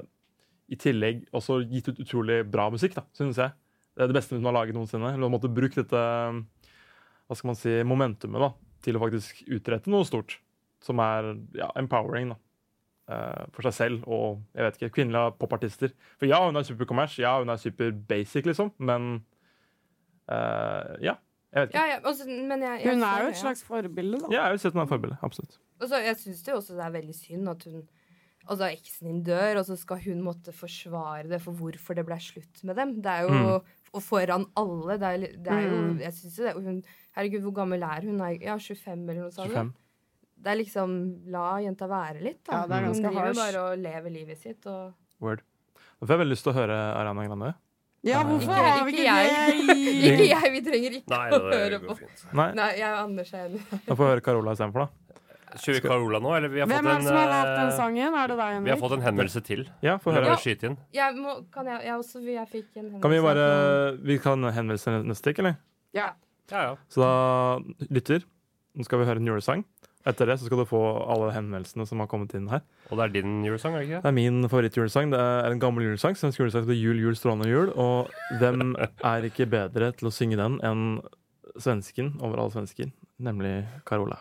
Speaker 4: i tillegg også gitt ut utrolig bra musikk, da, synes jeg. Det er det beste hun har laget noensinne. Hun har måttet bruke dette hva skal man si, momentumet da, til å faktisk utrette noe stort. Som er ja, empowering da. Eh, for seg selv og jeg vet ikke, kvinnelige popartister. For ja, hun er superkommers, ja, hun er super-basic, liksom, men eh, ja. Jeg vet ikke.
Speaker 7: Ja, ja, også, men jeg, jeg
Speaker 5: Hun er
Speaker 7: ser
Speaker 5: jo
Speaker 7: det,
Speaker 5: et slags forbilde, da.
Speaker 4: Ja, jeg vil si at hun er et forbilde. Absolutt.
Speaker 7: Og så, jeg syns det jo også det er veldig synd at hun Altså, eksen din dør, og så skal hun måtte forsvare det for hvorfor det ble slutt med dem. Det er jo
Speaker 4: Mm.
Speaker 7: Og foran alle. Det er, li- det er jo
Speaker 5: Mm.
Speaker 7: Jeg syns jo det. og Hun, herregud, hvor gammel er hun? Er, ja, 25 eller noe sånt?
Speaker 4: 25.
Speaker 7: Det er liksom La jenta være litt,
Speaker 5: Ja,
Speaker 7: da.
Speaker 4: Mm.
Speaker 5: det er ganske
Speaker 7: hun driver jo
Speaker 5: harsh.
Speaker 7: bare og lever livet sitt og
Speaker 4: Word. Nå får jeg veldig lyst til å høre Ariana Grande.
Speaker 5: Ja,
Speaker 4: Eh,
Speaker 5: hvorfor har vi
Speaker 7: ikke
Speaker 5: ikke
Speaker 7: jeg.
Speaker 5: det? i-
Speaker 7: Ikke jeg. Vi trenger ikke
Speaker 4: Nei,
Speaker 7: å
Speaker 4: det
Speaker 7: høre
Speaker 4: går
Speaker 7: på.
Speaker 4: fint. Nei.
Speaker 7: Nei, jeg og Anders er enig.
Speaker 4: Da får jeg høre Carola istedenfor, da.
Speaker 6: Kjører vi Carola nå, eller? Vi har
Speaker 5: Hvem
Speaker 6: fått
Speaker 5: er det som har lagd den
Speaker 6: eh,
Speaker 5: sangen? Er det deg, Henrik?
Speaker 6: Vi har fått en henvendelse til.
Speaker 4: Ja, få
Speaker 6: Vi
Speaker 4: høre.
Speaker 6: kan bare skyte inn.
Speaker 7: Jeg må Kan jeg, jeg også? Jeg fikk en
Speaker 4: Kan vi
Speaker 7: henvendelse.
Speaker 4: bare Vi kan henvende oss til neste stikk, eller?
Speaker 5: Ja.
Speaker 4: Så da, lytter, nå skal vi høre en julesang. Etter det så skal du få alle henvendelsene som har kommet inn her.
Speaker 6: Og det er din julesang, er det
Speaker 4: Det
Speaker 6: ikke?
Speaker 4: er min favorittjulesang. Det er en gammel julesang. Svensk julesang heter Jul, jul, strålende jul. Og hvem er ikke bedre til å synge den enn svensken over alle svensker, nemlig Carola.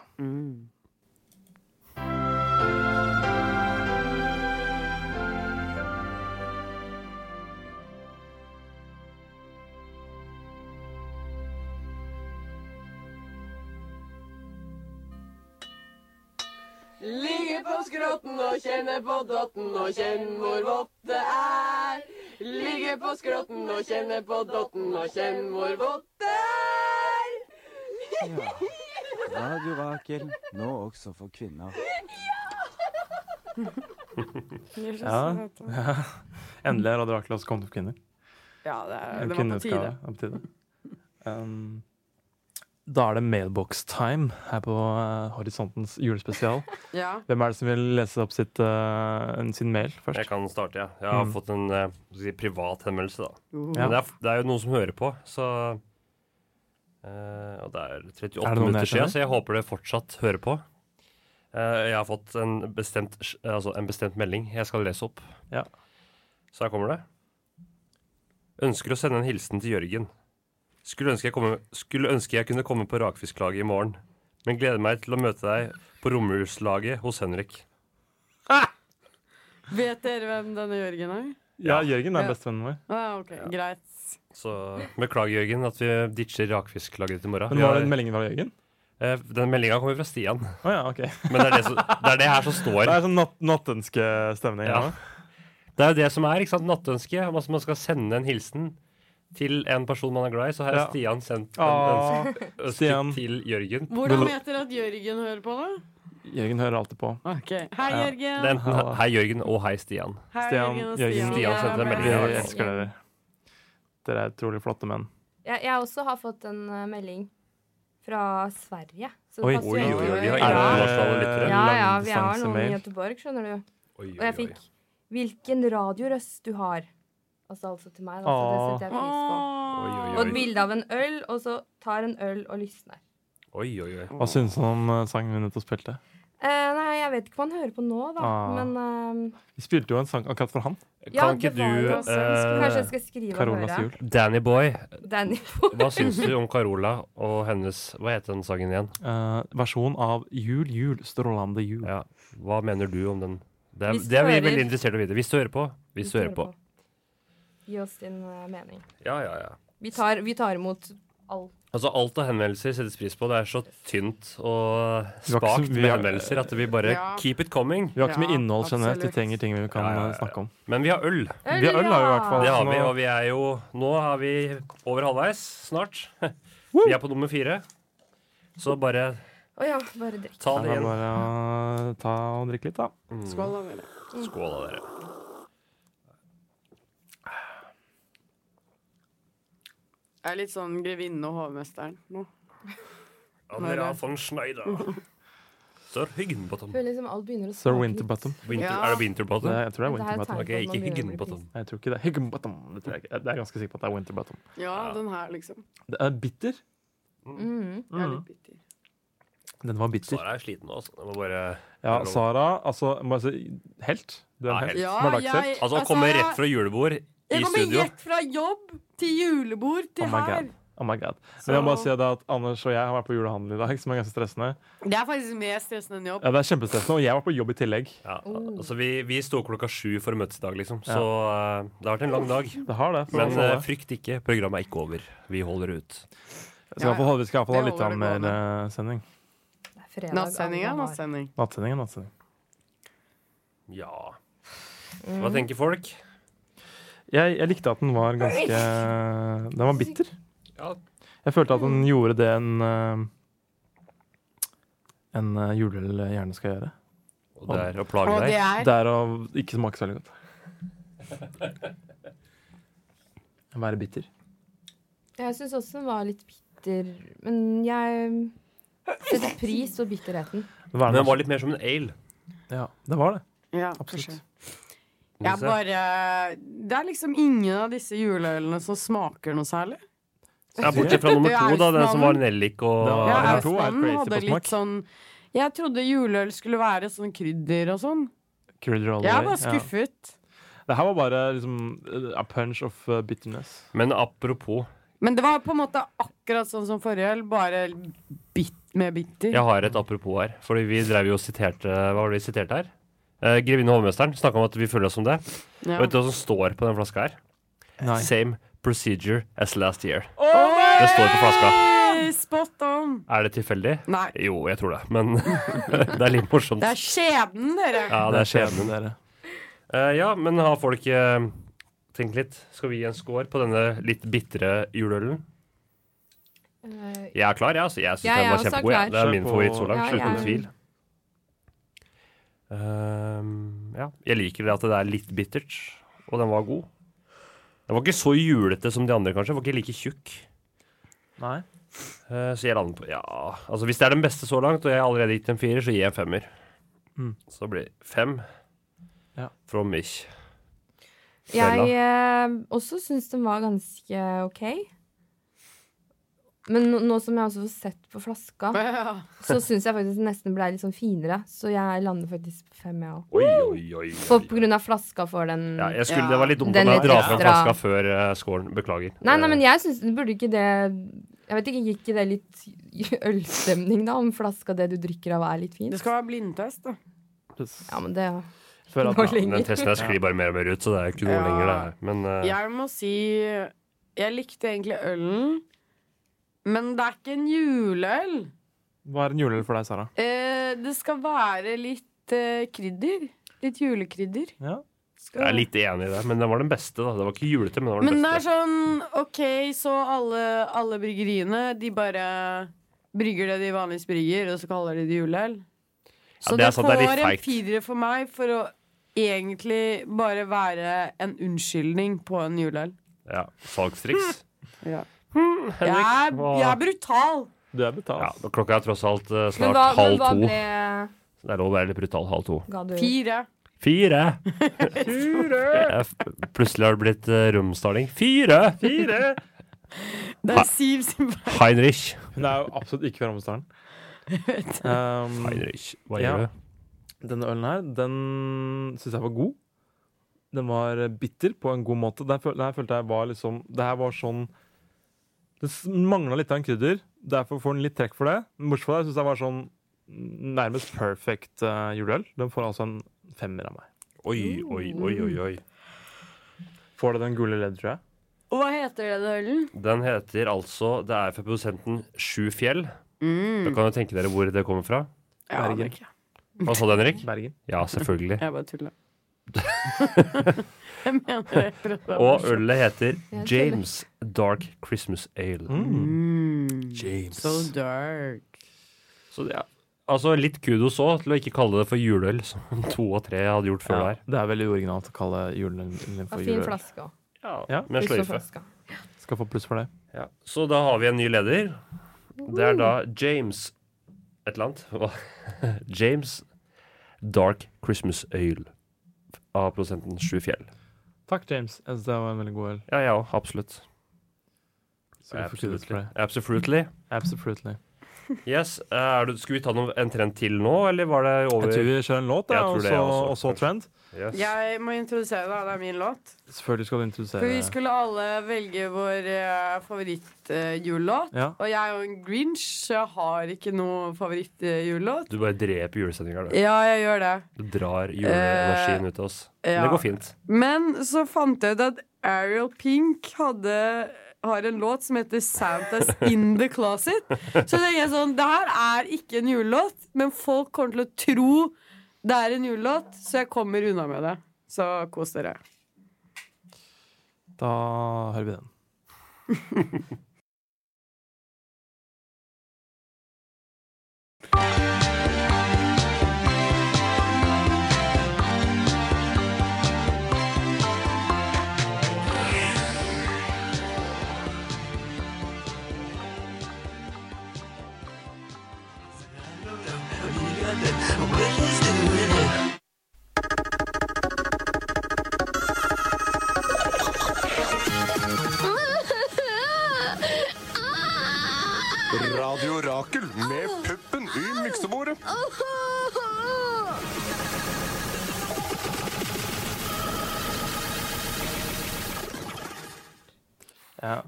Speaker 13: Ligger på skrotten og kjenner på dotten og kjenn hvor vått det er. Ligger på skrotten og kjenner på dotten og kjenn hvor vått det er.
Speaker 14: Radio Rakel, nå også for kvinner.
Speaker 4: Ja, ja. Endelig har Radio Rakel også kommet opp kvinner.
Speaker 5: Ja, det, er,
Speaker 4: En
Speaker 5: det var på
Speaker 4: kvinneutgave.
Speaker 5: tide.
Speaker 4: Det var på tide. Um, da er det mailbox-time her på eh, Horisontens julespesial.
Speaker 5: Ja.
Speaker 4: Hvem er det som vil lese opp sitt, eh, sin mail først?
Speaker 6: Jeg kan starte, ja. Jeg har
Speaker 4: Mm.
Speaker 6: fått en eh, hva skal jeg si, privat henvendelse, da.
Speaker 4: Uh.
Speaker 6: Men det er, det er jo noen som hører på, så eh, Og det er
Speaker 4: Er
Speaker 6: 38
Speaker 4: det noen jeg
Speaker 6: minutter
Speaker 4: kjenner?
Speaker 6: siden, så jeg håper det fortsatt hører på. Eh, jeg har fått en bestemt, sj- altså en bestemt melding jeg skal lese opp. Så her kommer det. Ønsker å sende en hilsen til Jørgen. Skulle ønske jeg, komme, skulle ønske jeg kunne komme på rakfisklaget i morgen, men gleder meg til å møte deg på romjulslaget hos Henrik.
Speaker 5: Vet dere hvem denne Jørgen er?
Speaker 4: Ja, Jørgen er
Speaker 5: Ja.
Speaker 4: bestevennen vår.
Speaker 5: Ah, ok, Greit.
Speaker 6: Så beklager, Jørgen, at vi ditcher rakfisklaget til morgen. Eh,
Speaker 4: Men var det en melding fra Jørgen?
Speaker 6: Den meldinga kommer fra Stian.
Speaker 4: ja, ok.
Speaker 6: Men det er det, som, det er det her som står.
Speaker 4: Det er sånn natt nattønskestemning.
Speaker 6: Ja.
Speaker 4: nå.
Speaker 6: Det er jo det som er ikke sant? nattønske. om at Man skal sende en hilsen til en person man er glad i. Så her
Speaker 4: Ja.
Speaker 6: har Stian sendt en
Speaker 4: Ah,
Speaker 6: ønske, ønske
Speaker 4: Stian.
Speaker 6: til Jørgen.
Speaker 5: Hvordan vet dere at Jørgen hører på, da?
Speaker 4: Jørgen hører alltid på.
Speaker 5: Ok. Hei,
Speaker 6: Ja.
Speaker 5: Jørgen.
Speaker 6: Det er enten he- hei, Jørgen, og hei, Stian.
Speaker 5: Hei, Stian, Jørgen og Stian.
Speaker 6: Stian sendte en melding. i
Speaker 4: Vi
Speaker 6: dag.
Speaker 4: elsker dere. Dere er utrolig flotte menn.
Speaker 7: Jeg, jeg også har fått en eh, melding fra Sverige. så det
Speaker 4: Oi,
Speaker 7: passer
Speaker 4: oi,
Speaker 7: jo
Speaker 4: oi,
Speaker 7: veldig
Speaker 4: vi har
Speaker 7: bra.
Speaker 4: internasjonale lyttere.
Speaker 7: Ja, ja, vi har noen i
Speaker 4: Langdistansemail.
Speaker 7: Göteborg, skjønner du.
Speaker 4: Oi, oi,
Speaker 7: Og jeg fikk 'Hvilken radiorøst du har'. Altså, altså til meg, da. Så det
Speaker 4: Åh.
Speaker 7: setter jeg pris på.
Speaker 4: oi,
Speaker 7: Og
Speaker 4: oi.
Speaker 7: et bilde av en øl, og så tar en øl og lysner.
Speaker 6: Oi, oi, oi.
Speaker 4: Hva syns han om eh, sangen vi nettopp spilte?
Speaker 7: Eh, nei, jeg vet ikke hva han hører på nå, da.
Speaker 4: Ah.
Speaker 7: Men eh,
Speaker 4: Vi spilte jo en sang akkurat for han.
Speaker 7: Ja, Kan ikke det var du, jo svensk. eh, Kanskje jeg skal skrive og
Speaker 4: Carolas
Speaker 7: høre.
Speaker 4: jul.
Speaker 6: Danny Boy.
Speaker 7: Danny
Speaker 6: Hva syns du om Carola og hennes Hva heter den sangen igjen?
Speaker 4: Eh, versjon av Jul, jul, strålende jul.
Speaker 6: Ja. Hva mener du om den? Det er,
Speaker 7: Hvis du
Speaker 6: det er vi
Speaker 7: hører-
Speaker 6: veldig interessert i å vite. Hvis du hører på. Hvis du hører på.
Speaker 7: gi oss din eh, mening.
Speaker 6: Ja, ja, ja.
Speaker 7: Vi tar, vi tar imot all
Speaker 6: Altså Alt av henvendelser settes pris på. Det er så tynt og
Speaker 4: Vi har ikke så-
Speaker 6: spakt
Speaker 4: vi
Speaker 6: med
Speaker 4: har-
Speaker 6: henvendelser at vi bare
Speaker 7: Ja.
Speaker 6: keep it coming.
Speaker 4: Vi har ikke så mye innhold generelt. Vi trenger ting vi kan eh, snakke om.
Speaker 6: Men vi har øl.
Speaker 4: Vi har øl, har vi i hvert fall.
Speaker 6: Det har vi,
Speaker 4: Nå-
Speaker 6: og vi er jo Nå er vi over halvveis snart. Vi er på nummer fire. Så bare
Speaker 7: Å ja, bare drikk.
Speaker 6: ta
Speaker 4: Det
Speaker 6: det
Speaker 4: er
Speaker 6: inn.
Speaker 4: bare å ta og drikke litt, da.
Speaker 6: Skål,
Speaker 5: da, dere.
Speaker 6: Skål, da, dere.
Speaker 5: Jeg er litt sånn grevinne og hovmesteren nå.
Speaker 6: Andrea von Schneider. Sir Hyggenbottom.
Speaker 7: Føler liksom alt begynner å
Speaker 4: Sir
Speaker 7: smake
Speaker 4: Winterbottom.
Speaker 7: litt.
Speaker 6: Winter, Er det Winterbottom?
Speaker 4: Det, jeg tror det er
Speaker 7: Det
Speaker 4: Winterbottom.
Speaker 7: her er tegn på at man
Speaker 6: Ok, ikke
Speaker 7: begynner å bli
Speaker 6: Hyggenbottom.
Speaker 4: Jeg tror ikke det. Hyggenbottom. Det tror jeg ikke. Det er jeg ganske sikker på at det er Winterbottom.
Speaker 5: Ja, den her, liksom.
Speaker 4: Det er bitter.
Speaker 7: Mm.
Speaker 5: Ja, litt bitter.
Speaker 4: Den var bitter.
Speaker 6: Sara er sliten nå, altså. Det må bare
Speaker 4: Ja,
Speaker 6: det er lov.
Speaker 4: Sara, altså må jeg si, Helt. Du er
Speaker 6: Ja,
Speaker 4: en helt.
Speaker 6: helt.
Speaker 5: Ja, jeg-
Speaker 4: Hverdagshelt.
Speaker 6: Altså, han
Speaker 5: Altså,
Speaker 6: kommer rett fra julebord i
Speaker 5: Jeg kommer
Speaker 6: studio.
Speaker 5: rett fra jobb til julebord til
Speaker 4: Oh my
Speaker 5: her.
Speaker 4: god. Oh my god. Men jeg må bare si det at Anders og jeg har vært på julehandel i dag, som er ganske stressende.
Speaker 5: Det er faktisk mer stressende enn jobb.
Speaker 4: Ja, det er kjempestressende, og jeg var på jobb i tillegg.
Speaker 6: Ja,
Speaker 5: Oh.
Speaker 6: altså, vi, vi sto klokka sju for å møtes i dag, liksom. Så eh, det har vært en lang dag.
Speaker 4: Det har det. for
Speaker 6: Men
Speaker 4: oss alle.
Speaker 6: eh, frykt ikke, programmet er ikke over. Vi holder ut.
Speaker 4: Så i hvert fall holde- vi skal iallfall ha
Speaker 5: Det
Speaker 4: litt
Speaker 5: holder det
Speaker 4: mer
Speaker 5: gående.
Speaker 4: eh, sending.
Speaker 7: Fredag,
Speaker 5: Nattsending er
Speaker 7: alle har.
Speaker 5: nattsending.
Speaker 4: Nattsending er nattsending.
Speaker 6: Ja.
Speaker 5: Mm.
Speaker 6: Hva tenker folk?
Speaker 4: Jeg, jeg likte at den var ganske Den var bitter.
Speaker 6: Ja.
Speaker 4: Jeg følte at den gjorde det en eh, en eh, juleøl gjerne skal gjøre.
Speaker 6: Og det er å plage
Speaker 5: Og deg. det er?
Speaker 4: Det er å ikke smake så veldig godt. Være bitter.
Speaker 7: Jeg syns også den var litt bitter, men jeg setter pris på bitterheten.
Speaker 6: Men den var litt mer som en ale.
Speaker 4: Ja, det var det.
Speaker 5: Ja,
Speaker 4: Absolutt.
Speaker 5: Jeg bare Det er liksom ingen av disse juleølene som smaker noe særlig.
Speaker 6: Ja, bortsett fra nummer
Speaker 5: Det er
Speaker 6: to, da. Den som var
Speaker 5: Austmannen.
Speaker 6: nellik og
Speaker 4: Det var-
Speaker 5: Ja,
Speaker 4: nummer to er
Speaker 5: Austmannen
Speaker 4: crazy på
Speaker 5: hadde
Speaker 4: smak.
Speaker 5: litt sånn Jeg trodde juleøl skulle være sånn krydder og sånn.
Speaker 4: Krydder all the
Speaker 5: Jeg
Speaker 4: way, ja.
Speaker 5: var skuffet.
Speaker 4: Det her var bare liksom eh, a punch of eh, bitterness.
Speaker 6: Men apropos
Speaker 5: Men det var på en måte akkurat sånn som forrige øl, bare bit med bitter.
Speaker 6: Jeg har et apropos her. Fordi vi drev jo og siterte Hva var det vi siterte her? Eh, Grevinne og hovmesteren snakka om at vi føler oss som det.
Speaker 5: Ja.
Speaker 6: Og vet du hva som står på den flaska her?
Speaker 4: Nei.
Speaker 6: Same procedure as last year.
Speaker 5: Oi!
Speaker 6: Det står på flaska.
Speaker 5: Hey, Spot on!
Speaker 6: Er det tilfeldig?
Speaker 5: Nei.
Speaker 6: Jo, jeg tror det. Men det er litt morsomt.
Speaker 5: Det er skjebnen, dere!
Speaker 6: Ja, det er skjebnen. Eh, ja, men har folk eh, tenkt litt? Skal vi gi en score på denne litt bitre juleølen?
Speaker 7: Eh,
Speaker 6: Jeg er klar, jeg. Altså. Jeg syns
Speaker 7: Ja,
Speaker 6: den
Speaker 7: jeg
Speaker 6: var
Speaker 7: også er
Speaker 6: kjempegod. jeg.
Speaker 7: klar.
Speaker 6: Det er min
Speaker 4: Kjør på.
Speaker 6: favoritt så langt.
Speaker 7: Ja,
Speaker 6: Slutt med
Speaker 7: jeg-
Speaker 6: tvil. Ehm, ja. Jeg liker det at det er litt bittert, og den var god. Den var ikke så julete som de andre, kanskje. Den var ikke like tjukk.
Speaker 4: Nei.
Speaker 6: Eh, så jeg lander på Ja, altså hvis det er den beste så langt, og jeg har allerede gitt en firer, så gir jeg en femmer.
Speaker 4: Mm.
Speaker 6: Så det blir fem
Speaker 4: Ja.
Speaker 6: fra mich.
Speaker 7: Jeg
Speaker 6: Stella.
Speaker 7: eh, også syns den var ganske ok. Men nå, nå som jeg også får sett på flaska,
Speaker 5: Ja.
Speaker 7: så syns jeg faktisk den nesten ble litt sånn finere. Så jeg lander faktisk på fem, jeg òg.
Speaker 6: Oi, oi, oi.
Speaker 7: For på grunn av flaska får den
Speaker 6: Ja, jeg skulle, Det var litt dumt
Speaker 7: den
Speaker 6: å
Speaker 7: litt
Speaker 6: dra fram
Speaker 7: ekstra-
Speaker 6: flaska før eh, scoren. Beklager. Eh,
Speaker 7: Nei, nei, men jeg syns Burde ikke det Jeg vet ikke, gikk ikke det litt ølstemning, da? Om flaska det du drikker av, er litt fint?
Speaker 5: Det skal være blindtest, da.
Speaker 7: Ja, men det
Speaker 4: Før at-
Speaker 7: går
Speaker 6: Ja, men
Speaker 7: lenger.
Speaker 6: Den testen her sklir bare mer og mer ut, så det er jo ikke noe
Speaker 5: Ja.
Speaker 6: lenger, det her. Men eh,
Speaker 5: Jeg må si Jeg likte egentlig ølen, men det er ikke en juleøl.
Speaker 4: Hva er en juleøl for deg, Sara?
Speaker 5: Eh, det skal være litt eh, krydder. Litt julekrydder.
Speaker 4: Ja.
Speaker 6: jeg er litt enig i det. Men den var den beste, da. Det var ikke julete, men den var den
Speaker 5: Men det er
Speaker 6: beste.
Speaker 5: sånn OK, så alle, alle bryggeriene, de bare brygger det de vanligvis brygger, og så kaller de det juleøl. Så
Speaker 6: det
Speaker 5: det,
Speaker 6: er sant, det er litt
Speaker 5: får en
Speaker 6: feigt.
Speaker 5: firer for meg for å egentlig bare være en unnskyldning på en juleøl.
Speaker 6: Ja, Salgstriks.
Speaker 5: Ja. Jeg
Speaker 6: Henrik,
Speaker 5: er,
Speaker 6: hva-
Speaker 5: jeg er brutal.
Speaker 4: Du er betalt.
Speaker 6: Ja, klokka er tross alt eh,
Speaker 7: Men
Speaker 6: snart
Speaker 7: hva, men
Speaker 6: halv
Speaker 7: hva
Speaker 6: to.
Speaker 7: ble
Speaker 6: Så Det er lov å være litt brutal halv to.
Speaker 7: Ga du
Speaker 5: Fire.
Speaker 6: Fire! Jeg f- Plutselig har det blitt uh, romsdaling. Fire!
Speaker 4: Fire!
Speaker 5: Det er Siv sin feil.
Speaker 6: Heinrich.
Speaker 4: Hun er jo absolutt ikke fra Romsdalen.
Speaker 5: vet du.
Speaker 4: Um,
Speaker 6: Heinrich, hva
Speaker 4: ja.
Speaker 6: gjør du?
Speaker 4: Denne ølen her, den syns jeg var god. Den var eh, bitter på en god måte. Den, føl den her følte jeg var liksom Det her var sånn Det mangla litt av en krydder. Derfor får den litt trekk for det. Men bortsett fra det syns jeg var sånn nærmest perfect eh, juleøl. Den får altså en femmer av meg.
Speaker 6: Oi, oi, oi, oi, oi.
Speaker 4: Får det den gule ledd, tror jeg.
Speaker 5: Og hva heter den ølen?
Speaker 6: Den heter altså Det er fra produsenten Sju Fjell.
Speaker 5: Mm.
Speaker 6: Da kan du tenke dere hvor det kommer fra.
Speaker 5: Jeg aner
Speaker 4: Bergen.
Speaker 5: ikke.
Speaker 6: Hva sa du, Henrik?
Speaker 4: Bergen.
Speaker 6: Ja, selvfølgelig.
Speaker 5: Jeg bare tulla. jeg mener det. jeg prøvde å være
Speaker 6: Og
Speaker 5: morsom.
Speaker 6: ølet heter
Speaker 7: Jeg tuller.
Speaker 6: James Dark Christmas Ale.
Speaker 5: Mm.
Speaker 6: James.
Speaker 3: Sånn.
Speaker 5: So dark.
Speaker 6: Så det er, altså litt kudos òg til å ikke kalle det for juleøl, som to og tre hadde gjort før
Speaker 4: Ja,
Speaker 6: der.
Speaker 4: det er veldig originalt å kalle julen din
Speaker 7: Ja,
Speaker 4: for
Speaker 7: Fin
Speaker 4: juleøl.
Speaker 7: flaske òg.
Speaker 4: Ja.
Speaker 6: Med sløyfe.
Speaker 7: flaska.
Speaker 4: Skal få pluss for det.
Speaker 6: Ja. Så da har vi en ny leder. Det er da James et eller annet. Hva? James Dark Christmas Ale av prosenten Sju Fjell.
Speaker 4: Takk, James. Jeg synes det var en veldig god øl.
Speaker 6: Ja, jeg òg. Absolutt.
Speaker 4: Så vi får krydder for det.
Speaker 6: Absolutely.
Speaker 4: Absolutely.
Speaker 6: Yes, eh, er du, Skulle vi ta noe, en trend til nå, eller var det over?
Speaker 4: Jeg tror vi kjører en låt, da,
Speaker 6: Jeg tror
Speaker 4: og
Speaker 6: det, jeg
Speaker 4: så-
Speaker 6: også,
Speaker 4: og så
Speaker 6: kanskje.
Speaker 4: trend.
Speaker 6: Yes.
Speaker 5: Jeg må introdusere deg, det er min låt.
Speaker 4: Selvfølgelig skal du introdusere
Speaker 5: For vi skulle alle velge vår uh, favorittjulelåt.
Speaker 4: Ja.
Speaker 5: Og jeg er jo en grinch, så jeg har ikke noe favorittjulelåt.
Speaker 6: Du bare dreper julesendinga, du.
Speaker 5: Ja, jeg gjør det.
Speaker 6: Du drar juleenergien ut av oss.
Speaker 5: Eh,
Speaker 6: Men
Speaker 5: ja.
Speaker 6: det går fint.
Speaker 5: Men så fant jeg ut at Ariel Pink hadde har en låt som heter 'Santas In The Closet'. Så tenker jeg sånn Det her er ikke en julelåt, men folk kommer til å tro det er en julelåt, så jeg kommer unna med det. Så kos dere.
Speaker 4: Da hører vi den.
Speaker 12: Radio Rakel med puppen i miksebordet.
Speaker 4: Ja.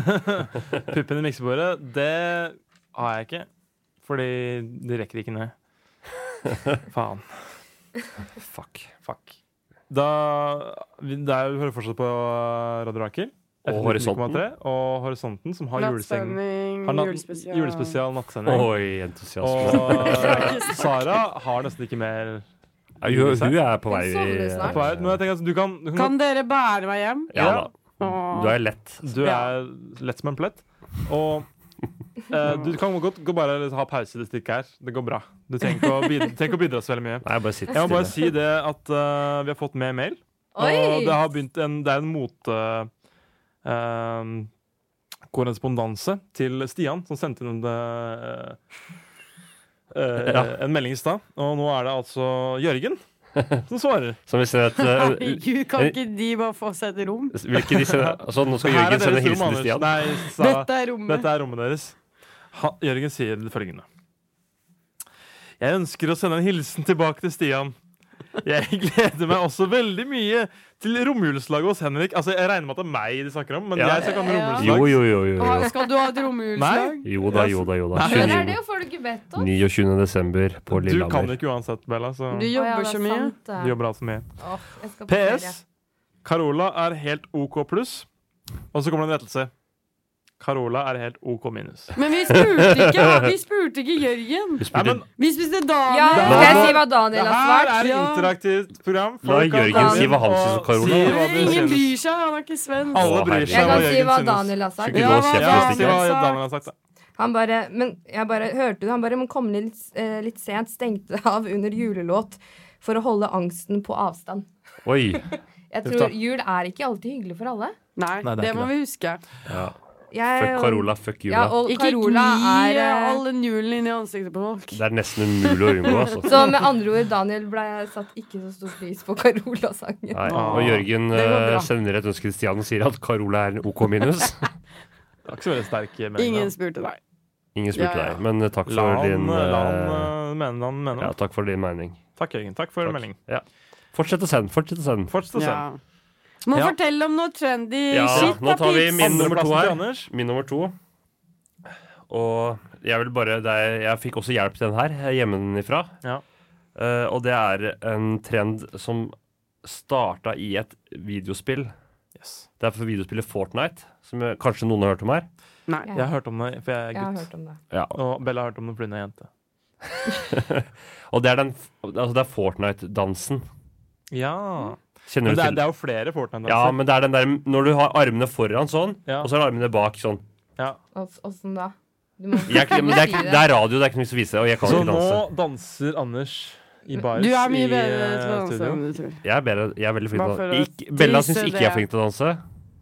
Speaker 4: Puppen i miksebordet, det har jeg ikke. Fordi det rekker ikke ned. Faen. Fuck. Fuck. Da, vi- det er, vi hører fortsatt på Radio Rakel.
Speaker 6: Og
Speaker 4: FM 19,3, Og Horisonten, som har juleseng.
Speaker 5: Nattsending,
Speaker 4: har natt-
Speaker 5: julespesial.
Speaker 4: julespesial nattsending.
Speaker 6: Oi, entusiasme.
Speaker 4: Og Sara har nesten ikke mer
Speaker 6: Ja, hun- hun er på vei- Hun sovner snart.
Speaker 4: Er på vei. Men jeg tenker at du kan, du kan
Speaker 5: Kan dere bære meg hjem?
Speaker 4: Ja da.
Speaker 5: Åh.
Speaker 6: Du er lett.
Speaker 4: Du er lett som en plett. Og eh, du kan godt gå bare ha pause i det stikket her. Det går bra. Du trenger ikke å bidra, trenger ikke å bidra så veldig mye.
Speaker 6: Nei, jeg bare sitter
Speaker 4: må bare si
Speaker 6: stille.
Speaker 4: det at eh, vi har fått mer mail.
Speaker 6: Oi!
Speaker 4: Og det har begynt en, det er en mote... eh, korrespondanse til Stian, som sendte inn eh, eh,
Speaker 6: Ja.
Speaker 4: en melding i stad. Og nå er det altså Jørgen som svarer.
Speaker 6: Som hvis et,
Speaker 5: Herregud, kan ikke de bare få seg et rom?
Speaker 6: Vil ikke de sende altså, Nå skal
Speaker 4: Her er
Speaker 6: Jørgen sende
Speaker 4: deres rom,
Speaker 6: hilsen til
Speaker 4: Anders.
Speaker 6: Stian.
Speaker 4: Nei, Sara,
Speaker 5: Dette er rommet.
Speaker 4: Dette er rommet deres. Ha, Jørgen sier det følgende. Jeg ønsker å sende en hilsen tilbake til Stian. Jeg gleder meg også veldig mye til romjulslaget hos Henrik. Altså, Jeg regner med at det er meg de snakker om, men
Speaker 6: Ja.
Speaker 4: jeg skal ikke ha med
Speaker 6: Ja.
Speaker 4: romjulslag.
Speaker 6: Jo, jo, jo, jo, jo.
Speaker 5: Skal du ha et romjulslag?
Speaker 4: Nei.
Speaker 6: Jo da, jo da, jo da.
Speaker 7: Hvor er det, og får du ikke bedt om?
Speaker 6: 29. desember på
Speaker 4: Du kan
Speaker 6: Lillehammer.
Speaker 4: det ikke uansett, Bella. Så.
Speaker 5: Du
Speaker 7: Å, ja,
Speaker 5: jobber
Speaker 7: det er
Speaker 5: så mye.
Speaker 7: sant, det.
Speaker 4: Du jobber altfor mye.
Speaker 7: Åh, jeg skal på ferie.
Speaker 4: PS. Carola er helt OK pluss. Og så kommer det en rettelse. Carola er helt OK minus.
Speaker 5: Men vi spurte ikke, vi spurte ikke Jørgen.
Speaker 4: Nei, men
Speaker 5: Vi spiste Daniel.
Speaker 7: Ja,
Speaker 4: skal jeg si
Speaker 7: hva Daniel har
Speaker 4: Det
Speaker 7: svart?
Speaker 4: her er et
Speaker 7: Ja.
Speaker 4: interaktivt program.
Speaker 6: La
Speaker 4: Folk kan
Speaker 6: Jørgen
Speaker 4: komme
Speaker 6: si
Speaker 4: inn
Speaker 6: hva han
Speaker 4: og
Speaker 6: synes om Carola.
Speaker 4: si hva de
Speaker 5: Ingen
Speaker 4: synes.
Speaker 5: bryr seg, han er ikke svensk.
Speaker 4: Alle bryr
Speaker 7: Jeg
Speaker 4: seg om
Speaker 7: kan
Speaker 4: hva
Speaker 7: si
Speaker 4: Jørgen
Speaker 7: hva
Speaker 4: synes.
Speaker 7: Daniel har sagt.
Speaker 4: Skulle ikke
Speaker 7: Ja,
Speaker 4: gå og
Speaker 7: hva
Speaker 4: kjefte på
Speaker 7: Daniel
Speaker 4: stikken.
Speaker 7: har
Speaker 4: Hva
Speaker 7: sagt.
Speaker 4: Daniel har sagt. da.
Speaker 7: Han bare Men jeg bare hørte det. Han bare Men kom litt, eh, litt sent. Stengte av under julelåt for å holde angsten på avstand.
Speaker 6: Oi.
Speaker 7: Jeg
Speaker 6: Uff da.
Speaker 7: tror jul er ikke alltid hyggelig for alle.
Speaker 5: Nei,
Speaker 6: Nei, det er
Speaker 5: det
Speaker 6: ikke
Speaker 5: må
Speaker 6: det.
Speaker 5: vi huske.
Speaker 6: Ja.
Speaker 7: Jeg-
Speaker 6: Fuck Carola, fuck jula.
Speaker 7: Ja, og
Speaker 5: Ikke
Speaker 7: Carola
Speaker 5: gni
Speaker 7: er eh,
Speaker 5: all den julen inn i ansiktet på folk.
Speaker 6: Det er nesten umulig å unngå, altså.
Speaker 7: Så med andre ord, Daniel ble satt ikke så stor pris på Carola-sangen.
Speaker 6: Nei. Og Jørgen
Speaker 7: Det går
Speaker 6: eh,
Speaker 7: bra.
Speaker 6: sender et ønske til Stian og sier at Carola er en OK minus.
Speaker 4: Det var ikke så veldig sterk eh, melding.
Speaker 5: Ingen
Speaker 4: da.
Speaker 5: spurte deg.
Speaker 6: Ingen spurte
Speaker 4: Ja, ja.
Speaker 6: deg, men takk
Speaker 4: La
Speaker 6: for
Speaker 4: han,
Speaker 6: din
Speaker 4: eh, la han
Speaker 6: eh,
Speaker 4: eh, mene det han mener.
Speaker 6: Ja, takk for din mening.
Speaker 4: Takk, Jørgen. Takk for
Speaker 6: Takk.
Speaker 4: melding.
Speaker 6: Ja. Fortsett å sende, fortsett å sende.
Speaker 4: Fortsett å
Speaker 5: Ja.
Speaker 4: sende.
Speaker 5: Må
Speaker 6: Ja.
Speaker 5: fortelle om noe trendy
Speaker 6: Ja,
Speaker 5: shit.
Speaker 6: nå
Speaker 5: da,
Speaker 6: tar vi
Speaker 5: Pete.
Speaker 6: min nummer
Speaker 4: Andreplassen
Speaker 6: to
Speaker 4: til
Speaker 6: her.
Speaker 4: Anders.
Speaker 6: Min nummer to. Og jeg vil bare det er, Jeg fikk også hjelp til den her eh, hjemmefra.
Speaker 4: Ja.
Speaker 6: Eh, og det er en trend som starta i et videospill. Det er for videospillet Fortnite, som eh, kanskje noen har hørt om her.
Speaker 5: Nei.
Speaker 4: Jeg har hørt om det, for jeg
Speaker 7: Jeg har
Speaker 4: er
Speaker 7: hørt om det.
Speaker 4: gutt.
Speaker 6: Ja.
Speaker 4: Og Bella har hørt om det fordi hun er jente.
Speaker 6: og det er, den f- altså det er Fortnite-dansen.
Speaker 4: Ja.
Speaker 6: Kjenner
Speaker 4: Men
Speaker 6: du
Speaker 4: det er,
Speaker 6: til-
Speaker 4: det er jo flere Fortnite-danser.
Speaker 6: Ja, men det er den der når du har armene foran sånn,
Speaker 4: Ja.
Speaker 6: og så er armene bak sånn.
Speaker 7: Ås- Åssen da? Du må-
Speaker 6: Jeg, men det, er, ikke- det er radio, det er ikke noe som viser det, og jeg kan
Speaker 4: Så
Speaker 6: ikke
Speaker 4: nå
Speaker 6: danse.
Speaker 4: danser Anders i bars
Speaker 5: Du er mye
Speaker 4: i
Speaker 5: bedre til å
Speaker 4: eh,
Speaker 5: danse
Speaker 4: studio.
Speaker 5: enn du tror.
Speaker 6: Jeg er, bedre, jeg er veldig flink
Speaker 5: Bare
Speaker 6: til å
Speaker 5: for å
Speaker 6: danse. Ikke- Bella
Speaker 5: tease
Speaker 6: syns ikke
Speaker 5: det.
Speaker 6: jeg er flink til å danse.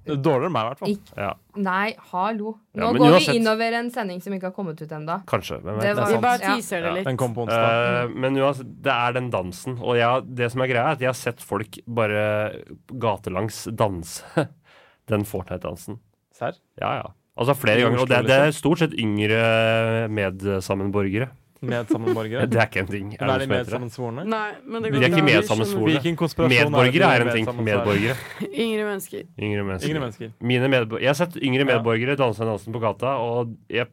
Speaker 4: Dårligere enn meg, i hvert fall.
Speaker 6: Ja.
Speaker 7: Nei, hallo. Nå
Speaker 6: Ja, men
Speaker 7: går
Speaker 6: uansett-
Speaker 7: vi innover en sending som ikke har kommet ut ennå.
Speaker 6: Kanskje. hvem vet.
Speaker 7: Det var- Vi bare teaser det
Speaker 6: Ja.
Speaker 7: litt.
Speaker 4: Den kom på onsdag.
Speaker 6: Eh, men uansett, det er den dansen. Og jeg, det som er greia, er at jeg har sett folk bare gatelangs danse den Fortnite-dansen.
Speaker 4: Serr?
Speaker 6: Ja, ja. Altså flere ganger. Og det, det
Speaker 4: liksom.
Speaker 6: er stort sett yngre medsammenborgere.
Speaker 4: Medsammenborgere?
Speaker 6: Det er ikke en ting.
Speaker 4: Men er de
Speaker 6: det noe som heter det?
Speaker 4: medsammensvorne?
Speaker 5: Nei, men det
Speaker 6: De
Speaker 5: går
Speaker 6: er ikke
Speaker 5: bra.
Speaker 6: medsammensvorne.
Speaker 4: Hvilken konspirasjon er det
Speaker 6: Medborgere
Speaker 4: de
Speaker 6: er en ting.
Speaker 4: medsammensvorne?
Speaker 6: Medborgere.
Speaker 5: Yngre mennesker.
Speaker 6: Yngre mennesker.
Speaker 4: Yngre mennesker.
Speaker 6: Mine medbor- jeg har sett yngre medborgere danse den dansen på gata, og jeg,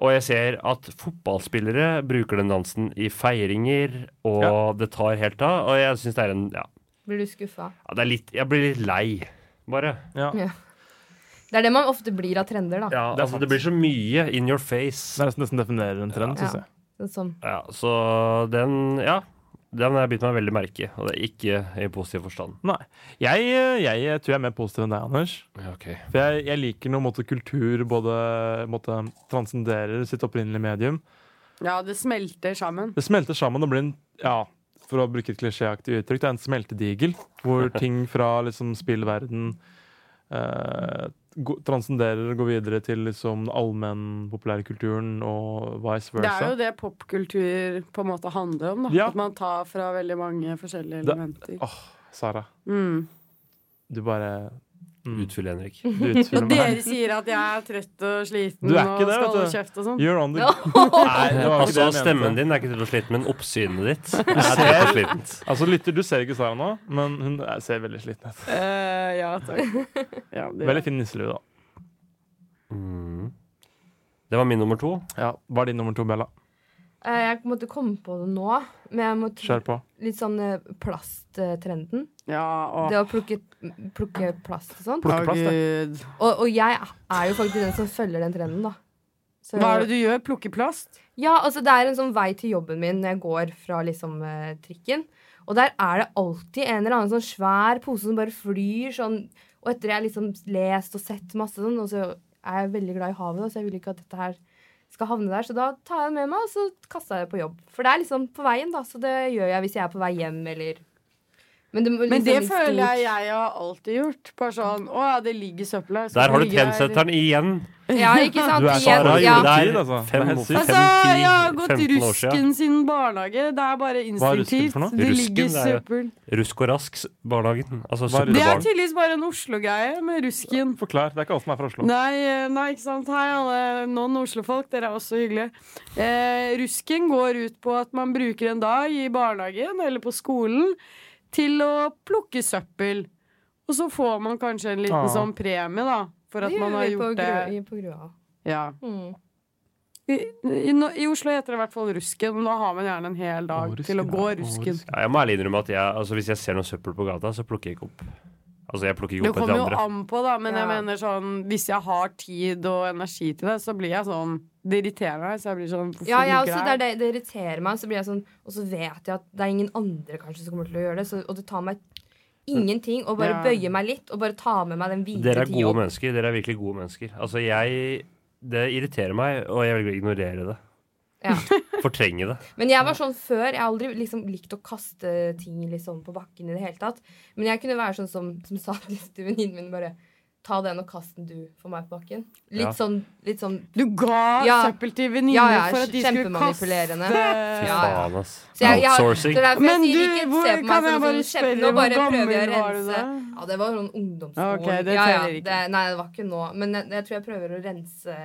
Speaker 6: og jeg ser at fotballspillere bruker den dansen i feiringer, og det tar helt av. Og jeg syns det er en Ja,
Speaker 7: Blir du skuffa?
Speaker 6: ja, det er litt, jeg blir litt lei, bare.
Speaker 7: Ja. Det er det man ofte blir av trender, da.
Speaker 6: Ja, det, altså, det blir så mye in your face.
Speaker 4: Det er nesten definerer en trend,
Speaker 7: synes Ja. jeg. Det er Sånn.
Speaker 6: Ja, så den Ja. Den har jeg bitt meg veldig merke i, og det er ikke i positiv forstand.
Speaker 4: Nei. Jeg, jeg tror jeg er mer positiv enn deg, Anders. For jeg, jeg liker når måte, kultur både måte, transcenderer sitt opprinnelige medium.
Speaker 5: Ja, det smelter sammen.
Speaker 4: Det smelter sammen og blir en ja, for å bruke et klisjéaktig uttrykk, det er en smeltedigel. Hvor ting fra liksom, spillverden eh, gå- transcenderer og går videre til liksom, allmennpopulærkulturen og vice
Speaker 5: Det
Speaker 4: versa.
Speaker 5: er jo det popkultur på en måte handler om. Da. At man tar fra veldig mange forskjellige
Speaker 4: Det-
Speaker 5: elementer.
Speaker 4: Åh, Sara.
Speaker 5: Mm.
Speaker 4: Du bare mm.
Speaker 6: Utfyll Henrik.
Speaker 4: Du
Speaker 5: Når
Speaker 4: utfyller meg.
Speaker 5: dere sier at jeg er trøtt og sliten
Speaker 4: Du er
Speaker 5: og
Speaker 4: ikke det, vet
Speaker 5: skal
Speaker 4: du.
Speaker 5: og kjeft og sånn
Speaker 4: You're on the-
Speaker 6: Nei,
Speaker 4: det var ikke det
Speaker 6: altså,
Speaker 4: jeg mente.
Speaker 6: stemmen din er ikke til å slite med, men oppsynet
Speaker 4: Du
Speaker 6: ditt er til å
Speaker 4: ser,
Speaker 6: slite med.
Speaker 4: altså lytter, du ser ikke Sara nå, men hun er- ser veldig sliten ut.
Speaker 5: Eh, ja, takk. Ja, det-
Speaker 4: Veldig fin nisselue, da.
Speaker 6: Mm. Det var min nummer to.
Speaker 4: Ja, Hva er din nummer to, Bella?
Speaker 7: Eh, Jeg måtte komme på det nå, men jeg må
Speaker 4: Kjør på.
Speaker 7: litt sånn eh, plasttrenden.
Speaker 5: Ja, og-
Speaker 7: Det å plukke, plukke plast og sånn.
Speaker 5: Plukke plast, ja. Å, Gud.
Speaker 7: Og, og jeg er jo faktisk den som følger den trenden, da. Så-
Speaker 5: Hva er det du gjør? Plukker plast?
Speaker 7: Ja, altså det er en sånn vei til jobben min når jeg går fra liksom eh, trikken. Og der er det alltid en eller annen sånn svær pose som bare flyr sånn. Og etter jeg har liksom lest og sett masse sånn, og så er jeg veldig glad i havet, da, så jeg vil ikke at dette her skal havne der. Så da tar jeg det med meg, og så kaster jeg det på jobb. For det er liksom på veien, da, så det gjør jeg hvis jeg er på vei hjem eller Men det, må
Speaker 5: Men
Speaker 7: liksom
Speaker 5: det
Speaker 7: litt
Speaker 5: føler
Speaker 7: stort.
Speaker 5: jeg jeg har alltid gjort. Bare sånn Å ja, det ligger søppel her. skal
Speaker 6: Der har
Speaker 5: det
Speaker 6: du
Speaker 5: ligge her?»
Speaker 6: trendsetteren igjen.
Speaker 7: Ja, ikke sant?
Speaker 6: Du er
Speaker 7: Igjen,
Speaker 6: Sara
Speaker 7: ja.
Speaker 6: Jordal, altså.
Speaker 4: Det er
Speaker 6: Fem,
Speaker 4: helt sykt.
Speaker 6: fem,
Speaker 5: Altså, jeg har
Speaker 6: ti,
Speaker 5: gått
Speaker 6: 15 år
Speaker 5: rusken
Speaker 6: siden.
Speaker 5: siden barnehage. Det er bare
Speaker 6: Hva er rusken
Speaker 5: instinktivt.
Speaker 6: for noe?
Speaker 5: Det
Speaker 6: Rusken,
Speaker 5: ligger
Speaker 6: det er jo-
Speaker 5: søppel.
Speaker 6: Rusk og Rask, barnehagen. Altså
Speaker 4: Hva er det?
Speaker 5: Det er
Speaker 6: søppelbarn.
Speaker 5: tydeligvis bare en Oslo-greie med rusken.
Speaker 4: Forklar. Det er ikke alle som er fra Oslo.
Speaker 5: Nei, eh, nei, ikke sant. Hei, alle non-Oslo-folk. Dere er også hyggelige. Eh, rusken går ut på at man bruker en dag i barnehagen eller på skolen til å plukke søppel. Og så får man kanskje en liten
Speaker 7: Ah.
Speaker 5: sånn premie, da, for at
Speaker 7: Det
Speaker 5: man
Speaker 7: gjør
Speaker 5: har
Speaker 7: vi på
Speaker 5: gjort
Speaker 7: grua-
Speaker 5: det.
Speaker 7: i- På grua.
Speaker 5: Ja.
Speaker 7: Mm.
Speaker 5: I, i, no- I Oslo heter det i hvert fall rusken, og da har man gjerne en hel dag til å gå rusken.
Speaker 6: Ja, jeg må ærlig innrømme at jeg, altså, hvis jeg ser noe søppel på gata, så plukker jeg ikke opp. Altså, jeg plukker ikke
Speaker 5: Det
Speaker 6: opp etter
Speaker 5: kommer jo
Speaker 6: andre.
Speaker 5: an på, da, men
Speaker 7: Ja.
Speaker 5: jeg mener sånn hvis jeg har tid og energi til det, så blir jeg sånn Det irriterer meg, så jeg blir sånn hvorfor
Speaker 7: Ja, jeg
Speaker 5: ligger
Speaker 7: også, det,
Speaker 5: her?
Speaker 7: er det, det irriterer meg. Så blir jeg sånn, og så vet jeg at det er ingen andre kanskje som kommer til å gjøre det. Så, og det tar meg ingenting å bare
Speaker 6: Ja.
Speaker 7: bøye meg litt og bare ta med meg den hvite
Speaker 6: Dere er
Speaker 7: tida.
Speaker 6: gode mennesker. Dere er virkelig gode mennesker. Altså, jeg Det irriterer meg, og jeg velger å ignorere det. Fortrenge det.
Speaker 7: Men jeg var sånn før. Jeg har aldri liksom likt å kaste ting liksom på bakken i det hele tatt. Men jeg kunne være sånn som, som sa til venninnen min bare Ta den og kast den du for meg på bakken. Litt
Speaker 5: Ja.
Speaker 7: sånn, litt sånn
Speaker 5: Du ga
Speaker 7: Ja.
Speaker 5: søppel til venninner
Speaker 7: Ja, ja,
Speaker 5: for at de skulle kaste
Speaker 7: kjempemanipulerende.
Speaker 6: Fy
Speaker 7: Ja, ja.
Speaker 6: faen, ass.
Speaker 7: Så jeg, jeg,
Speaker 6: Outsourcing.
Speaker 7: Det er derfor
Speaker 5: Men
Speaker 7: jeg
Speaker 5: du,
Speaker 7: sier ikke
Speaker 5: hvor-
Speaker 7: se på
Speaker 5: kan
Speaker 7: meg
Speaker 5: jeg
Speaker 7: som
Speaker 5: bare
Speaker 7: en sånn kjempe.
Speaker 5: spørre,
Speaker 7: Nå bare
Speaker 5: hvor
Speaker 7: prøver jeg å
Speaker 5: gammel var du
Speaker 7: rense. Ja, det var sånn ungdomsskolen.
Speaker 5: Ok, det
Speaker 7: ja, ja,
Speaker 5: teller ikke.
Speaker 7: det, nei, det var ikke nå. Men jeg, jeg tror jeg prøver å rense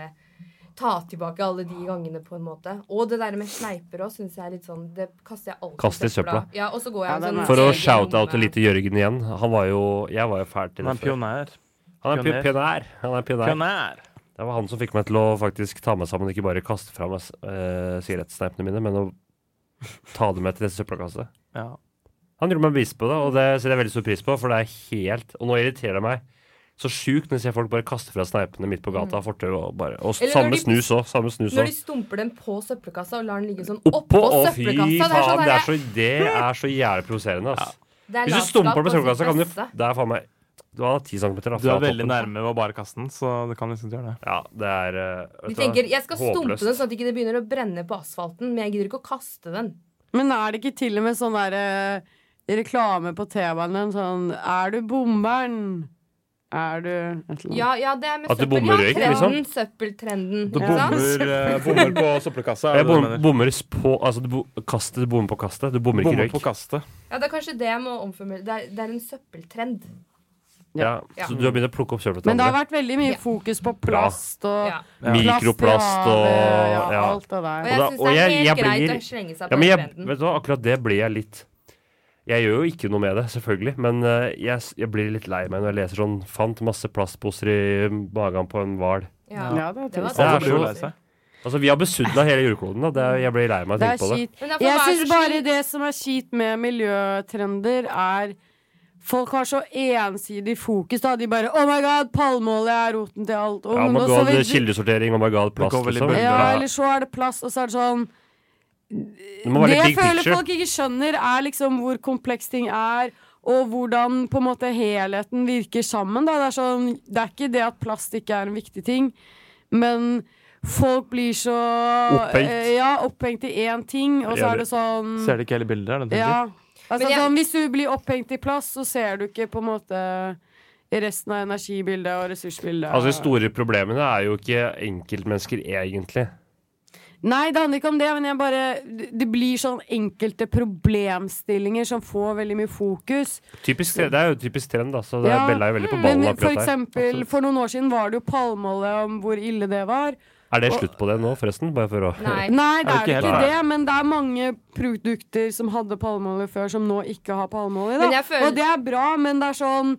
Speaker 7: Ta tilbake alle de gangene, på en måte. Og det der med sneiper òg, syns jeg er litt sånn Det kaster jeg alltid
Speaker 6: Kast i søpla.
Speaker 7: Ja, og så går jeg
Speaker 5: Ja,
Speaker 7: sånn
Speaker 6: For å
Speaker 7: egen
Speaker 6: shout-oute
Speaker 7: lomme.
Speaker 6: lite Jørgen igjen. Han var jo Jeg var jo fæl til det
Speaker 4: Han er en pioner.
Speaker 6: Han er pi- pioner. Han er pioner.
Speaker 4: Pioner.
Speaker 6: Det var han som fikk meg til å faktisk ta meg sammen, ikke bare kaste fra meg uh, sigarettsneipene mine, men å ta det med til neste søppelkasse.
Speaker 4: Ja.
Speaker 6: Han gjorde meg bevis på det, og det setter jeg veldig stor pris på, for det er helt Og nå irriterer det meg så sjukt når jeg ser folk bare kaste fra sneipene midt på gata, fortauet, og bare Og
Speaker 7: Mm. Eller når
Speaker 6: samme
Speaker 7: de-
Speaker 6: snus òg. Samme snus
Speaker 7: Når de
Speaker 6: òg.
Speaker 7: stumper den på søppelkassa og lar den ligge sånn
Speaker 6: Oppå,
Speaker 7: oppå
Speaker 6: å fy
Speaker 7: søppelkassa det er sånn
Speaker 6: faen, det er
Speaker 7: derre-
Speaker 6: så, det er så jævlig provoserende, ass.
Speaker 7: Det er
Speaker 6: Hvis du
Speaker 7: latskap
Speaker 6: stumper
Speaker 7: på
Speaker 6: på
Speaker 7: sitt
Speaker 6: søppelkassa, kan du
Speaker 7: beste.
Speaker 6: Det er faen meg Du har 10 centimeter da,
Speaker 4: Du
Speaker 6: fra
Speaker 4: er veldig
Speaker 6: toppen.
Speaker 4: nærme ved å bare kaste den, så du kan liksom ikke gjøre det.
Speaker 6: Ja, det er eh, vet
Speaker 7: De
Speaker 6: du hva?
Speaker 7: tenker jeg skal stumpe
Speaker 6: Håpløst.
Speaker 7: den sånn at ikke det begynner å brenne på asfalten, men jeg gidder ikke å kaste den.
Speaker 5: Men er det ikke til og med sånn der eh, reklame på T-banen sånn Er du bomberen? Er du et eller annet?
Speaker 7: Ja, ja, det er med
Speaker 6: Mm. At du
Speaker 7: søppel.
Speaker 6: bommer
Speaker 7: ja,
Speaker 6: røyk,
Speaker 7: trenden,
Speaker 6: liksom?
Speaker 7: Søppeltrenden.
Speaker 6: Du
Speaker 7: ikke
Speaker 6: bommer,
Speaker 7: sant?
Speaker 4: eh, bommer på søppelkassa. er
Speaker 6: Jeg
Speaker 4: det det du
Speaker 6: bom,
Speaker 4: mener?
Speaker 6: bommer s- på altså, du bo, kastet, du bommer på kastet. Du bommer ikke
Speaker 4: Bommer
Speaker 6: røyk.
Speaker 4: på kastet.
Speaker 7: Ja, det er kanskje det jeg må omformulere. Det er, det er en søppeltrend.
Speaker 6: Ja.
Speaker 7: Ja.
Speaker 6: Så du har begynt å plukke opp søppelet
Speaker 5: Men det har vært veldig mye fokus på plast og
Speaker 7: Ja.
Speaker 5: plast i
Speaker 6: Mikroplast og
Speaker 5: havet, ja,
Speaker 6: ja.
Speaker 5: alt det der.
Speaker 7: Og jeg
Speaker 6: da-
Speaker 7: synes det er helt greit å slenge seg på
Speaker 6: ja, men
Speaker 7: den
Speaker 6: jeg,
Speaker 7: trenden.
Speaker 6: Vet du hva, akkurat det blir jeg litt Jeg gjør jo ikke noe med det, selvfølgelig, men eh, jeg, s- jeg blir litt lei meg når jeg leser sånn Fant masse plastposer i magen på en hval.
Speaker 7: Ja. Ja, det er trist. Det var
Speaker 6: er
Speaker 7: sånn- trist. Alle blir jo lei
Speaker 6: så- Altså, vi har besudla hele jordkloden, da. Det er, jeg blir lei meg av å
Speaker 5: Det er
Speaker 6: tenke på det.
Speaker 5: kjipt.
Speaker 7: Men det er for
Speaker 5: Jeg
Speaker 7: hva er
Speaker 5: syns
Speaker 7: så
Speaker 5: bare det som er kjipt med miljøtrender, er Folk har så ensidig fokus. da De bare 'Oh my god, palmeolje er roten til alt'. Og
Speaker 6: Oh my
Speaker 5: nå så
Speaker 6: god,
Speaker 5: vil-
Speaker 6: kildesortering, oh my god, plast,
Speaker 4: går vel i
Speaker 6: liksom.
Speaker 4: bølger,
Speaker 5: Ja, eller så er det plast, og så er det sånn
Speaker 6: Det må være
Speaker 5: Det
Speaker 6: litt
Speaker 5: jeg
Speaker 6: big
Speaker 5: føler
Speaker 6: picture.
Speaker 5: folk ikke skjønner, er liksom hvor kompleks ting er, og hvordan på en måte helheten virker sammen. Da. Det, er sånn, det er ikke det at plast ikke er en viktig ting, men folk blir så
Speaker 4: Opphengt.
Speaker 5: eh, Ja, opphengt i én ting, og så er det sånn
Speaker 4: Ser det ikke hele bildet? Er det
Speaker 5: ja.
Speaker 4: ja.
Speaker 5: altså,
Speaker 7: Men jeg-
Speaker 5: sånn, Hvis du blir opphengt i plast, så ser du ikke på en måte resten av energibildet og ressursbildet.
Speaker 6: Altså, de store problemene er jo ikke enkeltmennesker, egentlig.
Speaker 5: Nei, det handler ikke om det, men jeg bare Det blir sånn enkelte problemstillinger som får veldig mye fokus.
Speaker 6: Typisk, tre- det er jo typisk trend, da, så det
Speaker 5: Ja,
Speaker 6: er Bella er jo veldig på
Speaker 5: mm,
Speaker 6: ballen.
Speaker 5: Men
Speaker 6: akkurat
Speaker 5: for
Speaker 6: der. Altså,
Speaker 5: eksempel, for noen år siden var det jo palmeolje om hvor ille det var.
Speaker 6: Er det
Speaker 5: Og-
Speaker 6: slutt på det nå, forresten? Bare for å
Speaker 5: Nei, det er det ikke
Speaker 6: Nei.
Speaker 5: det, men det er mange produkter som hadde palmeolje før, som nå ikke har palmeolje.
Speaker 7: Men
Speaker 5: Da.
Speaker 7: jeg føler-
Speaker 5: Og det er bra, men det er sånn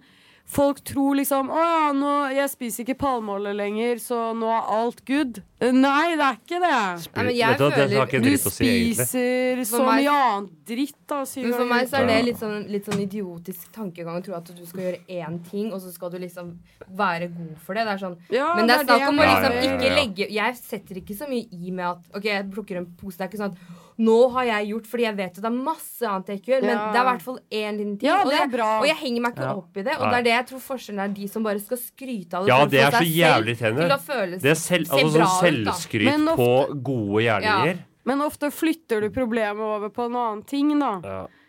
Speaker 5: Folk tror liksom Å ja, nå, jeg spiser ikke palmeolje lenger, så nå er alt good. Nei, det er ikke det.
Speaker 7: Nei, men jeg Vet du hva, det føler- har ikke
Speaker 5: Du
Speaker 7: dritt å si, egentlig.
Speaker 5: spiser
Speaker 7: For
Speaker 5: så
Speaker 7: meg-
Speaker 5: mye annet dritt, da. sier
Speaker 7: Men for
Speaker 5: du.
Speaker 7: meg så er det litt sånn, litt sånn idiotisk tankegang å tro at du skal gjøre én ting, og så skal du liksom være god for det. Det er sånn
Speaker 5: Ja,
Speaker 7: Men
Speaker 5: det
Speaker 7: det
Speaker 5: er
Speaker 7: er snakk
Speaker 5: det
Speaker 7: om å
Speaker 5: jeg
Speaker 7: liksom
Speaker 5: mener. Ja,
Speaker 7: ikke
Speaker 5: ja, ja.
Speaker 7: legge Jeg setter ikke så mye i med at OK, jeg plukker en pose. Det er ikke sånn at nå har jeg gjort fordi jeg vet at det er masse annet jeg ikke gjør, men
Speaker 5: Ja.
Speaker 7: det er i hvert fall én liten ting.
Speaker 5: Ja,
Speaker 7: og,
Speaker 5: det er bra.
Speaker 7: og jeg henger meg ikke
Speaker 6: Ja.
Speaker 7: opp i det. Og det
Speaker 6: Nei.
Speaker 7: er det jeg tror forskjellen er de som bare skal skryte av det.
Speaker 6: Ja,
Speaker 7: for å
Speaker 6: det
Speaker 7: få
Speaker 6: er så
Speaker 7: seg
Speaker 6: jævlig
Speaker 7: selv
Speaker 6: irriterende.
Speaker 7: Til å føle
Speaker 6: Det er selv,
Speaker 7: se
Speaker 6: altså,
Speaker 7: bra
Speaker 6: sånn
Speaker 7: ut, da.
Speaker 6: selvskryt
Speaker 5: Men ofte-
Speaker 6: på gode gjerninger.
Speaker 5: Men ofte flytter du problemet over på en annen ting, da.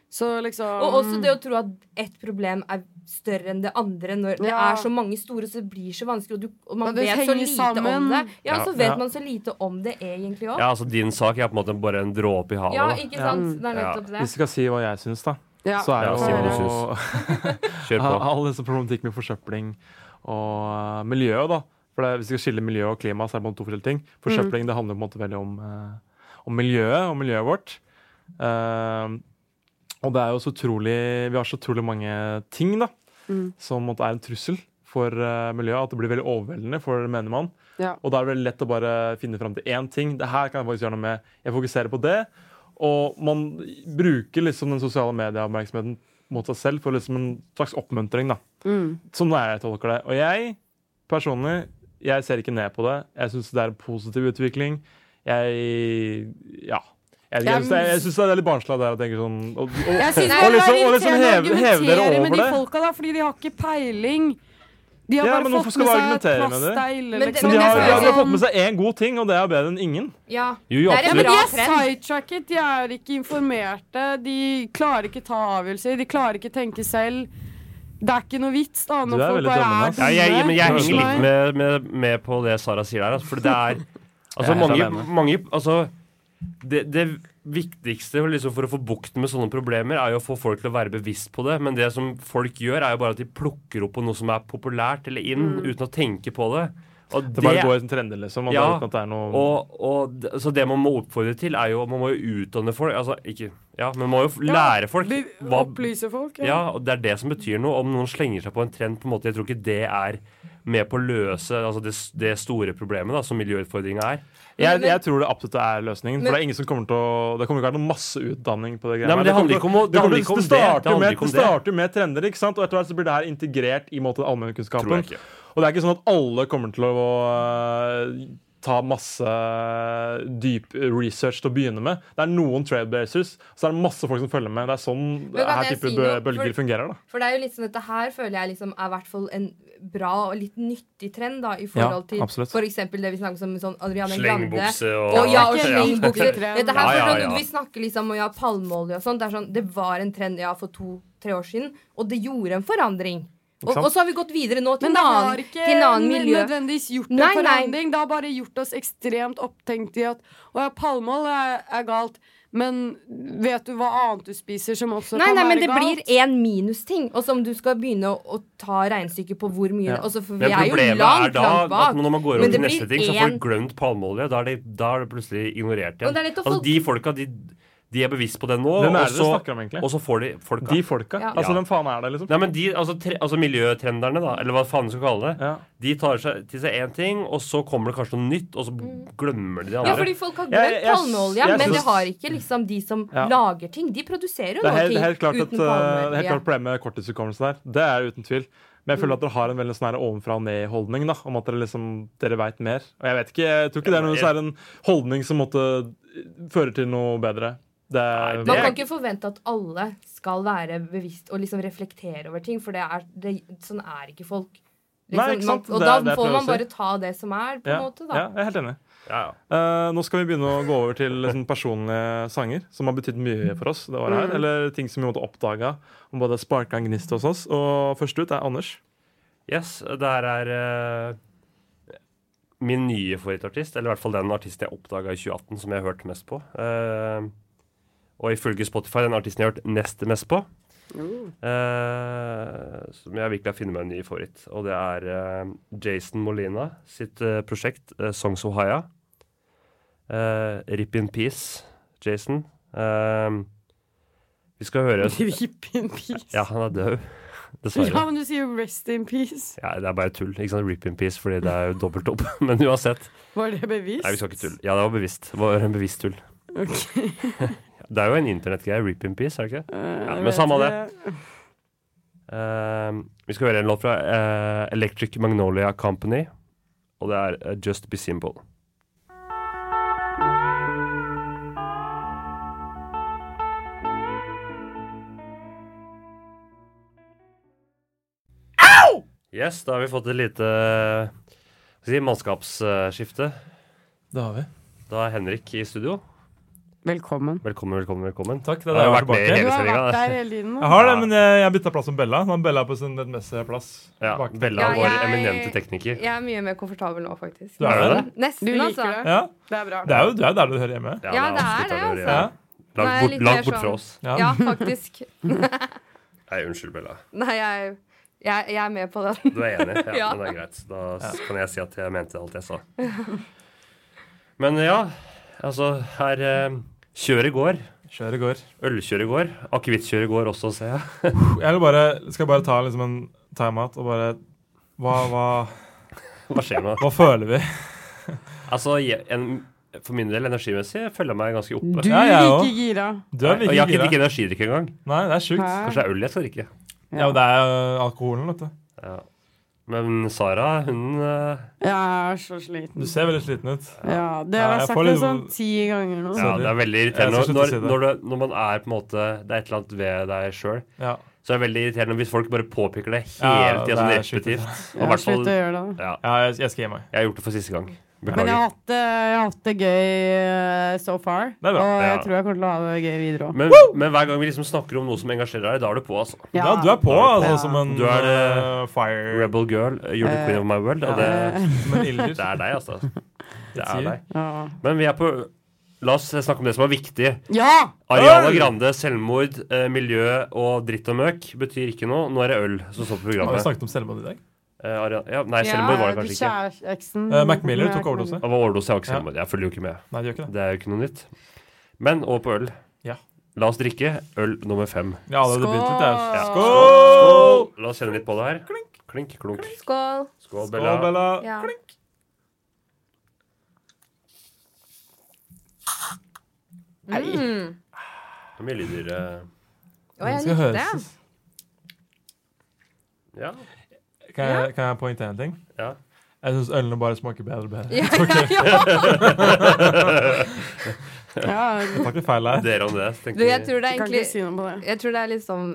Speaker 5: Så liksom
Speaker 7: Og også det å tro at ett problem er større enn det andre. Når det
Speaker 5: Ja.
Speaker 7: er så mange store, så det blir så vanskelig, og, du, og man
Speaker 5: Og det
Speaker 7: vet så
Speaker 5: henger
Speaker 7: lite om
Speaker 5: sammen.
Speaker 7: det. Ja,
Speaker 6: Ja.
Speaker 7: så vet
Speaker 6: Ja.
Speaker 7: man så lite om det egentlig òg.
Speaker 6: Ja, altså Din sak er på en måte bare en dråpe i havet.
Speaker 7: Ja,
Speaker 6: da.
Speaker 7: ikke sant? Det er nettopp det.
Speaker 4: Hvis jeg skal si hva jeg syns, da,
Speaker 7: Ja.
Speaker 4: så er
Speaker 6: Ja, si hva du
Speaker 4: jo
Speaker 6: Kjør på.
Speaker 4: All disse problematikk med forsøpling og eh, miljøet, da. For det, hvis vi skal skille miljø og klima, så er det på en måte to forskjellige ting. Forsøpling det handler på en måte veldig om, eh, om miljøet og miljøet vårt. Eh, og det er jo så utrolig Vi har så utrolig mange ting, da,
Speaker 5: Mm.
Speaker 4: som på en måte er en trussel for eh, miljøet. At det blir veldig overveldende for mener man.
Speaker 5: Ja.
Speaker 4: Og da er det veldig lett å bare finne fram til én ting. Det her kan jeg faktisk gjøre noe med. Jeg fokuserer på det. Og man bruker liksom den sosiale medieoppmerksomheten mot seg selv for liksom en slags oppmuntring. da.
Speaker 5: Mm.
Speaker 4: Sånn er jeg tolker det. Og jeg personlig jeg ser ikke ned på det. Jeg syns det er en positiv utvikling. Jeg ja. Jeg, vet ikke, jeg, synes det, jeg synes det er litt barnslig av dere å tenke sånn og, og,
Speaker 5: Jeg synes
Speaker 4: og
Speaker 5: det
Speaker 4: liksom,
Speaker 5: er
Speaker 4: og liksom
Speaker 5: irriterende
Speaker 4: heve,
Speaker 5: å
Speaker 4: heve dere
Speaker 5: argumentere
Speaker 4: over
Speaker 5: med
Speaker 4: det.
Speaker 5: de folka da, fordi de har ikke peiling. De har
Speaker 4: Ja, men
Speaker 5: bare
Speaker 4: hvorfor
Speaker 5: fått
Speaker 4: skal
Speaker 5: med
Speaker 4: du
Speaker 5: seg at
Speaker 4: argumentere med
Speaker 5: plast
Speaker 4: det?
Speaker 5: er ille.
Speaker 7: Men det-
Speaker 5: liksom.
Speaker 4: Men de har,
Speaker 7: jeg
Speaker 4: de har, de har
Speaker 7: sånn-
Speaker 4: fått med seg én god ting, og det er bedre enn ingen.
Speaker 7: Ja.
Speaker 4: Jo, jo,
Speaker 7: det er en
Speaker 4: absolutt.
Speaker 7: bra
Speaker 5: De er
Speaker 7: trend.
Speaker 5: sidetracket, de er ikke informerte, de klarer ikke ta avgjørelser, de klarer ikke tenke selv. Det er ikke noe vits, da,
Speaker 4: Du
Speaker 5: når
Speaker 4: er
Speaker 5: folk
Speaker 4: veldig
Speaker 5: bare
Speaker 4: dømmende.
Speaker 5: er sånn.
Speaker 6: Ja,
Speaker 5: dumme.
Speaker 6: jeg, men jeg henger
Speaker 5: Nei.
Speaker 6: litt med, med, med på det Sara sier der. Altså, for det er
Speaker 4: Jeg er
Speaker 6: altså,
Speaker 4: helt
Speaker 6: mange,
Speaker 4: alene.
Speaker 6: mange altså, det, det viktigste for, liksom, for å få bukt med sånne problemer, er jo å få folk til å være bevisst på det. Men det som folk gjør, er jo bare at de plukker opp på noe som er populært eller inn,
Speaker 4: Mm.
Speaker 6: uten å tenke på det. Og
Speaker 4: Det bare går i trender, liksom. Og
Speaker 6: ja,
Speaker 4: uten at det er noe...
Speaker 6: og, og, d- så det man må oppfordre til, er jo Man må jo utdanne folk. Altså, ikke Ja, men man må jo f-
Speaker 5: Ja,
Speaker 6: lære folk.
Speaker 5: be-
Speaker 6: hva-
Speaker 5: opplyse folk, ja.
Speaker 6: Ja. og det er det som betyr noe. Om noen slenger seg på en trend, på en måte, jeg tror ikke det er med på å løse altså det, s- det store problemet da, som miljøutfordringa er.
Speaker 4: Jeg, jeg tror det absolutt er løsningen. For
Speaker 6: Men-
Speaker 4: Det er ingen som kommer til å Det kommer ikke til å være noe masseutdanning på det greiene.
Speaker 6: Nei, men det handler ikke om å- det
Speaker 4: kommer
Speaker 6: handler
Speaker 4: til-
Speaker 6: ikke om
Speaker 4: det
Speaker 6: det. Det
Speaker 4: starter
Speaker 6: handler
Speaker 4: med-
Speaker 6: ikke om
Speaker 4: Det
Speaker 6: det.
Speaker 4: starter med trender, ikke sant? Og etter hvert så blir det her integrert i måte
Speaker 6: Tror
Speaker 4: allmennkunnskapen.
Speaker 6: jeg ikke.
Speaker 4: Og det er ikke sånn at alle kommer til å øh, ta masse dyp research til å begynne med. Det er noen trailblazers, så er det masse folk som følger med. Det er sånn
Speaker 7: Men kan
Speaker 4: her
Speaker 7: jeg
Speaker 4: type
Speaker 7: si
Speaker 4: bø-
Speaker 7: noe?
Speaker 4: bølger
Speaker 7: For-
Speaker 4: fungerer, da.
Speaker 7: For det er jo liksom dette her føler jeg liksom er i hvert fall en bra og litt nyttig trend da, i forhold
Speaker 4: Ja, absolutt.
Speaker 7: til for eksempel det vi snakker om sånn Adriane Grande.
Speaker 6: Slengbukse og-
Speaker 7: ja,
Speaker 6: Ja,
Speaker 7: og
Speaker 6: ja.
Speaker 7: slengbukser. Dette
Speaker 6: Ja,
Speaker 7: her
Speaker 6: ja,
Speaker 7: føler jeg
Speaker 6: ja.
Speaker 7: Vi snakker liksom om ja, palmeolje og sånn. Det, er sånn, det var en trend ja, for to-tre år siden, og det gjorde en forandring. Og, og så har vi gått videre nå
Speaker 5: Men
Speaker 7: til en
Speaker 5: det
Speaker 7: annen,
Speaker 5: har ikke
Speaker 7: til en annen miljø.
Speaker 5: nødvendigvis gjort en
Speaker 7: Nei, nei.
Speaker 5: forandring. Det har bare gjort oss ekstremt opptenkt i at Å ja, palmeolje er, er galt, men vet du hva annet du spiser som også
Speaker 7: Nei,
Speaker 5: kan
Speaker 7: nei, men det
Speaker 5: være
Speaker 7: blir
Speaker 5: galt?
Speaker 7: én minusting. Og så om du skal begynne å, å ta regnestykket på hvor mye
Speaker 6: Ja.
Speaker 7: altså, For vi
Speaker 6: Men
Speaker 7: er jo
Speaker 6: problemet er
Speaker 7: langt,
Speaker 6: da
Speaker 7: langt bak.
Speaker 6: at når man går
Speaker 7: Men
Speaker 6: over
Speaker 7: det
Speaker 6: til neste
Speaker 7: blir
Speaker 6: ting, så får folk
Speaker 7: én-
Speaker 6: glemt palmeolje. Da er, de, da er det plutselig ignorert
Speaker 7: Og
Speaker 6: igjen.
Speaker 7: det er lett å
Speaker 6: altså,
Speaker 7: folk-
Speaker 6: de folka, de, de er bevisst på det nå.
Speaker 4: Hvem er
Speaker 6: og
Speaker 4: det dere
Speaker 6: så-
Speaker 4: snakker om egentlig?
Speaker 6: Og så får de folka.
Speaker 4: De folka?
Speaker 6: Ja.
Speaker 4: Altså, hvem faen er det, liksom?
Speaker 6: Nei, men de, altså, tre, altså miljøtrenderne, da, eller hva faen du skal kalle det, de tar seg, til seg én ting, og så kommer det kanskje noe nytt, og så glemmer de det
Speaker 7: Mm. Ja,
Speaker 6: andre.
Speaker 7: fordi folk har
Speaker 6: Jeg-
Speaker 7: glemt
Speaker 6: jeg-
Speaker 7: palmeolje,
Speaker 6: jeg
Speaker 7: men det
Speaker 6: synes-
Speaker 7: har ikke liksom de som
Speaker 4: Ja.
Speaker 7: lager ting. De produserer jo
Speaker 4: Det er
Speaker 7: noe
Speaker 4: helt, det
Speaker 7: ting
Speaker 4: er helt klart at,
Speaker 7: uten
Speaker 4: uh,
Speaker 7: palmeolje.
Speaker 4: det er helt klart problemet med korttidshukommelsen her. Det er uten tvil. Men jeg føler at dere har en veldig sånn her ovenfra og ned-holdning. da, Om at dere liksom, dere veit mer. Og jeg vet ikke, jeg tror ikke det er noe særlig en holdning som måtte fører til noe bedre. Det er,
Speaker 7: Man kan ikke forvente at alle skal være bevisst og liksom reflektere over ting, for det er, det, sånn er ikke folk. Liksom,
Speaker 4: Nei, ikke sant?
Speaker 7: Man, og
Speaker 4: Det er
Speaker 7: da
Speaker 4: det jeg
Speaker 7: får
Speaker 4: prøver å
Speaker 7: man
Speaker 4: si.
Speaker 7: bare ta det som er, på en måte, da.
Speaker 4: Ja, jeg er helt enig. Eh, nå skal vi begynne å gå over til sånn, personlige sanger som har betydd mye for oss. det året her,
Speaker 6: Mm.
Speaker 4: Eller ting som vi måtte oppdage om både sparka en gnist hos oss. Og først ut er Anders.
Speaker 6: Yes, det her er eh, min nye favorittartist, eller i hvert fall den artisten jeg oppdaga i 2018 som jeg har hørt mest på. Eh, og ifølge Spotify den artisten jeg har hørt nest mest på.
Speaker 5: Oh.
Speaker 6: Eh, som jeg virkelig har funnet meg en ny favoritt. Og det er eh, Jason Molina sitt eh, prosjekt eh, Songs of Haya. Eh, Rip in peace, Jason. Eh, vi skal høre
Speaker 5: Rip in peace.
Speaker 6: Ja, han er død. Dessverre.
Speaker 5: Ja, men du sier jo 'rest in peace'.
Speaker 6: Ja, det er bare tull. Ikke sant? Rip in peace, fordi det er jo dobbelt opp. Men uansett.
Speaker 5: Var det bevisst?
Speaker 6: Nei, vi skal ikke tulle. Ja, det var bevisst. Det var en bevisst tull.
Speaker 5: Ok.
Speaker 6: Det er jo en internettgreie. Rip in peace, er det ikke? det?
Speaker 5: Eh,
Speaker 6: Ja,
Speaker 5: jeg
Speaker 6: men
Speaker 5: vet
Speaker 6: samme det.
Speaker 5: ikke.
Speaker 6: Eh, vi skal høre en låt fra eh, Electric Magnolia Company, og det er eh, Just Be Simple. Yes, da har vi fått et lite eh, hva skal jeg si, mannskapsskifte.
Speaker 4: Det har vi.
Speaker 6: Da er Henrik i studio.
Speaker 5: Velkommen.
Speaker 6: Velkommen, velkommen, velkommen.
Speaker 4: Takk,
Speaker 6: det har jo vært med i hele sendinga.
Speaker 4: Jeg har det, men jeg, jeg bytta plass med Bella. Nå er Bella på sin rettmessige plass.
Speaker 6: Ja,
Speaker 4: bak.
Speaker 6: Bella,
Speaker 7: Ja,
Speaker 6: vår
Speaker 7: jeg-
Speaker 6: eminente tekniker.
Speaker 7: Jeg er mye mer komfortabel nå, faktisk.
Speaker 4: Du er det?
Speaker 7: Nesten,
Speaker 5: Du liker
Speaker 7: altså.
Speaker 5: det.
Speaker 4: Ja.
Speaker 5: Det er bra.
Speaker 4: Det er jo det er der du hører hjemme.
Speaker 7: Ja, det er det, altså.
Speaker 4: Ja.
Speaker 7: Nå er jeg litt mer sånn- Ja, faktisk.
Speaker 6: Nei, unnskyld, Bella.
Speaker 7: Nei, jeg, jeg, jeg er med på den.
Speaker 6: Du er enig? Ja, men det er greit. Da s- kan jeg si at jeg mente alt jeg sa. Men ja, altså her eh, Kjøret går.
Speaker 4: Kjøret går.
Speaker 6: Ølkjøret går. Akevittkjøret går også, ser jeg.
Speaker 4: Jeg vil bare, skal bare ta liksom en timeout og bare Hva, hva,
Speaker 6: Hva skjer nå?
Speaker 4: hva føler vi?
Speaker 6: Altså, jeg, en, for min del energimessig jeg føler jeg meg ganske oppe.
Speaker 4: Du Ja, jeg er også. ikke
Speaker 5: gira.
Speaker 4: Du er
Speaker 6: Og
Speaker 4: virkelig
Speaker 6: jeg har ikke
Speaker 4: gira.
Speaker 6: drikket energidrikk engang.
Speaker 4: Nei, det er sjukt.
Speaker 6: Hæ? Kanskje det er øl jeg skal drikke.
Speaker 4: Ja, men det er jo alkoholen, vet du.
Speaker 6: Ja. Men Sara, hun eh,
Speaker 5: Jeg er så sliten.
Speaker 4: Du ser veldig sliten ut.
Speaker 5: Ja, det
Speaker 4: Ja,
Speaker 5: har
Speaker 4: jeg
Speaker 5: jeg sagt
Speaker 4: får
Speaker 5: det
Speaker 4: litt-
Speaker 5: sånn ti ganger nå.
Speaker 6: Ja, det er veldig irriterende
Speaker 4: Jeg skal
Speaker 6: når,
Speaker 4: slutte
Speaker 6: når,
Speaker 4: å si det.
Speaker 6: når, du, når man er på en måte Det er et eller annet ved deg sjøl.
Speaker 4: Ja.
Speaker 6: Så er det veldig irriterende hvis folk bare påpeker det hele
Speaker 4: Ja,
Speaker 6: tida,
Speaker 4: det
Speaker 6: sånn
Speaker 4: er sjukt
Speaker 6: repetitivt.
Speaker 4: irriterende.
Speaker 6: Og
Speaker 4: Ja,
Speaker 6: hvert fall-
Speaker 5: slutt å gjøre det.
Speaker 6: Ja.
Speaker 4: jeg, skal gi meg.
Speaker 6: Jeg har gjort det for siste gang.
Speaker 5: Men jeg
Speaker 6: Beklager.
Speaker 5: har hatt det, jeg har hatt det gøy eh, so far.
Speaker 6: Det er bra.
Speaker 5: Og jeg
Speaker 6: Ja.
Speaker 5: tror jeg kommer til å ha det gøy videre òg.
Speaker 6: Men, men hver gang vi liksom snakker om noe som engasjerer deg, da er du på, altså.
Speaker 5: Ja. Ja, du er
Speaker 4: på,
Speaker 6: Da
Speaker 4: altså, som en,
Speaker 6: Du er det
Speaker 4: eh, fire
Speaker 6: Rebel girl, uh, you're the queen of my world. Og det,
Speaker 5: Eh,
Speaker 4: ja, som en ilder.
Speaker 6: det er deg, altså. Det
Speaker 4: It's you.
Speaker 6: er deg.
Speaker 5: Ja.
Speaker 6: Men vi er på La oss snakke om det som er viktig.
Speaker 5: Ja!
Speaker 6: Ariana
Speaker 4: Øl!
Speaker 6: Grande, selvmord, eh, miljø og dritt og møk betyr ikke noe. Nå er det øl som
Speaker 4: Har
Speaker 6: står på
Speaker 4: vi
Speaker 6: programmet.
Speaker 4: snakket om selvmord i dag?
Speaker 6: Eh, Ariana, ja, nei, selvmord var det kanskje ikke.
Speaker 5: Kjæreksen
Speaker 4: Eh, Mac Miller tok overdose.
Speaker 6: Det var overdose, jeg har ikke
Speaker 4: Ja.
Speaker 6: selvmord. Jeg følger jo ikke med.
Speaker 4: Nei, det gjør ikke det.
Speaker 6: er jo ikke noe nytt. Men over på øl.
Speaker 4: Ja.
Speaker 6: La oss drikke øl nummer fem.
Speaker 4: Ja, det hadde begynt litt, det.
Speaker 6: Ja.
Speaker 4: Skål!
Speaker 6: La oss kjenne litt på det her. Klink, klunk.
Speaker 7: Skål.
Speaker 6: Skål, Bella.
Speaker 4: Skål, Bella.
Speaker 7: Ja.
Speaker 6: Nei.
Speaker 7: Mm.
Speaker 6: Det er mye lyder. eh.
Speaker 7: Og jeg
Speaker 4: Det skal
Speaker 7: likte
Speaker 4: høres
Speaker 7: det.
Speaker 6: Ja.
Speaker 4: Kan jeg, kan jeg poengtere en ting?
Speaker 6: Ja.
Speaker 4: Jeg Jeg syns ølene bare smaker bedre og bedre.
Speaker 5: Ja,
Speaker 4: Ok.
Speaker 5: Ja.
Speaker 4: Jeg tar ikke feil her.
Speaker 6: Dere om det,
Speaker 7: Du, jeg tror det er
Speaker 5: Kan ikke
Speaker 7: egentlig
Speaker 5: si noe på det.
Speaker 7: Jeg tror det er litt sånn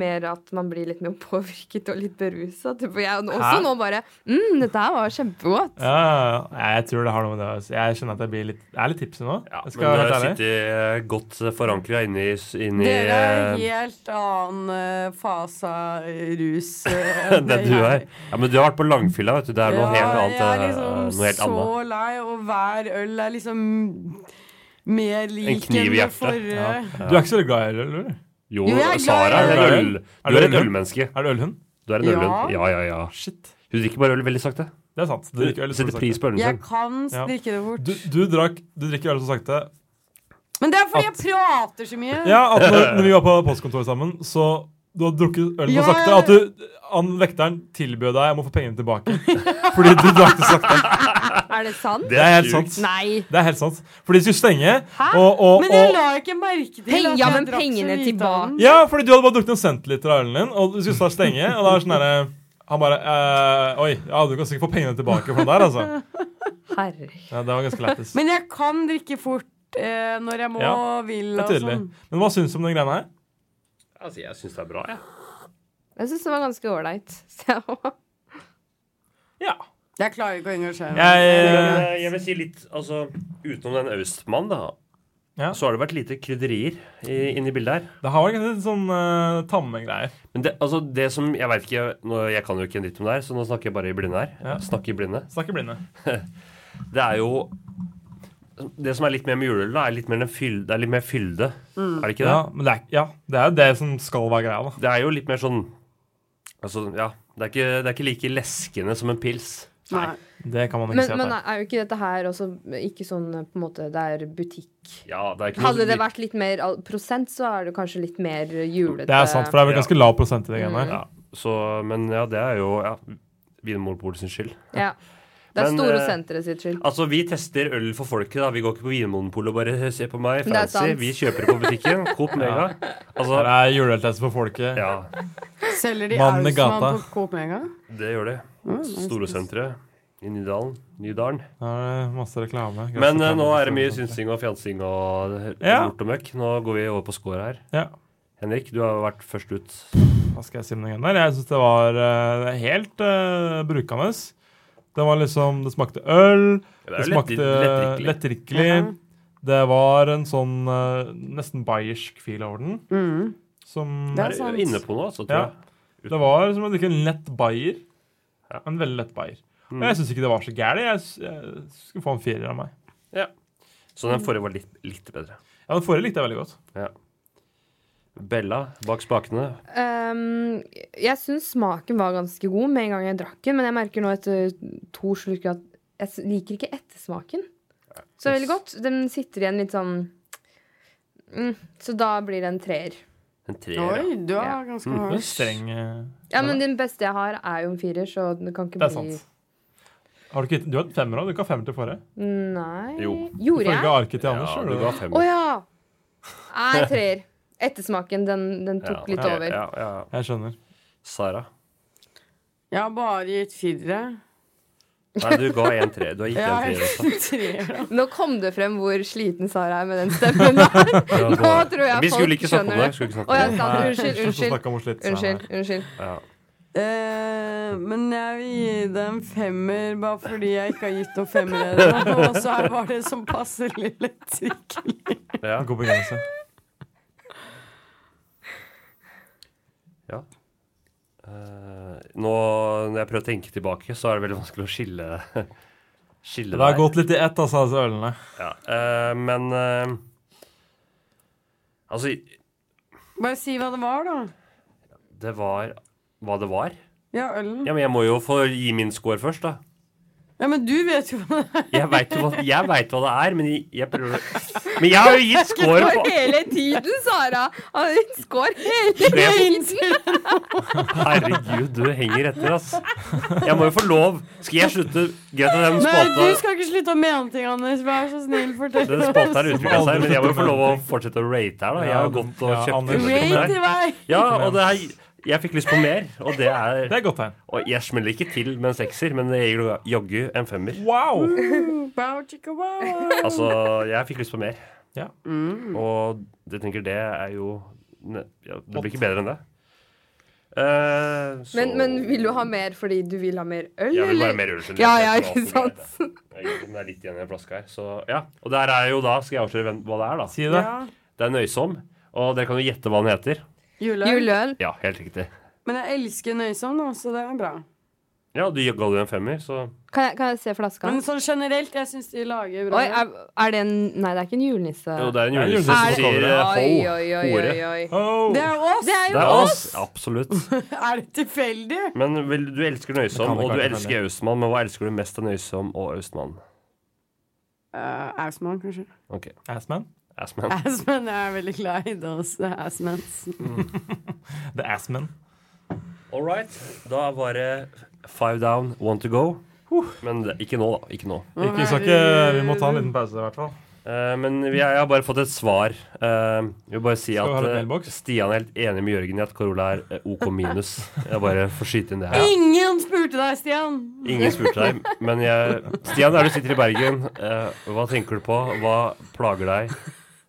Speaker 7: mer at man blir litt mer påvirket og litt berusa. Typ. Og jeg også
Speaker 4: Hæ?
Speaker 7: nå bare mm, dette her var kjempegodt.
Speaker 4: Ja, ja, ja. jeg tror det har noe med det å si. Jeg kjenner at jeg blir litt, jeg er litt tipsy nå. Jeg skal
Speaker 6: Men
Speaker 4: være
Speaker 6: det
Speaker 4: helt ærlig.
Speaker 6: sitter eh, godt forankra inni, inni
Speaker 5: Dere er
Speaker 6: eh,
Speaker 5: helt annen eh, fase av rus eh, enn
Speaker 6: det
Speaker 5: det
Speaker 6: du
Speaker 5: jeg
Speaker 6: er. Ja, men du har vært på langfylla, vet du. Det er noe helt annet.
Speaker 5: Jeg er
Speaker 6: eh,
Speaker 5: liksom
Speaker 6: noe helt
Speaker 5: så
Speaker 6: annet.
Speaker 5: lei, og hver øl er liksom mer
Speaker 6: En
Speaker 5: lik
Speaker 6: kniv i
Speaker 5: det
Speaker 6: hjertet.
Speaker 5: forrige.
Speaker 6: Ja.
Speaker 4: Du er ikke så glad i øl, eller?
Speaker 6: Jo,
Speaker 5: Jo, jeg er glad i
Speaker 6: Sara er
Speaker 4: øl.
Speaker 6: en øl.
Speaker 4: Er du
Speaker 6: Du er et
Speaker 4: ølhund?
Speaker 6: ølmenneske.
Speaker 4: Er du ølhund?
Speaker 6: Du er en
Speaker 5: Ja.
Speaker 6: ølhund. Ja, ja, ja. Shit. Hun drikker bare øl veldig sakte.
Speaker 4: Det er sant. Du drikker øl som
Speaker 6: Setter
Speaker 4: sakte.
Speaker 6: pris på ølen
Speaker 5: Jeg
Speaker 6: sin.
Speaker 5: kan
Speaker 4: Ja.
Speaker 5: drikke det fort.
Speaker 4: Du, du, drakk, du drikker øl så sakte.
Speaker 5: Men det er fordi jeg prater så mye.
Speaker 4: Ja, at når, når vi var på postkontoret sammen, så du har drukket øl
Speaker 5: Ja,
Speaker 4: så sakte
Speaker 5: ja.
Speaker 4: at du, han vekteren tilbød deg om å få pengene tilbake. Fordi du drakk det sakte.
Speaker 7: Er det sant?
Speaker 4: Det er helt sant.
Speaker 7: Nei.
Speaker 4: Det er helt sant. For de skulle stenge.
Speaker 5: Hæ?
Speaker 4: Og, og,
Speaker 5: men jeg
Speaker 4: og,
Speaker 5: la ikke merke til
Speaker 7: Pen-
Speaker 5: at
Speaker 7: ja,
Speaker 5: jeg
Speaker 7: men
Speaker 5: drakk så
Speaker 7: pengene
Speaker 5: lite av den.
Speaker 7: tilbake.
Speaker 4: ja, fordi du hadde bare drukket en centiliter av ølen din, og du skulle snart stenge. Og da er det sånn derre Han bare eh, Oi, ja, du kan sikkert få pengene tilbake for den der, altså.
Speaker 7: Herre.
Speaker 4: Ja, det var ganske lættis.
Speaker 5: Men jeg kan drikke fort eh, når jeg må
Speaker 4: Ja,
Speaker 5: og vil.
Speaker 4: Det er
Speaker 5: og
Speaker 4: tydelig.
Speaker 5: sånn.
Speaker 4: Men hva syns du om den greia her?
Speaker 6: Altså, jeg syns det er bra, jeg.
Speaker 7: Jeg syns det var ganske ålreit. Så-
Speaker 5: Jeg klarer ikke å engasjere
Speaker 4: Eh,
Speaker 6: Jeg,
Speaker 5: meg.
Speaker 6: jeg vil si litt, altså Utenom den Austmann, da,
Speaker 4: Ja.
Speaker 6: så har det vært lite krydderier i- inni bildet her.
Speaker 4: Det har vært ganske litt sånn uh, tamme greier.
Speaker 6: Men det, altså, det som Jeg vet ikke nå, Jeg kan jo ikke en dritt om det her, så nå snakker jeg bare i blinde her.
Speaker 4: Ja.
Speaker 6: Snakker i blinde.
Speaker 4: Snakker blinde.
Speaker 6: Det er jo Det som er litt mer med juleøl, da, er litt mer, den fyl, det er litt mer fylde.
Speaker 4: Mm.
Speaker 6: Er det ikke det?
Speaker 4: Ja, men det er, ja, det er jo det som skal være greia, da.
Speaker 6: Det er jo litt mer sånn Altså, ja. Det er ikke, det er ikke like leskende som en pils.
Speaker 5: Nei.
Speaker 4: Det kan man ikke
Speaker 7: Men,
Speaker 4: si at
Speaker 7: men
Speaker 4: det er.
Speaker 7: er jo ikke dette her også ikke sånn på en måte Det er butikk.
Speaker 6: Ja, det er ikke noe
Speaker 7: Hadde det
Speaker 6: lik-
Speaker 7: vært litt mer al- prosent, så er det kanskje litt mer julete.
Speaker 4: Det er sant, for det er vel ganske lav prosent i det greiene her.
Speaker 6: ja, så, Men ja, det er jo ja, Vinmonopolet sin skyld.
Speaker 7: Ja. Det er
Speaker 6: Men,
Speaker 7: store
Speaker 6: eh,
Speaker 7: senteret sitt skyld.
Speaker 6: Altså, Vi tester øl for folket. da Vi går ikke på Vinmonopolet og bare se på meg,
Speaker 7: Det er
Speaker 6: fancy.
Speaker 7: sant.
Speaker 6: Vi kjøper det på butikken. Coop Mega. Altså,
Speaker 4: Her er juleøltest for folket.
Speaker 6: ja,
Speaker 5: Selger de
Speaker 4: Mannen i
Speaker 5: Ausmann
Speaker 4: gata.
Speaker 5: på Coop Mega?
Speaker 6: det gjør det. Storosenteret i Nydalen. Nydalen.
Speaker 4: Her er det masse reklame. Gratis
Speaker 6: Men eh,
Speaker 4: reklame
Speaker 6: nå
Speaker 4: for
Speaker 6: er det mye
Speaker 4: Storosenteret.
Speaker 6: synsing og fjansing og
Speaker 4: Ja.
Speaker 6: lort og møkk. Nå går vi over på score her.
Speaker 4: Ja.
Speaker 6: Henrik, du har vært først ut.
Speaker 4: Hva skal jeg si om den greia der? Jeg syns det var eh, helt eh, brukende. Det var liksom Det smakte øl. Det,
Speaker 6: Ja, det er jo
Speaker 4: smakte
Speaker 6: lett- lettdrikkelig.
Speaker 4: lettdrikkelig. Det var en sånn eh, nesten bayersk feel over den.
Speaker 5: Mm.
Speaker 4: Som
Speaker 5: Det er
Speaker 6: Er
Speaker 5: sant.
Speaker 6: du inne på noe, altså, tror
Speaker 4: Ja.
Speaker 6: jeg.
Speaker 4: Det var som å drikke en lett bayer. En veldig lett bayer. Og jeg syns ikke det var så gærent. Jeg, s- jeg skulle få en firer av meg.
Speaker 6: Så den forrige var litt, litt bedre.
Speaker 4: Ja, Den forrige likte jeg veldig godt.
Speaker 6: Ja. Bella bak spakene.
Speaker 7: Ehm, jeg syns smaken var ganske god med en gang jeg drakk den, men jeg merker nå etter to slurker at jeg s- liker ikke ettersmaken så veldig godt. Den sitter igjen litt sånn mm, Så da blir det en treer.
Speaker 6: En treer. ja.
Speaker 5: Oi, du
Speaker 7: Ja.
Speaker 5: er ganske
Speaker 4: Det var
Speaker 5: hard.
Speaker 4: Streng. eh,
Speaker 7: Ja, men den beste jeg har, er jo en firer, så det kan ikke
Speaker 4: Det er
Speaker 7: bli
Speaker 4: sant. Har du, ikke, du har en femmer òg. Du ikke har femmer til forrige.
Speaker 7: Nei
Speaker 6: Jo.
Speaker 7: Gjorde
Speaker 4: Ifølge
Speaker 7: jeg?
Speaker 4: arket til Anders.
Speaker 6: Ja,
Speaker 4: gjorde
Speaker 6: du
Speaker 4: du
Speaker 6: ga
Speaker 4: det.
Speaker 6: fem.
Speaker 7: Å ja! Nei, treer. Ettersmaken, den, den
Speaker 6: Ja,
Speaker 7: tok litt
Speaker 6: ok,
Speaker 7: over.
Speaker 6: Ja, ja.
Speaker 4: Jeg skjønner.
Speaker 6: Sara.
Speaker 5: Jeg har bare gitt firere.
Speaker 6: Nei, du ga en tre. Du har gitt
Speaker 5: Ja,
Speaker 6: en tre også.
Speaker 5: treer, da.
Speaker 7: Nå kom det frem hvor sliten Sara er med den stemmen der.
Speaker 6: Ja,
Speaker 7: Nå
Speaker 6: det-
Speaker 7: tror jeg
Speaker 6: Vi skulle
Speaker 7: folk
Speaker 6: ikke snakke om
Speaker 7: skjønner
Speaker 6: det. vi Skulle ikke snakke
Speaker 7: Å, ja,
Speaker 6: om det.
Speaker 7: sant.
Speaker 4: Nei,
Speaker 7: Unnskyld,
Speaker 4: slutt å
Speaker 7: unnskyld.
Speaker 4: snakke om oss litt, Sara.
Speaker 7: Unnskyld. unnskyld.
Speaker 6: Ja.
Speaker 5: Eh, men jeg vil gi det en femmer, bare fordi jeg ikke har gitt noen femmere. ennå. Og så er det bare det som passer lille trikk.
Speaker 6: Ja.
Speaker 4: God begrunnelse.
Speaker 6: ja. Eh, nå når jeg prøver å tenke tilbake, så er det veldig vanskelig å skille Skille
Speaker 4: Det har gått litt i ett, altså, disse ølene.
Speaker 6: Ja. eh, men eh, Altså,
Speaker 5: Bare si hva det var, da.
Speaker 6: det var hva det var.
Speaker 5: Ja, ølen.
Speaker 6: Ja, Men jeg må jo få gi min score først, da.
Speaker 5: Ja, men du vet jo hva det er.
Speaker 6: Jeg veit hva, jeg vet hva det er, men jeg, jeg prøver å- Men jeg har jo gitt score
Speaker 7: Går
Speaker 6: på
Speaker 7: hele tiden, Sara! Ah, Hun skår hele tiden!
Speaker 6: Herregud, du henger etter, ass. Jeg må jo få lov. Skal jeg slutte? Greit at
Speaker 5: Nei,
Speaker 6: den
Speaker 5: du
Speaker 6: spalta
Speaker 5: skal ikke slutte å mene ting, Anders. Vær så snill, fortell
Speaker 6: Den spalta her utvikla seg, men jeg må jo få lov å
Speaker 4: Aldri
Speaker 6: fortsette å rate her, da. Jeg har gått og
Speaker 4: Ja,
Speaker 6: kjøpt
Speaker 4: Anders.
Speaker 6: den.
Speaker 5: Rate i vei!
Speaker 6: Ja, og det er Jeg fikk lyst på mer, og det er
Speaker 4: Det er godt tegn.
Speaker 6: Og jeg smeller ikke til med en sekser, men det gir jo jaggu en femmer.
Speaker 4: Wow!
Speaker 5: Bow, chicka, wow.
Speaker 6: Altså, jeg fikk lyst på mer.
Speaker 5: Mm.
Speaker 6: Og det tenker det er jo ne, ja, Det blir ikke bedre enn det. Eh, så
Speaker 7: Men, men vil du ha mer fordi du vil ha mer øl,
Speaker 6: Jeg vil bare ha
Speaker 7: eller?
Speaker 6: mer øl generelt.
Speaker 7: Ja, ja,
Speaker 6: Jeg
Speaker 7: ikke
Speaker 6: hater
Speaker 7: sant?
Speaker 6: Jeg vet ikke om det er litt igjen i en flaske her. Så, ja. Og der er jo da, skal jeg avsløre hvem, hva det er, da.
Speaker 4: Si det. Ja.
Speaker 6: det er Nøysom. Og dere kan jo gjette hva den heter.
Speaker 5: Juleøl.
Speaker 6: Ja, helt riktig.
Speaker 5: Men jeg elsker nøysom, da, så det er bra.
Speaker 6: Ja, du ga jo en femmer, så
Speaker 7: Kan jeg, kan jeg se flaska?
Speaker 5: Men sånn generelt, jeg syns de lager bra.
Speaker 7: Oi, er, er det en Nei, det er ikke en julenisse.
Speaker 6: Jo, det er en julenisse som
Speaker 7: Er det-
Speaker 6: sier, eh, ho,
Speaker 7: Oi, oi, oi,
Speaker 6: hore.
Speaker 7: oi, oi.
Speaker 4: Ho.
Speaker 5: Det er oss!
Speaker 7: Det er
Speaker 6: Det er oss! Absolutt.
Speaker 5: er det tilfeldig?
Speaker 6: Men vil, du elsker
Speaker 4: Det kan
Speaker 6: Nøysom,
Speaker 4: det klart
Speaker 6: og du
Speaker 4: det kan
Speaker 6: elsker Austmann, men hva elsker du mest av Nøysom og Austmann?
Speaker 5: Uh,
Speaker 7: Eh,
Speaker 5: Assman, kanskje.
Speaker 6: Ok.
Speaker 4: Assman?
Speaker 6: Assman.
Speaker 5: Assman jeg er veldig glad i. Det også. Assmans.
Speaker 4: The Assman.
Speaker 6: All right. Da var det five down, one to go. Men det, ikke nå, da. Ikke nå.
Speaker 4: Ikke, vi, skal ikke, vi må ta en liten pause, i hvert fall.
Speaker 6: Eh, men vi, jeg har bare fått et svar. Eh, jeg vil bare si
Speaker 4: Skal vi ha
Speaker 6: at
Speaker 4: litt
Speaker 6: eh, Stian er helt enig med Jørgen i at Carola er eh, OK minus. Jeg bare får skyte inn det her.
Speaker 5: Ingen spurte deg, Stian!
Speaker 6: Ingen spurte deg, men jeg Stian, der du sitter i Bergen, eh, hva tenker du på? Hva plager deg?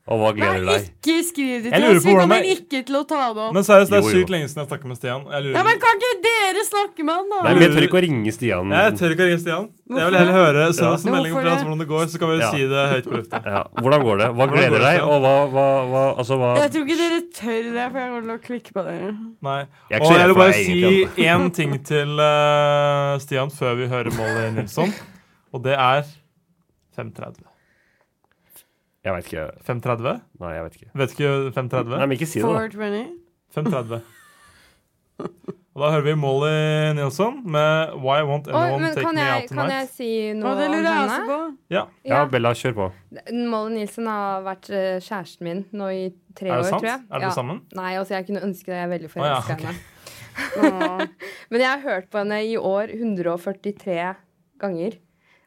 Speaker 6: Og hva gleder deg?
Speaker 5: Ikke skriv det
Speaker 4: Jeg lurer
Speaker 5: til oss.
Speaker 4: på
Speaker 5: Vi
Speaker 4: hvordan
Speaker 5: kommer
Speaker 4: det-
Speaker 5: ikke til å ta det opp.
Speaker 4: Men seriøst, det er
Speaker 6: Jo, jo.
Speaker 4: sykt lenge siden jeg snakket med Stian. Jeg lurer
Speaker 5: Ja, men Kan ikke dere snakke med han, da?
Speaker 6: Nei, men jeg tør ikke å ringe Stian.
Speaker 4: Jeg tør ikke å ringe Stian. Jeg vil heller høre send
Speaker 6: Ja.
Speaker 4: oss en melding
Speaker 5: Hvorfor
Speaker 4: fra oss
Speaker 5: det?
Speaker 4: hvordan det går, så kan vi
Speaker 6: Ja.
Speaker 4: si det høyt på lufta.
Speaker 6: Ja, hvordan går det? Hva
Speaker 4: Hvordan går
Speaker 6: gleder
Speaker 4: det,
Speaker 6: deg,
Speaker 4: Stian?
Speaker 6: og hva, hva, hva Altså, hva
Speaker 5: Jeg tror ikke dere tør det, for jeg kommer til å klikke på dere.
Speaker 4: Nei.
Speaker 6: Jeg er ikke
Speaker 4: Og
Speaker 6: så
Speaker 4: jeg
Speaker 6: redd
Speaker 4: vil
Speaker 6: for
Speaker 4: bare
Speaker 6: deg,
Speaker 4: si
Speaker 6: egentlig, altså.
Speaker 4: én ting til eh, Stian før vi hører Molly Nilsson, og det er 5.30.
Speaker 6: Jeg vet ikke.
Speaker 4: 5.30?
Speaker 6: Nei, jeg vet ikke.
Speaker 4: Vet ikke 5.30?
Speaker 6: Nei, men ikke si det, da.
Speaker 5: 420.
Speaker 4: 5.30. Og da hører vi Molly Nilsson med Why Won't
Speaker 7: Oi,
Speaker 4: Anyone
Speaker 7: men
Speaker 4: Take
Speaker 7: kan
Speaker 4: Me
Speaker 7: jeg,
Speaker 4: Out
Speaker 7: kan
Speaker 4: Tonight?
Speaker 7: jeg si noe
Speaker 5: Og det lurer jeg også på.
Speaker 4: Ja.
Speaker 6: Ja,
Speaker 7: Ja.
Speaker 6: Bella, kjør på.
Speaker 7: Molly Nilsen har vært eh, kjæresten min nå i tre
Speaker 6: Er det
Speaker 7: år,
Speaker 6: sant?
Speaker 7: tror jeg.
Speaker 6: Er dere sammen?
Speaker 7: Nei, altså jeg kunne ønske det. Jeg er veldig
Speaker 4: Å, ja,
Speaker 7: forelska i henne. Men jeg har hørt på henne i år 143 ganger.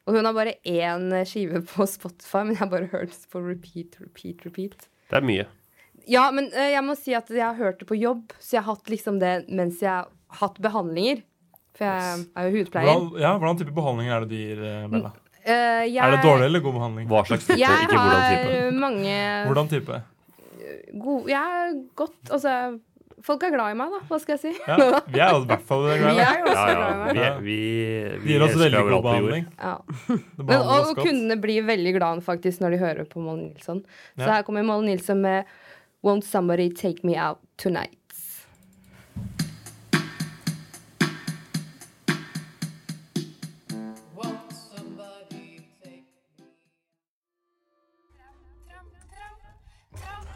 Speaker 7: Og hun har bare én eh, skive på Spotify, men jeg har bare hørt på repeat, repeat, repeat.
Speaker 6: Det er mye.
Speaker 7: Ja, men eh, jeg må si at jeg har hørt det på jobb, så jeg har hatt liksom det mens jeg har hatt behandlinger. For jeg er jo hudpleier.
Speaker 4: Hvordan, ja, hvordan type behandlinger er det du gir, eh, Bella?
Speaker 7: Eh, jeg,
Speaker 4: Er det dårlig eller god behandling?
Speaker 6: Hva slags
Speaker 7: Jeg har mange
Speaker 4: Hvordan type?
Speaker 7: god, Jeg er godt Altså, folk er glad i meg, da. Hva skal jeg si?
Speaker 4: Ja, vi er jo i hvert fall glad i
Speaker 7: Vi er jo også
Speaker 6: Ja, ja.
Speaker 7: glad i
Speaker 6: Vi,
Speaker 7: meg.
Speaker 6: vi,
Speaker 4: De gir oss
Speaker 6: elsker
Speaker 4: veldig god
Speaker 6: overalt på jord.
Speaker 4: behandling.
Speaker 7: Ja.
Speaker 4: Det
Speaker 7: Men,
Speaker 4: behandler
Speaker 7: og,
Speaker 4: oss
Speaker 7: og
Speaker 4: godt.
Speaker 7: kundene blir veldig glad faktisk når de hører på Molly Nilsson. Så
Speaker 4: Ja.
Speaker 7: her kommer Molly Nilsson med Won't somebody take me out tonight?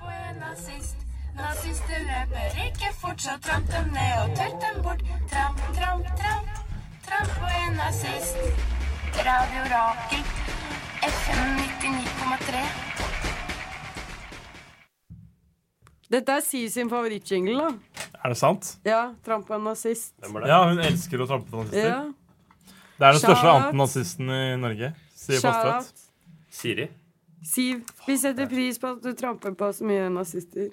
Speaker 15: På en nazist. Nazister løper ikke fort, så tramp dem ned og tørt dem bort. Tramp, tramp, tramp. Tramp på en nazist. Radio Rakel. FM 99,3.
Speaker 5: Dette er Si sin favorittjingle, da.
Speaker 4: Er det sant?
Speaker 5: Ja, Tramp på en nazist.
Speaker 4: Ja, hun elsker å trampe på nazister.
Speaker 5: Ja.
Speaker 4: Det er den
Speaker 5: Shout
Speaker 4: største
Speaker 5: out.
Speaker 4: antinazisten i Norge, sier
Speaker 5: Shout
Speaker 4: Postvedt.
Speaker 5: out.
Speaker 6: Siri.
Speaker 5: Siv, vi setter pris på at du tramper på så mye nazister.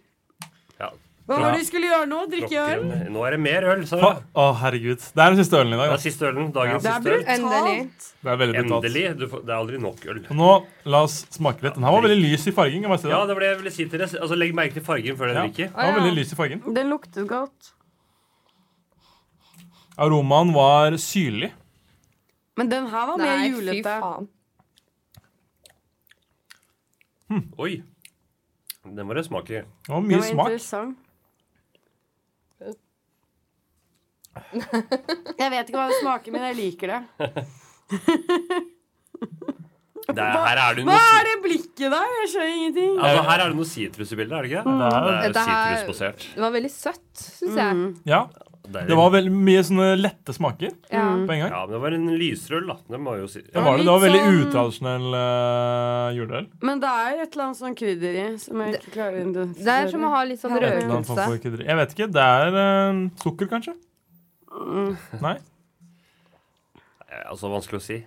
Speaker 6: Ja.
Speaker 5: Hva var det du skulle gjøre nå? Drikke øl?
Speaker 6: Rocker. Nå er det mer øl, sa
Speaker 4: Å,
Speaker 6: jeg.
Speaker 4: herregud. Det er den siste ølen i dag.
Speaker 6: Det
Speaker 4: da.
Speaker 6: er siste ølen. Dagens
Speaker 5: Det er
Speaker 6: siste øl.
Speaker 5: brutalt.
Speaker 4: Det er veldig brutalt.
Speaker 6: Endelig. Du får, det er aldri nok øl.
Speaker 4: Og Nå, la oss smake litt. Den her var veldig lys i fargen. kan jeg bare si
Speaker 6: Ja,
Speaker 4: det.
Speaker 6: det var det jeg ville si til dere. Altså, legg merke til fargen før dere
Speaker 4: Ja.
Speaker 6: drikker.
Speaker 4: Den var veldig lys i fargen.
Speaker 5: Den luktet godt.
Speaker 4: Aromaen var syrlig.
Speaker 5: Men den her var mer
Speaker 7: Nei, fy
Speaker 5: julete.
Speaker 6: Oi. Den må dere smake.
Speaker 4: Det var
Speaker 5: Den
Speaker 4: mye
Speaker 5: var
Speaker 4: smak.
Speaker 5: interessant. Jeg vet ikke hva det smaker, men jeg liker det.
Speaker 6: Det er, her er det
Speaker 5: Hva
Speaker 6: noe si-
Speaker 5: er det blikket der? Jeg skjønner ingenting.
Speaker 6: Altså, her er det noe sitrus i bildet, er det ikke? det?
Speaker 4: er-
Speaker 6: Det
Speaker 7: Dette
Speaker 6: er
Speaker 7: her-
Speaker 6: sitrusbasert.
Speaker 7: Det var veldig søtt, syns jeg.
Speaker 4: Ja. Det var veldig mye sånne lette smaker
Speaker 7: Ja.
Speaker 4: på en gang.
Speaker 6: Ja, men det var en lysrøl, da. Det må jeg jo si.
Speaker 4: Det var, det, det var
Speaker 5: litt
Speaker 4: veldig
Speaker 5: sånn-
Speaker 4: utradisjonell eh, juleøl.
Speaker 5: Men det er et eller annet sånn krydder i som jeg ikke klarer å identifisere.
Speaker 7: Det er som å ha litt sånn
Speaker 5: Ja.
Speaker 4: Et eller annet form
Speaker 7: røkelse.
Speaker 4: for krydderi. Jeg vet ikke. Det er eh, sukker, kanskje?
Speaker 7: Mm.
Speaker 4: Nei?
Speaker 6: Eh, Altså, vanskelig å si.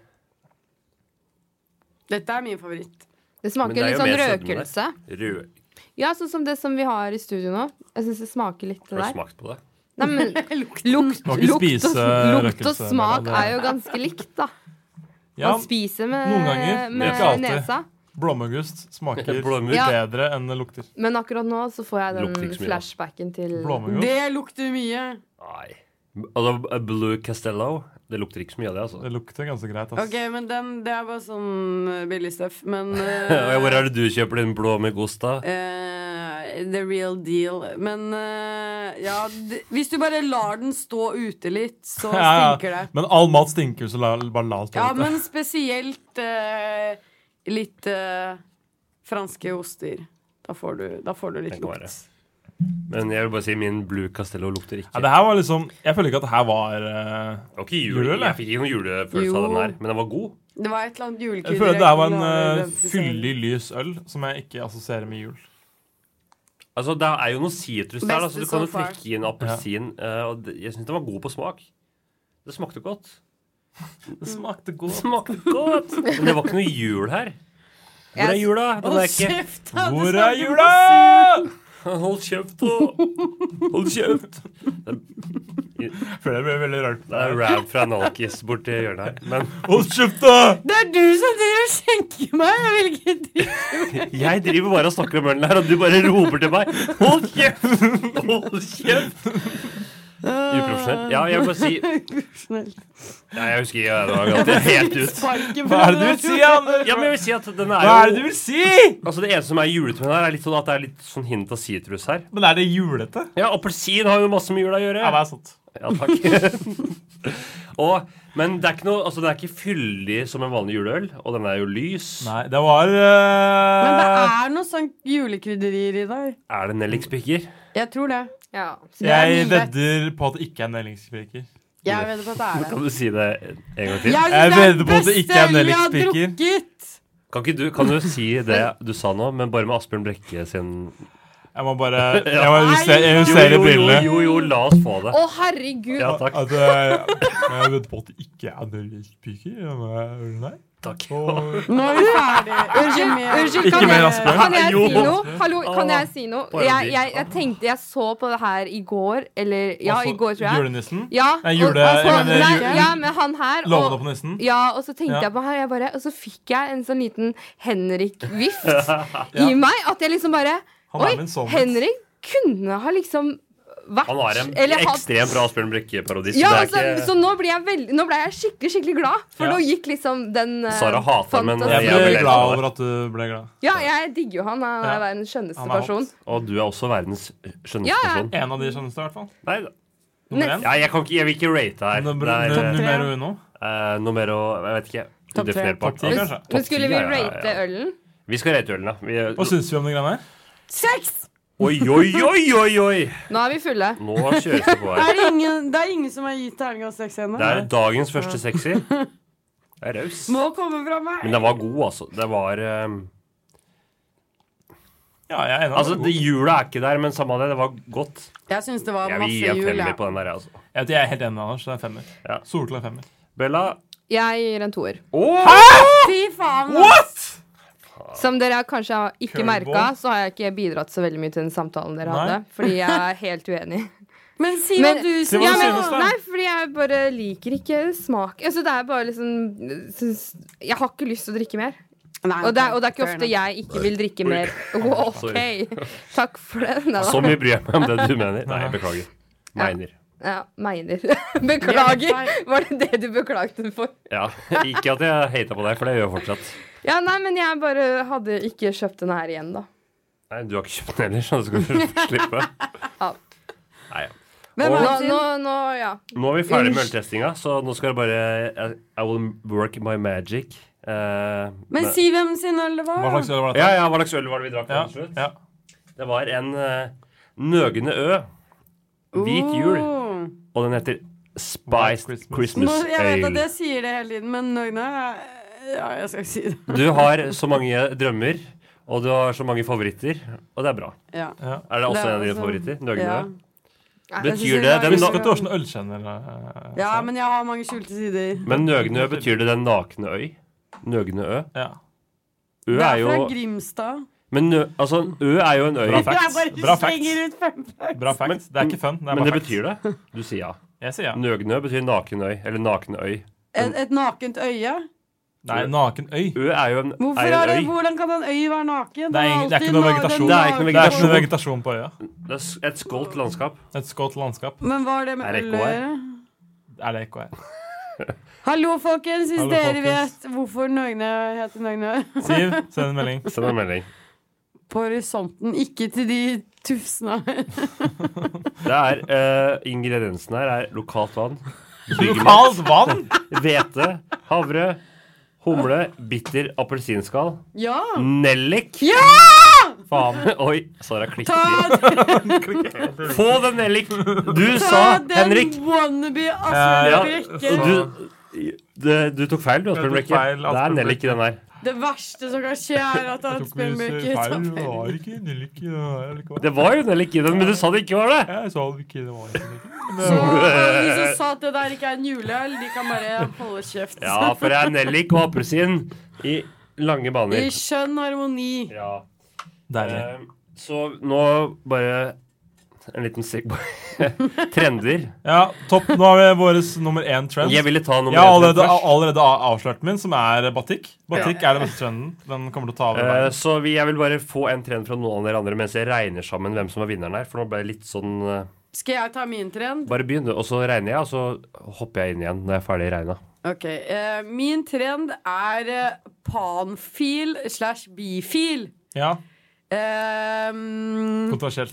Speaker 5: Dette er min favoritt.
Speaker 7: Det
Speaker 6: Men det
Speaker 7: smaker
Speaker 6: er
Speaker 7: litt
Speaker 6: jo
Speaker 7: sånn
Speaker 6: mer sødme der.
Speaker 7: røkelse.
Speaker 6: Rød.
Speaker 7: Ja, sånn som det som vi har i studio nå. Jeg syns det smaker litt det
Speaker 6: Har du
Speaker 7: der.
Speaker 6: smakt på det?
Speaker 7: Nei, men lukt, lukt,
Speaker 4: Må ikke
Speaker 7: lukt, og,
Speaker 4: spise
Speaker 7: lukt og
Speaker 4: røkelse,
Speaker 7: smak
Speaker 4: Bella, det-
Speaker 7: er jo ganske likt, da.
Speaker 4: Ja,
Speaker 7: Man spiser med,
Speaker 4: Noen ganger.
Speaker 7: med
Speaker 4: ikke alltid.
Speaker 7: nesa.
Speaker 4: Blåmuggost smaker
Speaker 7: Blåmugg. Ja.
Speaker 4: bedre enn det lukter.
Speaker 7: Men akkurat nå så får jeg
Speaker 4: Lukter
Speaker 7: den
Speaker 4: ikke så mye, da.
Speaker 7: flashbacken til
Speaker 4: Blåmuggost?
Speaker 5: Det lukter mye.
Speaker 6: Altså, Blue Castello Det lukter ikke så mye av det, altså.
Speaker 4: Det lukter ganske greit,
Speaker 5: Ok, men den, det er bare sånn eh, billig stuff. Men eh,
Speaker 6: Hvor er det du kjøper din blå med gost, da?
Speaker 5: eh, the real deal. Men eh, ja, d hvis du bare lar den stå ute litt, så
Speaker 4: Ja,
Speaker 5: stinker
Speaker 4: ja.
Speaker 5: det.
Speaker 4: Men all mat stinker, så la, bare la oss ta
Speaker 5: Ja,
Speaker 4: det.
Speaker 5: men spesielt eh, litt eh, franske oster. Da får du, da får du litt
Speaker 6: kan være.
Speaker 5: lukt.
Speaker 6: Men jeg vil bare si min Blue Castello lukter ikke.
Speaker 4: Ja, det her var liksom Jeg føler ikke at det her var eh,
Speaker 6: Ikke jul, jeg fikk ikke noen julefølelse av
Speaker 5: Jo.
Speaker 6: den her, men den var god.
Speaker 5: Det var et eller annet julekrydder.
Speaker 4: Jeg føler det her var en
Speaker 5: kunne
Speaker 4: eh, fyldig, lys øl som jeg ikke assosierer med jul.
Speaker 6: Altså, Det er jo noe sitrus der,
Speaker 4: Beste
Speaker 6: altså, du kan jo
Speaker 4: so far.
Speaker 6: trykke inn appelsin. eh, og det- jeg syns den var god på smak. Det smakte godt.
Speaker 4: Det smakte godt.
Speaker 6: smakte godt. Men det var ikke noe jul her. Hvor er
Speaker 4: Jeg-
Speaker 6: jula? Den
Speaker 4: Hold
Speaker 6: er ikke...
Speaker 4: kjeft, da, du Hvor er snakker jula?
Speaker 6: Hold kjeft, da. Hold kjeft.
Speaker 4: Føler det blir veldig rart.
Speaker 6: Det er rap fra Nalkis borti hjørnet her. Men
Speaker 4: Hold kjeft, da!
Speaker 5: Det er du som driver og skjenker meg! Jeg vil ikke drive
Speaker 6: Jeg driver bare og snakker om ølen her, og du bare roper til meg. Hold kjeft! Hold kjeft! Uprofesjonelt. Ja, jeg vil bare si
Speaker 5: Uprofesjonelt.
Speaker 6: Nei, jeg husker ikke. Det var galt. helt ut.
Speaker 5: Sparken
Speaker 4: Hva er det du vil si, Anders?
Speaker 6: Ja, men jeg vil si at den er
Speaker 4: Hva er det du vil si?
Speaker 6: Altså, Det eneste som er julete med den her, er litt sånn at det er litt sånn hint av sitrus her.
Speaker 4: Men er det julete?
Speaker 6: Ja, appelsin har jo masse med jula å gjøre.
Speaker 4: Ja, det er sant.
Speaker 6: Ja, takk. og, men det er ikke noe, altså, den er ikke fyldig som en vanlig juleøl, og den er jo lys.
Speaker 4: Nei, det var eh,
Speaker 5: Men det er noe sånn julekrydderier i dag.
Speaker 6: Er det nellikspiker?
Speaker 5: Jeg tror det. Så det er
Speaker 4: Jeg
Speaker 5: min rett.
Speaker 4: vedder på at det ikke er nellikspreker.
Speaker 5: Jeg vedder på at det er det.
Speaker 6: Kan du si det en gang til?
Speaker 5: Jeg synes
Speaker 4: Jeg
Speaker 5: det er
Speaker 4: vedder på at det
Speaker 5: beste
Speaker 4: ikke er
Speaker 5: øl jeg har
Speaker 4: nellikspiker.
Speaker 5: drukket.
Speaker 6: Kan, ikke du, kan du si det du sa nå, men bare med Asbjørn Brekke sin
Speaker 4: Jeg må bare jeg må justere- jeg justerer
Speaker 6: Jo, jo,
Speaker 4: brillene.
Speaker 6: Jo, jo, la oss få det.
Speaker 7: Å, herregud!
Speaker 6: Ja, takk.
Speaker 4: At, eh, jeg vedder på at det ikke er nellikspreker. Nei.
Speaker 6: Takk.
Speaker 5: Nå er vi ferdige.
Speaker 7: Unnskyld, unnskyld
Speaker 4: Ikke
Speaker 7: kan,
Speaker 4: mer
Speaker 7: jeg,
Speaker 4: Asbjørn.
Speaker 7: kan jeg
Speaker 4: Jo.
Speaker 7: si noe? Hallo, kan jeg si
Speaker 4: Åh,
Speaker 7: noe?
Speaker 4: parodi.
Speaker 7: Jeg, jeg, jeg tenkte jeg så på det her i går, eller Ja,
Speaker 4: Altså,
Speaker 7: i går, tror jeg.
Speaker 4: Julenissen?
Speaker 7: Ja,
Speaker 4: Nei,
Speaker 7: og-
Speaker 4: jule...
Speaker 7: altså,
Speaker 4: jeg mener,
Speaker 7: nei,
Speaker 4: ju-
Speaker 7: ja, med han her.
Speaker 4: Lovene på nissen?
Speaker 7: Ja, og så tenkte
Speaker 4: Ja.
Speaker 7: jeg på han, jeg bare, og så fikk jeg en sånn liten Henrik-vift
Speaker 4: Ja.
Speaker 7: i meg. At jeg liksom bare
Speaker 6: Han er
Speaker 7: Oi,
Speaker 6: min soulmate.
Speaker 7: Henrik kunne ha liksom vært
Speaker 6: Han har en
Speaker 7: eller hatt-
Speaker 6: ekstremt bra Asbjørn Brekke-parodist.
Speaker 7: ja,
Speaker 6: så
Speaker 7: altså,
Speaker 6: det er
Speaker 7: Så
Speaker 6: ikke...
Speaker 7: nå ble jeg, veldig, nå ble jeg skikkelig skikkelig glad, for
Speaker 6: Ja.
Speaker 7: nå gikk liksom den eh,
Speaker 6: Sara hater, men
Speaker 7: fantasien-
Speaker 4: Jeg ble
Speaker 6: vil
Speaker 4: glad
Speaker 6: elske
Speaker 4: over at du ble glad.
Speaker 7: Ja, jeg digger jo han. Han
Speaker 4: Ja.
Speaker 7: er verdens skjønneste
Speaker 4: Han er hot.
Speaker 7: person.
Speaker 6: Og du er også verdens skjønneste
Speaker 7: Ja, ja.
Speaker 6: person.
Speaker 4: En av de skjønneste, i hvert fall.
Speaker 6: Nei da.
Speaker 4: Nummer én?
Speaker 6: Ja, jeg, kan ikke, jeg vil ikke rate her.
Speaker 4: Nummer-
Speaker 6: Det er,
Speaker 4: num-
Speaker 6: eh,
Speaker 4: numero uno?
Speaker 6: eh, numero Jeg vet ikke.
Speaker 4: Topp tre.
Speaker 6: Udefinerbart.
Speaker 4: Topp ti,
Speaker 6: Altså,
Speaker 4: kanskje?
Speaker 6: topp
Speaker 7: Men skulle
Speaker 6: ti,
Speaker 7: vi
Speaker 6: ja, ja, ja.
Speaker 7: rate ølen?
Speaker 6: Vi skal rate ølen, da. Vi,
Speaker 4: Hva syns vi om de greiene her?
Speaker 5: Sex!
Speaker 6: Oi, oi, oi, oi, oi!
Speaker 7: Nå er vi fulle.
Speaker 6: Nå kjøres det på
Speaker 5: Det
Speaker 6: her.
Speaker 5: er ingen, det er ingen som har gitt terningkast seks ennå.
Speaker 6: Det er dagens første sexy. Det er raus.
Speaker 5: Må komme fra meg.
Speaker 6: Men den var god, altså. Det var ehm,
Speaker 4: Ja, jeg er enig.
Speaker 6: Altså, det, jula er ikke der, men samme av det, det var godt.
Speaker 5: Jeg syns det var
Speaker 6: Jeg vil gi
Speaker 5: masse
Speaker 6: en
Speaker 5: jul.
Speaker 6: femmer
Speaker 5: Ja.
Speaker 6: på den der, altså.
Speaker 4: Jeg, vet, jeg er helt enig med Anders. Det er en femmer.
Speaker 6: Ja.
Speaker 4: Solklar femmer.
Speaker 6: Bella
Speaker 7: Jeg gir en toer.
Speaker 5: Fy faen!
Speaker 7: Som dere kanskje har ikke
Speaker 5: Curveball.
Speaker 7: merka, så har jeg ikke bidratt så veldig mye til den samtalen dere
Speaker 5: Nei.
Speaker 7: hadde. Fordi jeg er helt uenig.
Speaker 5: Men si hva du
Speaker 7: Men-
Speaker 5: Si hva
Speaker 7: ja,
Speaker 5: du
Speaker 7: men-
Speaker 5: synes, da.
Speaker 7: Nei, fordi jeg bare liker ikke smak Altså, det er bare liksom synes, Jeg har ikke lyst til å drikke mer.
Speaker 5: Nei,
Speaker 7: og, det er,
Speaker 5: ok,
Speaker 7: og det er ikke
Speaker 5: fair
Speaker 7: ofte
Speaker 5: enough.
Speaker 7: jeg ikke vil drikke
Speaker 6: Oi.
Speaker 7: mer.
Speaker 6: Sorry.
Speaker 7: OK! Takk for det. Nei da.
Speaker 6: Så mye bryr jeg meg om det du mener. Nei, jeg beklager. Mener.
Speaker 7: Ja, mener. Beklager! Var det det du beklagde for?
Speaker 6: Ja. Ikke at jeg hata på deg, for det gjør jeg fortsatt.
Speaker 7: Ja, nei, men jeg bare hadde ikke kjøpt den her igjen, da.
Speaker 6: Nei, du har ikke kjøpt den heller, så du skal slippe.
Speaker 7: Ja.
Speaker 6: Nei, ja.
Speaker 7: Nå,
Speaker 6: Og-
Speaker 7: nå, nå, ja.
Speaker 6: Nå er vi ferdig med øltestinga, så nå skal det bare I, I will work my magic. Eh,
Speaker 5: Men si hvem sin øl det var. da.
Speaker 6: Ja, ja, hva slags øl var det vi drakk til slutt? Det var en eh, Nøgende Ø. Hvit jul.
Speaker 5: Oh.
Speaker 6: Og den heter Spiced Christmas,
Speaker 5: Nå, jeg vet at
Speaker 6: Ale.
Speaker 5: jeg sier det hele tiden, men nøgne Ja, jeg skal ikke si det.
Speaker 6: Du har så mange drømmer, og du har så mange favoritter, og det er bra.
Speaker 5: Ja.
Speaker 6: Er det
Speaker 5: Det
Speaker 6: også
Speaker 5: er
Speaker 6: en av dine
Speaker 5: også-
Speaker 6: favoritter? Nøgende
Speaker 5: Ja.
Speaker 6: Ø?
Speaker 5: Ja, jeg synes
Speaker 6: Betyr
Speaker 5: det
Speaker 6: det
Speaker 5: var
Speaker 6: den
Speaker 5: veldig
Speaker 6: na-
Speaker 5: bra. Vet du hvordan
Speaker 4: sånn Ølkjenner eh,
Speaker 5: Ja, men jeg har mange skjulte sider.
Speaker 6: Men Nøgne Ø betyr det den nakne øy? Nøgne Ø?
Speaker 4: Ja.
Speaker 6: Ø
Speaker 5: Det
Speaker 6: er
Speaker 5: er
Speaker 6: jo
Speaker 5: fra Grimstad.
Speaker 6: Men nø, altså, Ø er jo en øy.
Speaker 4: Bra facts. Bra facts.
Speaker 5: ut fun facts.
Speaker 4: Bra facts. Det er ikke fun. Det er
Speaker 6: Men
Speaker 4: bare
Speaker 6: det
Speaker 4: facts.
Speaker 6: betyr det. Du sier ja.
Speaker 4: Jeg sier ja.
Speaker 6: Nøgnø betyr nakenøy. Eller nakenøy.
Speaker 5: Et, et nakent øye?
Speaker 6: Nei, nakenøy. Ø er jo en,
Speaker 5: Hvorfor
Speaker 6: er
Speaker 5: er
Speaker 6: en
Speaker 5: det,
Speaker 6: øy.
Speaker 5: hvordan kan en øy være
Speaker 4: Det er, ing-
Speaker 5: naken?
Speaker 4: det er
Speaker 5: alltid
Speaker 4: ikke noe
Speaker 5: na-
Speaker 4: vegetasjon.
Speaker 5: den
Speaker 6: Det
Speaker 5: na-
Speaker 6: er ikke noe
Speaker 4: Det er ikke noe
Speaker 6: vegetasjon.
Speaker 4: vegetasjon på øya.
Speaker 6: Det er s- et skålt landskap.
Speaker 4: Et skått landskap.
Speaker 5: Men hva har det med
Speaker 4: Er det
Speaker 5: øl
Speaker 4: ekko
Speaker 5: å
Speaker 4: her?
Speaker 5: gjøre?
Speaker 4: Er det ekko her?
Speaker 5: Hallo, folkens, hvis
Speaker 4: Hallo,
Speaker 5: dere
Speaker 4: folkens.
Speaker 5: vet hvorfor Nøgne heter Nøgne
Speaker 4: Siv, send en melding.
Speaker 6: Send en melding.
Speaker 5: På horisonten, ikke til de tufsene
Speaker 6: Det er eh, Ingrediensen her er lokalt vann. byggemaks,
Speaker 4: Lokalt vann?
Speaker 6: Hvete, havre, humle, bitter appelsinskall.
Speaker 5: Ja!
Speaker 6: Nellik!
Speaker 5: Ja!
Speaker 6: Faen. Oi, Sara klikker.
Speaker 5: Ta
Speaker 6: Få den nellik! Du sa, Henrik
Speaker 5: Ta den wannabe altså,
Speaker 6: Ja,
Speaker 5: Asbjørn Brekke.
Speaker 6: du, det- du tok feil, du, Asbjørn
Speaker 4: Jeg tok
Speaker 6: Brekke.
Speaker 4: feil,
Speaker 6: Det er
Speaker 4: Asbjørn
Speaker 6: nellik i den her.
Speaker 5: Det verste som kan skje, er at
Speaker 4: Jeg tok
Speaker 5: Asbjørn
Speaker 4: mye
Speaker 5: Brekke
Speaker 4: feil.
Speaker 5: tar
Speaker 4: Det
Speaker 5: feil.
Speaker 4: var ikke nellik i den her likevel.
Speaker 6: Det var jo nellik i den, men du sa det ikke var det.
Speaker 4: Jeg sa det ikke det var nellik.
Speaker 5: Så alle de som sa at det der ikke er en juleøl, de kan bare holde kjeft.
Speaker 6: Ja, for det er nellik og appelsin i lange baner.
Speaker 5: I skjønn harmoni.
Speaker 6: Ja. Eh, Så nå bare en liten segway. Trender.
Speaker 4: Ja, topp. Nå har vi vår nummer én trend.
Speaker 6: Jeg ville ta nummer
Speaker 4: Jeg har
Speaker 6: én trend
Speaker 4: allerede,
Speaker 6: først.
Speaker 4: allerede a- avslørt min, som er batikk. Batikk
Speaker 6: Ja.
Speaker 4: er den beste trenden. Den kommer til å ta over.
Speaker 6: Eh,
Speaker 4: verden.
Speaker 6: Så vi, jeg vil bare få en trend fra noen av dere andre mens jeg regner sammen hvem som er vinneren her. For nå ble jeg litt sånn eh,
Speaker 5: Skal jeg ta min trend?
Speaker 6: Bare begynn, du, og så regner jeg, og så hopper jeg inn igjen når jeg er ferdig regna.
Speaker 5: Ok, eh, Min trend er eh, panfil slash bifil.
Speaker 4: Ja,
Speaker 5: Ehm,
Speaker 4: kontroversielt.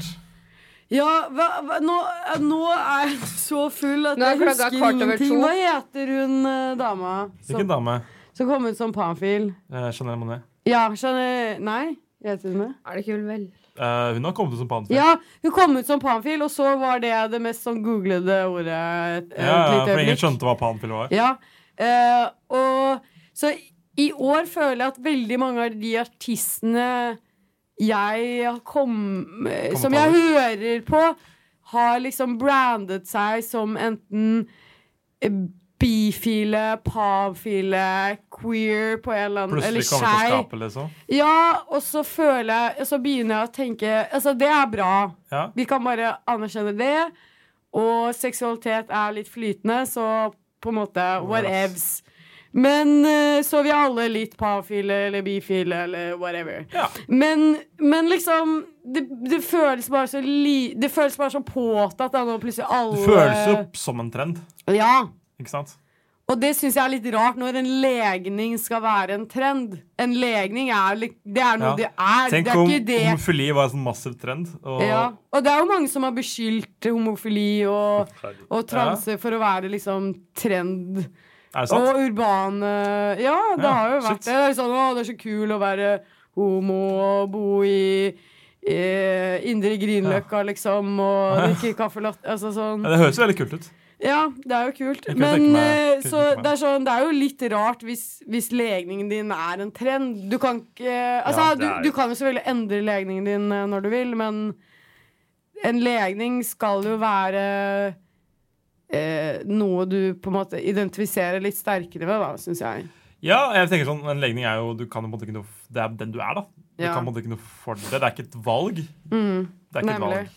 Speaker 5: ja, hva, hva, nå, eh, nå er jeg så full at
Speaker 7: Nå er
Speaker 5: jeg
Speaker 7: klokka
Speaker 5: husker
Speaker 7: kvart over
Speaker 5: ingenting.
Speaker 7: to.
Speaker 5: Hva heter hun eh, dama som,
Speaker 4: Hvilken dame?
Speaker 5: som kom ut som panfil?
Speaker 4: Eh, Chanel Monet.
Speaker 5: Ja, skjønner Nei? Heter hun det?
Speaker 7: Er det ikke vel vel?
Speaker 4: Eh, hun har kommet ut som panfil.
Speaker 5: Ja, hun kom ut som panfil, og så var det det mest sånn googlede ordet. Et,
Speaker 4: Ja, ja,
Speaker 5: et lite
Speaker 4: for ingen
Speaker 5: øyeblikk.
Speaker 4: skjønte hva panfil var.
Speaker 5: Ja. eh, og så i år føler jeg at veldig mange av de artistene jeg har kom, eh, som jeg hører på, har liksom brandet seg som enten eh, bifile, pavfile, queer på en eller annen
Speaker 4: Plutselig
Speaker 5: Eller
Speaker 4: kommer til å
Speaker 5: skei.
Speaker 4: skape, liksom.
Speaker 5: Ja, og så føler jeg Så begynner jeg å tenke Altså, det er bra.
Speaker 4: Ja.
Speaker 5: Vi kan bare anerkjenne det. Og seksualitet er litt flytende, så på en måte whatevs. Men eh, så vi er alle litt pafile eller bifile eller whatever. Men, men liksom det, det føles bare så li, Det føles bare så påtatt da, nå plutselig alle
Speaker 4: Det føles jo som en trend,
Speaker 5: Ja.
Speaker 4: ikke sant?
Speaker 5: Og det syns jeg er litt rart når en legning skal være en trend. En legning er, li- det er noe
Speaker 4: Ja.
Speaker 5: det er.
Speaker 4: Tenk
Speaker 5: det er
Speaker 4: om
Speaker 5: ikke det.
Speaker 4: homofili var en sånn massiv trend. Og
Speaker 5: Ja. Og det er jo mange som har beskyldt homofili og, og transe for å være liksom trend.
Speaker 4: Er det sant?
Speaker 5: Og urbane Ja, det
Speaker 4: Ja,
Speaker 5: har jo vært
Speaker 4: shit.
Speaker 5: det. Det er sånn, å, det er så kul å være homo og bo i eh, Indre Grünerløkka, liksom, og drikke kaffe latte. Altså sånn.
Speaker 4: Ja, det høres jo veldig kult ut.
Speaker 5: Ja, det er jo kult.
Speaker 4: Jeg kunne
Speaker 5: Men
Speaker 4: tenke meg-
Speaker 5: eh,
Speaker 4: kunne
Speaker 5: så
Speaker 4: tenke meg.
Speaker 5: det, er sånn, det er jo litt rart hvis, hvis legningen din er en trend. Du kan ikke eh, Altså,
Speaker 4: Ja, det er-
Speaker 5: du, du kan jo selvfølgelig endre legningen din eh, når du vil, men en legning skal jo være eh, noe du på en måte identifiserer litt sterkere med, da, syns jeg.
Speaker 4: Ja, jeg tenker sånn, En legning er jo du kan jo på en måte ikke noe, f- Det er den du er, da. Du
Speaker 5: Ja.
Speaker 4: kan på en måte ikke noe for det. Det er ikke et valg.
Speaker 5: Mm,
Speaker 4: Det er ikke et
Speaker 5: nemlig.
Speaker 4: valg.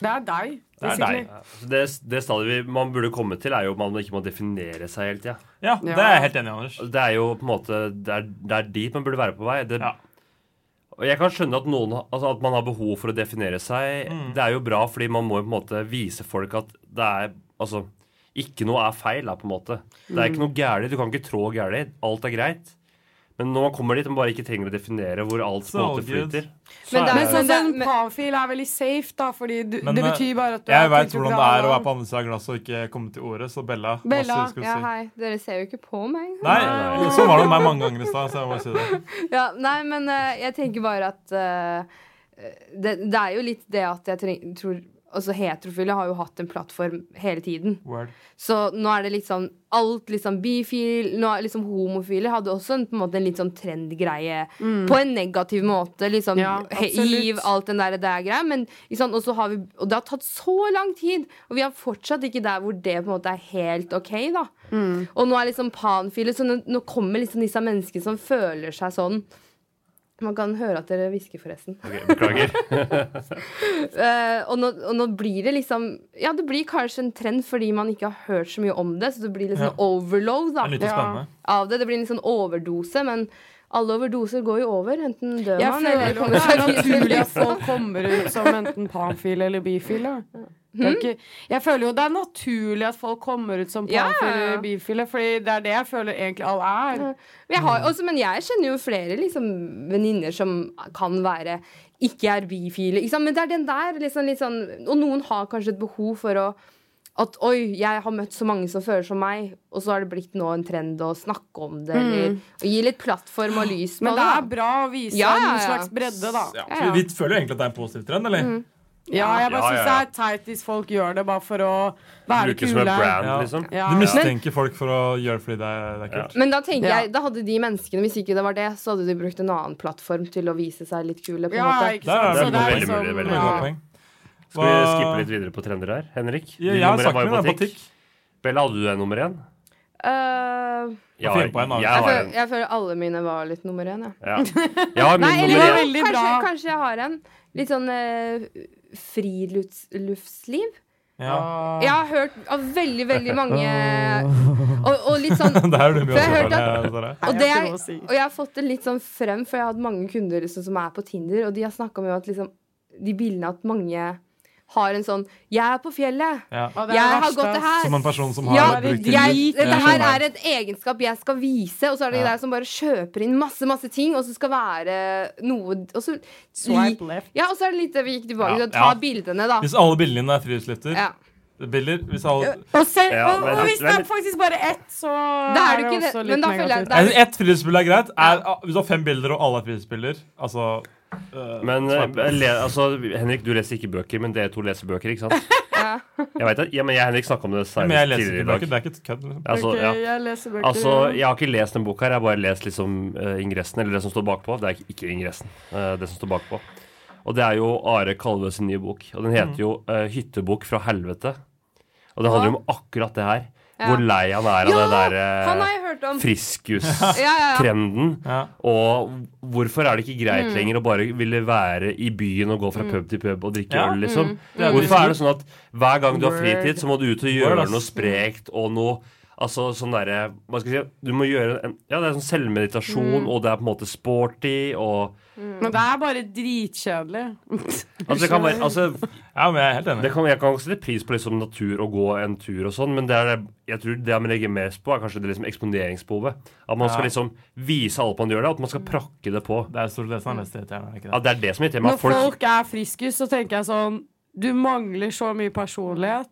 Speaker 5: Det er deg.
Speaker 6: Det er
Speaker 5: basically.
Speaker 6: deg. Så Det, det stadiet vi, man burde komme til, er jo at man ikke må definere seg hele tida.
Speaker 4: Ja, det er jeg helt enig i, Anders.
Speaker 6: Det er jo på en måte Det er, det er dit man burde være på vei. Det, Og jeg kan skjønne at, noen, har- altså at man har behov for å definere seg.
Speaker 4: Mm.
Speaker 6: Det er jo bra, fordi man må jo på en måte vise folk at det er Altså, ikke noe er feil, da, på en måte. Det er
Speaker 4: Mm.
Speaker 6: ikke noe gærent. Du kan ikke trå gærent. Alt er greit. Men når man kommer dit man bare ikke trenger å definere hvor alt
Speaker 4: Så
Speaker 6: på en måte
Speaker 4: good.
Speaker 6: flyter. så
Speaker 5: Men,
Speaker 6: er
Speaker 5: det, men
Speaker 6: det-
Speaker 5: sånn en pavfil er veldig safe, da, fordi du,
Speaker 4: Men,
Speaker 5: det
Speaker 4: eh,
Speaker 5: betyr bare at du
Speaker 4: jeg veit hvordan det er å
Speaker 5: kulturell,
Speaker 4: være på andre siden av glasset og ikke komme til ordet, så Bella,
Speaker 7: Bella,
Speaker 4: masse skulle du
Speaker 7: ja,
Speaker 4: si.
Speaker 7: hei. Dere ser jo ikke på meg.
Speaker 4: Nei, sånn var det med meg mange ganger i stad, så jeg må bare si det.
Speaker 7: ja, nei, men eh, jeg tenker bare at eh, det, det er jo litt det at jeg treng, tror Altså Heterofile har jo hatt en plattform hele tiden.
Speaker 4: Word.
Speaker 7: Så nå er det litt sånn alt liksom bifil nå er liksom Homofile hadde også en, på en måte en litt sånn trendgreie.
Speaker 5: Mm.
Speaker 7: På en negativ måte. Liksom
Speaker 5: Ja,
Speaker 7: he-
Speaker 5: absolutt.
Speaker 7: Hiv, alt den der det er greia. Men ikke sant, og så har vi Og det har tatt så lang tid! Og vi er fortsatt ikke der hvor det på en måte er helt OK, da.
Speaker 5: Mm.
Speaker 7: Og nå er liksom panfile, så nå, nå kommer liksom disse menneskene som føler seg sånn Man kan høre at dere hvisker, forresten.
Speaker 6: Ok, beklager.
Speaker 7: Eh, og, nå, og nå blir det liksom Ja, det blir kanskje en trend fordi man ikke har hørt så mye om det, så det blir litt
Speaker 16: Ja.
Speaker 7: sånn overload
Speaker 16: Det
Speaker 7: da,
Speaker 16: er litt spennende.
Speaker 7: av det. Det blir en litt sånn overdose, men alle overdoser går jo over. Enten dør
Speaker 5: Jeg
Speaker 7: man
Speaker 5: føler
Speaker 7: eller
Speaker 5: jo
Speaker 7: kommer
Speaker 5: det er
Speaker 7: seg
Speaker 5: naturlig
Speaker 7: videre.
Speaker 5: at folk kommer ut som enten panfile eller bifile. Det er
Speaker 7: Hmm?
Speaker 5: ikke, jeg føler jo det er naturlig at folk kommer ut som
Speaker 7: Ja, ja,
Speaker 5: panfile
Speaker 7: ja.
Speaker 5: eller bifile, Fordi det er det jeg føler egentlig alle er.
Speaker 7: Men jeg,
Speaker 5: Mm.
Speaker 7: har, også, men jeg kjenner jo flere liksom, venninner som kan være ikke er bifile. Ikke sant? Men det er den der liksom, litt sånn, Og noen har kanskje et behov for å at oi, jeg har møtt så mange som føler som meg, og så har det blitt nå en trend å snakke om det. Eller,
Speaker 5: Mm.
Speaker 7: og gi litt plattform og lys på
Speaker 5: Men det
Speaker 7: da.
Speaker 5: er bra å vise
Speaker 7: Ja, ja,
Speaker 5: en
Speaker 7: ja.
Speaker 5: slags bredde, da.
Speaker 7: Ja.
Speaker 17: Så vi føler jo egentlig at det er en positiv trend, eller?
Speaker 5: Mm. Ja, jeg bare
Speaker 17: Ja, ja,
Speaker 5: syns
Speaker 17: ja.
Speaker 5: det er teit hvis folk gjør det bare for å være
Speaker 17: Brukes
Speaker 5: kule.
Speaker 6: liksom?
Speaker 5: Ja.
Speaker 17: Du mistenker folk for å gjøre det fordi det er, det er kult.
Speaker 7: Men da tenker
Speaker 5: Ja.
Speaker 7: jeg, da hadde de menneskene, hvis ikke det var det, så hadde de brukt en annen plattform til å vise seg litt kule. På en
Speaker 5: Ja,
Speaker 7: måte.
Speaker 5: ikke sant?
Speaker 6: Det
Speaker 5: Så
Speaker 6: er
Speaker 5: det er
Speaker 6: veldig
Speaker 5: liksom-
Speaker 6: mulig. Veldig
Speaker 5: ja.
Speaker 6: mulig. Skal vi
Speaker 17: Hva-
Speaker 6: skippe litt videre på trender her? Henrik?
Speaker 17: Ja,
Speaker 6: ditt
Speaker 17: jeg har
Speaker 6: nummer
Speaker 17: sagt
Speaker 6: var jo
Speaker 17: min, det er
Speaker 6: Bella, hadde du en nummer én?
Speaker 7: Eh,
Speaker 6: Jeg
Speaker 17: Finn på en, da.
Speaker 6: har, jeg
Speaker 7: jeg,
Speaker 6: har
Speaker 5: Altså-
Speaker 7: føler,
Speaker 6: en.
Speaker 7: jeg føler alle mine var litt nummer én, jeg.
Speaker 6: Ja. Jeg har min
Speaker 7: Nei, eller
Speaker 6: nummer
Speaker 7: jo,
Speaker 6: én.
Speaker 7: kanskje,
Speaker 5: bra.
Speaker 7: kanskje jeg har en. Litt sånn eh, friluftsliv.
Speaker 17: Ja.
Speaker 7: Jeg har hørt av veldig, veldig mange Og, og litt sånn
Speaker 17: Det er jo du mye
Speaker 7: for jeg
Speaker 17: å
Speaker 7: har hørt at-
Speaker 17: si, Sara.
Speaker 7: og, det er, og jeg har fått det litt sånn frem, for jeg har hatt mange kunder liksom, som er på Tinder, og de har snakka om jo at liksom, de bildene at mange har en sånn 'Jeg er på fjellet'.
Speaker 17: Ja. Å, det er det
Speaker 7: Jeg har
Speaker 17: verste,
Speaker 7: gått det
Speaker 17: ass.
Speaker 7: her.
Speaker 17: Som en person som har brukt Tinder.
Speaker 7: jeg,
Speaker 17: Ja.
Speaker 7: Dette her er et egenskap jeg skal vise, og så er det de der som bare kjøper inn masse, masse ting, og så skal være noe og så,
Speaker 17: Swipe left.
Speaker 7: Ja, og så er det litt det vi gikk tilbake til.
Speaker 17: Ja,
Speaker 7: å Ta
Speaker 17: ja.
Speaker 7: bildene, da.
Speaker 17: Hvis alle bildene dine er friluftslifter
Speaker 7: Ja.
Speaker 17: Bilder, hvis alle
Speaker 5: Og, selv,
Speaker 17: Ja,
Speaker 5: og,
Speaker 17: men-
Speaker 5: og hvis det er
Speaker 17: men-
Speaker 5: faktisk bare ett, så
Speaker 7: Da er det ikke
Speaker 5: også
Speaker 7: det,
Speaker 5: litt
Speaker 7: men da føler jeg-
Speaker 5: negativt.
Speaker 7: da er det-
Speaker 17: Ett friluftsbilde er greit. Er, hvis du har fem bilder, og alle er friluftsbilder Altså øh,
Speaker 6: Men eh,
Speaker 17: swipe left.
Speaker 6: le, altså, Henrik, du leser ikke bøker, men dere to leser bøker, ikke sant? Jeg vet det. Ja, men jeg og Henrik snakka om det
Speaker 17: Ja,
Speaker 6: senest
Speaker 17: men jeg leser
Speaker 6: tidligere i
Speaker 17: ikke
Speaker 6: dag.
Speaker 17: bøker, det er ikke et kødd, liksom.
Speaker 6: Altså,
Speaker 5: Ok,
Speaker 6: ja.
Speaker 5: jeg leser bøker,
Speaker 6: altså,
Speaker 5: ja.
Speaker 6: jeg har ikke lest den boka her, jeg har bare lest liksom eh, ingressen, eller det som står bakpå. Det er ikke, ikke ingressen, eh, det som står bakpå. Og det er jo Are Kalve sin nye bok. Og den
Speaker 7: Mm.
Speaker 17: Mhm.
Speaker 6: heter jo eh, 'Hyttebok fra helvete'. Og det handler jo om akkurat det her.
Speaker 7: Ja.
Speaker 6: Hvor lei han er av
Speaker 7: Ja,
Speaker 6: det der eh,
Speaker 7: han har jeg hørt om. Ja, ja, ja.
Speaker 6: friskus-trenden. Og hvorfor er det ikke greit
Speaker 7: Mm.
Speaker 6: lenger å bare ville være i byen og gå fra
Speaker 7: Mm.
Speaker 6: pub til pub og drikke
Speaker 17: Ja.
Speaker 6: øl, liksom?
Speaker 17: Mm. Det er
Speaker 6: Hvorfor
Speaker 17: trist.
Speaker 6: er det sånn at hver gang du har
Speaker 17: Word.
Speaker 6: fritid, så må du ut og
Speaker 17: Word,
Speaker 6: gjøre
Speaker 17: ass.
Speaker 6: noe sprekt og noe Altså sånn derre Hva skal jeg si Du må gjøre en Ja, det er sånn selvmeditasjon,
Speaker 5: Mm.
Speaker 6: og det er på en måte sporty, og
Speaker 5: Men det er bare dritkjedelig.
Speaker 6: Altså, det kan være altså,
Speaker 17: Ja, men jeg er helt enig.
Speaker 6: Det kan, jeg kan også sette pris på liksom natur og gå en tur og sånn, men det er, jeg tror det man legger mest på, er kanskje det liksom eksponeringsbehovet. At man skal
Speaker 17: Ja.
Speaker 6: liksom vise alle på man gjør det, at man skal prakke det på.
Speaker 17: Det er stort sett han leste irriterende, er det ikke det?
Speaker 6: Ja, det er det som irriterer meg.
Speaker 5: Når
Speaker 6: at Folk,
Speaker 5: folk er friskus, så tenker jeg sånn Du mangler så mye personlighet.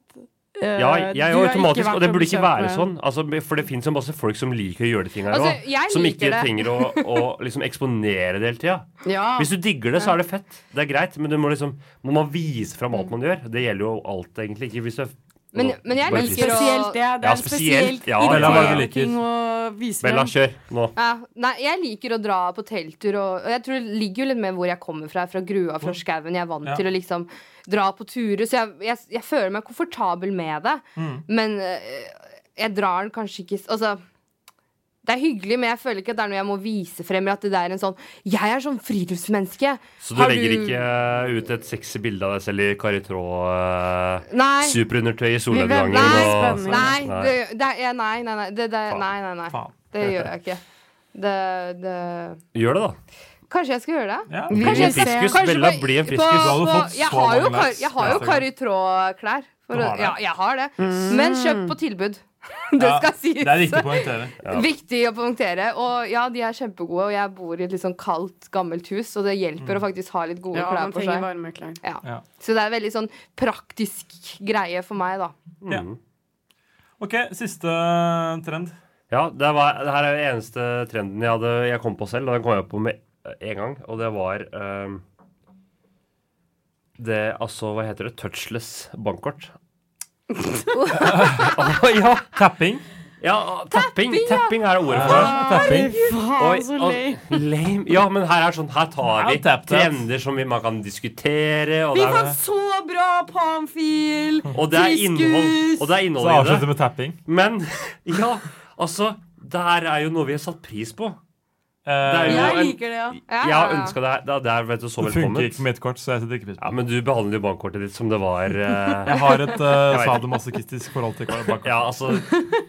Speaker 5: Eh,
Speaker 6: ja, jeg er
Speaker 5: du
Speaker 6: jo
Speaker 5: har ikke
Speaker 6: automatisk,
Speaker 5: vært
Speaker 6: og det burde ikke
Speaker 5: bekjent
Speaker 6: være
Speaker 5: med-
Speaker 6: sånn. Altså, for det fins jo masse folk som liker å gjøre de tinga her
Speaker 5: Altså,
Speaker 6: også,
Speaker 5: jeg
Speaker 6: Som
Speaker 5: liker
Speaker 6: ikke
Speaker 5: det.
Speaker 6: trenger å, å liksom eksponere det hele tida.
Speaker 5: Ja.
Speaker 6: Hvis du digger det, så er det fett. Det er greit, men du må liksom må man vise fram alt man gjør. Det gjelder jo alt, egentlig. Ikke hvis du er
Speaker 7: Men- men jeg
Speaker 6: bare
Speaker 7: liker
Speaker 6: trist.
Speaker 7: å-
Speaker 5: Spesielt det. Det er
Speaker 6: Ja,
Speaker 5: en
Speaker 6: spesielt.
Speaker 5: spesielt
Speaker 6: Ja,
Speaker 5: irriterende
Speaker 6: Bella, hva er det du
Speaker 5: ting
Speaker 6: liker?
Speaker 5: å vise frem.
Speaker 6: Bella, kjør nå.
Speaker 7: Ja, nei, jeg liker å dra på telttur, og, og jeg tror det ligger jo litt med hvor jeg kommer fra. Fra grua, fra skauen. Jeg er vant
Speaker 5: Ja.
Speaker 7: til å liksom dra på turer, så jeg, jeg, jeg føler meg komfortabel med det.
Speaker 5: Mm.
Speaker 7: Men eh, jeg drar den kanskje ikke s- Altså, det er hyggelig, men jeg føler ikke at det er noe jeg må vise frem. Eller at det er en sånn Jeg er sånn friluftsmenneske.
Speaker 6: Så du
Speaker 7: Har
Speaker 6: legger ikke eh, ut et sexy bilde av deg selv i karitråd,
Speaker 7: Nei.
Speaker 6: superundertøy i
Speaker 7: Vi vet-
Speaker 6: solnedgangen
Speaker 7: Nei,
Speaker 6: og sånn?
Speaker 7: nei, det, det, er- ja, nei, nei, nei, det, det, nei, nei, nei. Det gjør jeg ikke. Det, det
Speaker 6: Gjør det, da.
Speaker 7: Kanskje jeg skal gjøre det?
Speaker 6: Ja. Bli en friskus. Bella, bli en friskus. Du hadde fått
Speaker 7: jeg,
Speaker 6: så
Speaker 7: har jo
Speaker 6: mange
Speaker 7: kar,
Speaker 6: likes
Speaker 7: jeg har
Speaker 6: på
Speaker 7: jo
Speaker 6: Instagram.
Speaker 7: Karitråd-klær. for
Speaker 6: Du
Speaker 7: å-
Speaker 6: har det?
Speaker 7: Ja, jeg har det.
Speaker 6: Mm.
Speaker 7: Men kjøpt på tilbud. Det
Speaker 17: Ja,
Speaker 7: sånn skal sies.
Speaker 17: det er viktig å poengtere. Ja.
Speaker 7: Viktig å poengtere. Og ja, de er kjempegode, og jeg bor i et litt sånn kaldt, gammelt hus, så det hjelper
Speaker 5: Mm.
Speaker 7: å faktisk ha litt gode
Speaker 5: Ja,
Speaker 7: klær
Speaker 5: man
Speaker 7: på
Speaker 5: trenger
Speaker 7: seg.
Speaker 5: varme klær.
Speaker 7: Ja. Så det er veldig sånn praktisk greie for meg, da.
Speaker 6: Ja.
Speaker 17: OK, siste eh, trend.
Speaker 6: Ja, det, var, det her er den eneste trenden jeg, hadde, jeg kom på selv, og den kom jeg på med en gang, og det var ehm, det, altså, hva heter det, touchless bankkort. Å, ja. Tapping? Ja, tapping. Tapping, er ordet for det.
Speaker 17: Ja, tapping.
Speaker 6: Oi,
Speaker 17: Faen, så
Speaker 6: og-
Speaker 17: lame.
Speaker 6: lame. Ja, men her er sånn, her tar vi
Speaker 17: Ja, tap, tap.
Speaker 6: trender som vi, man kan diskutere, og
Speaker 5: Vi
Speaker 6: det er-
Speaker 5: fant så bra pamfil!
Speaker 6: og det er innhold, og det er innhold
Speaker 17: Så
Speaker 6: i det.
Speaker 17: avslutter med tapping.
Speaker 6: Men ja, altså Der er jo noe vi har satt pris på.
Speaker 17: Eh,
Speaker 6: er jo
Speaker 5: Jeg
Speaker 6: en-
Speaker 5: liker det, ja.
Speaker 6: Jeg har ønska deg det, det er vet du, så
Speaker 4: Det
Speaker 6: velkomment.
Speaker 4: funker ikke med et kort, så jeg setter ikke pris på
Speaker 6: Ja, Men du behandler jo bankkortet ditt som det var eh,
Speaker 4: Jeg har et uh,
Speaker 6: jeg vet ikke.
Speaker 4: sadomasochistisk forhold til bankkort.
Speaker 6: Ja, altså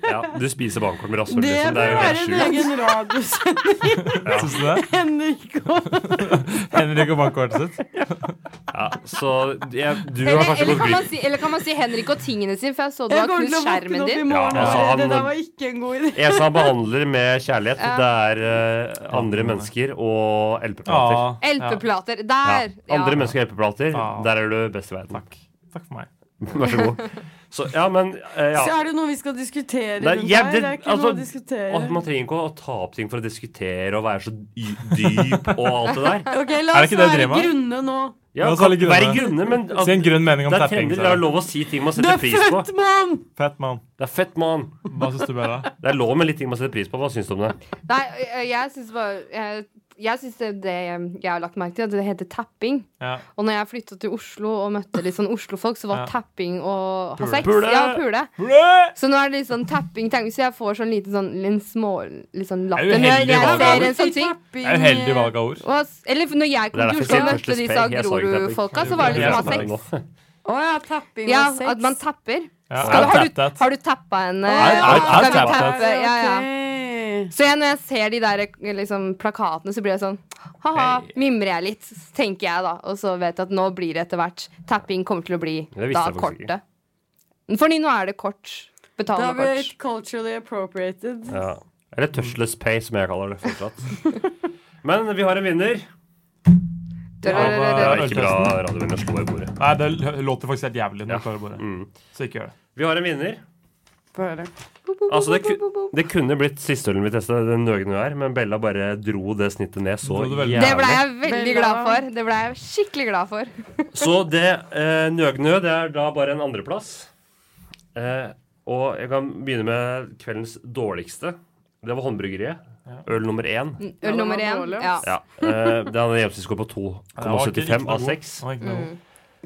Speaker 6: ja, Du spiser bankkort med rasshøl,
Speaker 5: Det
Speaker 6: liksom. Det er
Speaker 5: bør
Speaker 6: jo
Speaker 5: være
Speaker 6: helt
Speaker 5: en
Speaker 6: sjukt.
Speaker 5: egen radiosending.
Speaker 6: Ja.
Speaker 4: Syns du det?
Speaker 5: Henrik og
Speaker 4: Henrik og bankkortet sitt.
Speaker 6: Ja, så jeg, du har
Speaker 7: Eller,
Speaker 6: kanskje
Speaker 7: eller,
Speaker 6: gått
Speaker 7: kan man
Speaker 6: glipp
Speaker 7: si, eller kan man si Henrik og tingene sine, for jeg så du
Speaker 5: Jeg
Speaker 7: har
Speaker 5: kommer til å
Speaker 7: knust
Speaker 5: våkne
Speaker 7: skjermen
Speaker 5: opp i
Speaker 7: din.
Speaker 5: morgen
Speaker 6: Ja,
Speaker 5: og
Speaker 6: altså,
Speaker 5: se
Speaker 6: han-
Speaker 5: det der var ikke en god idé.
Speaker 6: ESA behandler med kjærlighet.
Speaker 7: Ja.
Speaker 6: Det er eh, andre mennesker og
Speaker 4: Ja.
Speaker 6: LP-plater.
Speaker 7: LP-plater.
Speaker 6: Ja.
Speaker 7: Der! Ja.
Speaker 6: Andre mennesker og LP-plater.
Speaker 4: Ja.
Speaker 6: Der er du best i verden.
Speaker 4: Ah. Takk for meg.
Speaker 6: Vær så god. Så, ja, men eh, ja.
Speaker 5: Så er det noe vi skal diskutere
Speaker 6: Nei,
Speaker 5: rundt
Speaker 6: jeg-
Speaker 5: her.
Speaker 6: det-
Speaker 5: Det er ikke
Speaker 6: altså,
Speaker 5: noe å diskutere.
Speaker 6: og Man trenger ikke å ta opp ting for å diskutere og være så dy- dyp og alt det der.
Speaker 5: Ok, La
Speaker 4: Er
Speaker 5: oss
Speaker 4: det ikke det
Speaker 5: være
Speaker 4: dremaet?
Speaker 5: grunne nå.
Speaker 6: Ja,
Speaker 4: La oss
Speaker 6: kan,
Speaker 4: alle grunne.
Speaker 6: være grunne, men at-
Speaker 4: Si en grunn mening om
Speaker 6: det er
Speaker 4: tapping,
Speaker 6: trendy,
Speaker 4: så.
Speaker 6: Det er lov å si ting man
Speaker 5: Du
Speaker 6: setter
Speaker 5: er
Speaker 6: pris på.
Speaker 5: født, mann!
Speaker 4: Fett mann.
Speaker 6: Det er fett, mann.
Speaker 4: Hva syns du, Bella?
Speaker 6: Det er lov med litt ting man setter pris på. Hva syns du om det?
Speaker 7: Nei, ø- ø, jeg syns bare jeg, jeg syns det, det jeg har lagt merke til, at det heter tapping.
Speaker 4: Ja.
Speaker 7: Og når jeg flytta til Oslo og møtte litt sånn Oslo-folk, så var
Speaker 4: Ja.
Speaker 7: tapping å ha
Speaker 4: Pule.
Speaker 7: sex.
Speaker 4: Pule!
Speaker 7: Ja, pule.
Speaker 4: Blæ!
Speaker 7: Så nå er det litt sånn tapping, tapping så jeg får sånn liten sånn en små, litt sånn
Speaker 4: Det
Speaker 7: latter
Speaker 4: er
Speaker 7: når jeg
Speaker 4: uheldig valg av
Speaker 7: ser en
Speaker 4: ord.
Speaker 7: sånn ting.
Speaker 4: Det er uheldig valg av ord.
Speaker 7: Og s- Eller når jeg
Speaker 6: Det er
Speaker 7: kom til
Speaker 6: derfor jeg
Speaker 7: Oslo og
Speaker 6: sier
Speaker 7: møtte
Speaker 6: første spray.
Speaker 7: disse
Speaker 6: Jeg sa ikke tapping.
Speaker 7: Grorud-folka, så var det
Speaker 6: Jeg
Speaker 7: liksom å
Speaker 6: sa
Speaker 7: ha
Speaker 6: det
Speaker 7: sex.
Speaker 6: nå.
Speaker 5: Å ja, tapping
Speaker 7: Ja,
Speaker 5: og sex.
Speaker 7: at man tapper.
Speaker 4: Ja,
Speaker 7: Skal,
Speaker 4: I've
Speaker 7: har du,
Speaker 4: tapped that.
Speaker 7: har du tappa henne?
Speaker 4: I've- I've-
Speaker 7: Skal
Speaker 4: I've
Speaker 7: vi
Speaker 4: tapped
Speaker 7: tappe?
Speaker 5: that.
Speaker 7: Ja, ja.
Speaker 5: Ok.
Speaker 7: Så jeg, når jeg ser de der eh, liksom, plakatene, så blir jeg sånn Ha-ha, mimrer jeg litt, tenker jeg da. Og så vet jeg at nå blir det etter hvert Tapping kommer til å bli
Speaker 6: visste
Speaker 7: da
Speaker 6: jeg faktisk
Speaker 7: kortet. Fordi nå er det kort.
Speaker 5: Da
Speaker 7: Betalende
Speaker 5: blir det
Speaker 7: kort.
Speaker 5: culturally appropriated.
Speaker 6: Ja. Eller touchless pay, som jeg kaller det fortsatt. Men vi har en vinner.
Speaker 7: Det
Speaker 6: Det
Speaker 4: Ja,
Speaker 6: er ikke bra
Speaker 4: øltesten.
Speaker 6: radiovinner slår i bordet.
Speaker 4: Nei, det l- låter faktisk helt jævlig når du klarer bare.
Speaker 6: Mm.
Speaker 4: Så ikke gjør det.
Speaker 6: Vi har en vinner.
Speaker 5: Få høre.
Speaker 6: Altså, det, ku det kunne blitt siste ølen vi testa, den nøgne hun er, men Bella bare dro det snittet ned så
Speaker 4: Dro det veldig.
Speaker 7: Det ble
Speaker 6: jævlig.
Speaker 7: jeg veldig glad for. Det ble jeg skikkelig glad for.
Speaker 6: Så det eh, nøgne det er da bare en andreplass. Eh, og jeg kan begynne med kveldens dårligste. Det var Håndbryggeriet. Øl nummer én.
Speaker 7: Øl nummer én. Ja.
Speaker 6: Ja. Eh, det hadde gjennomsnittsscore på 2,75 av 6.
Speaker 7: Mm.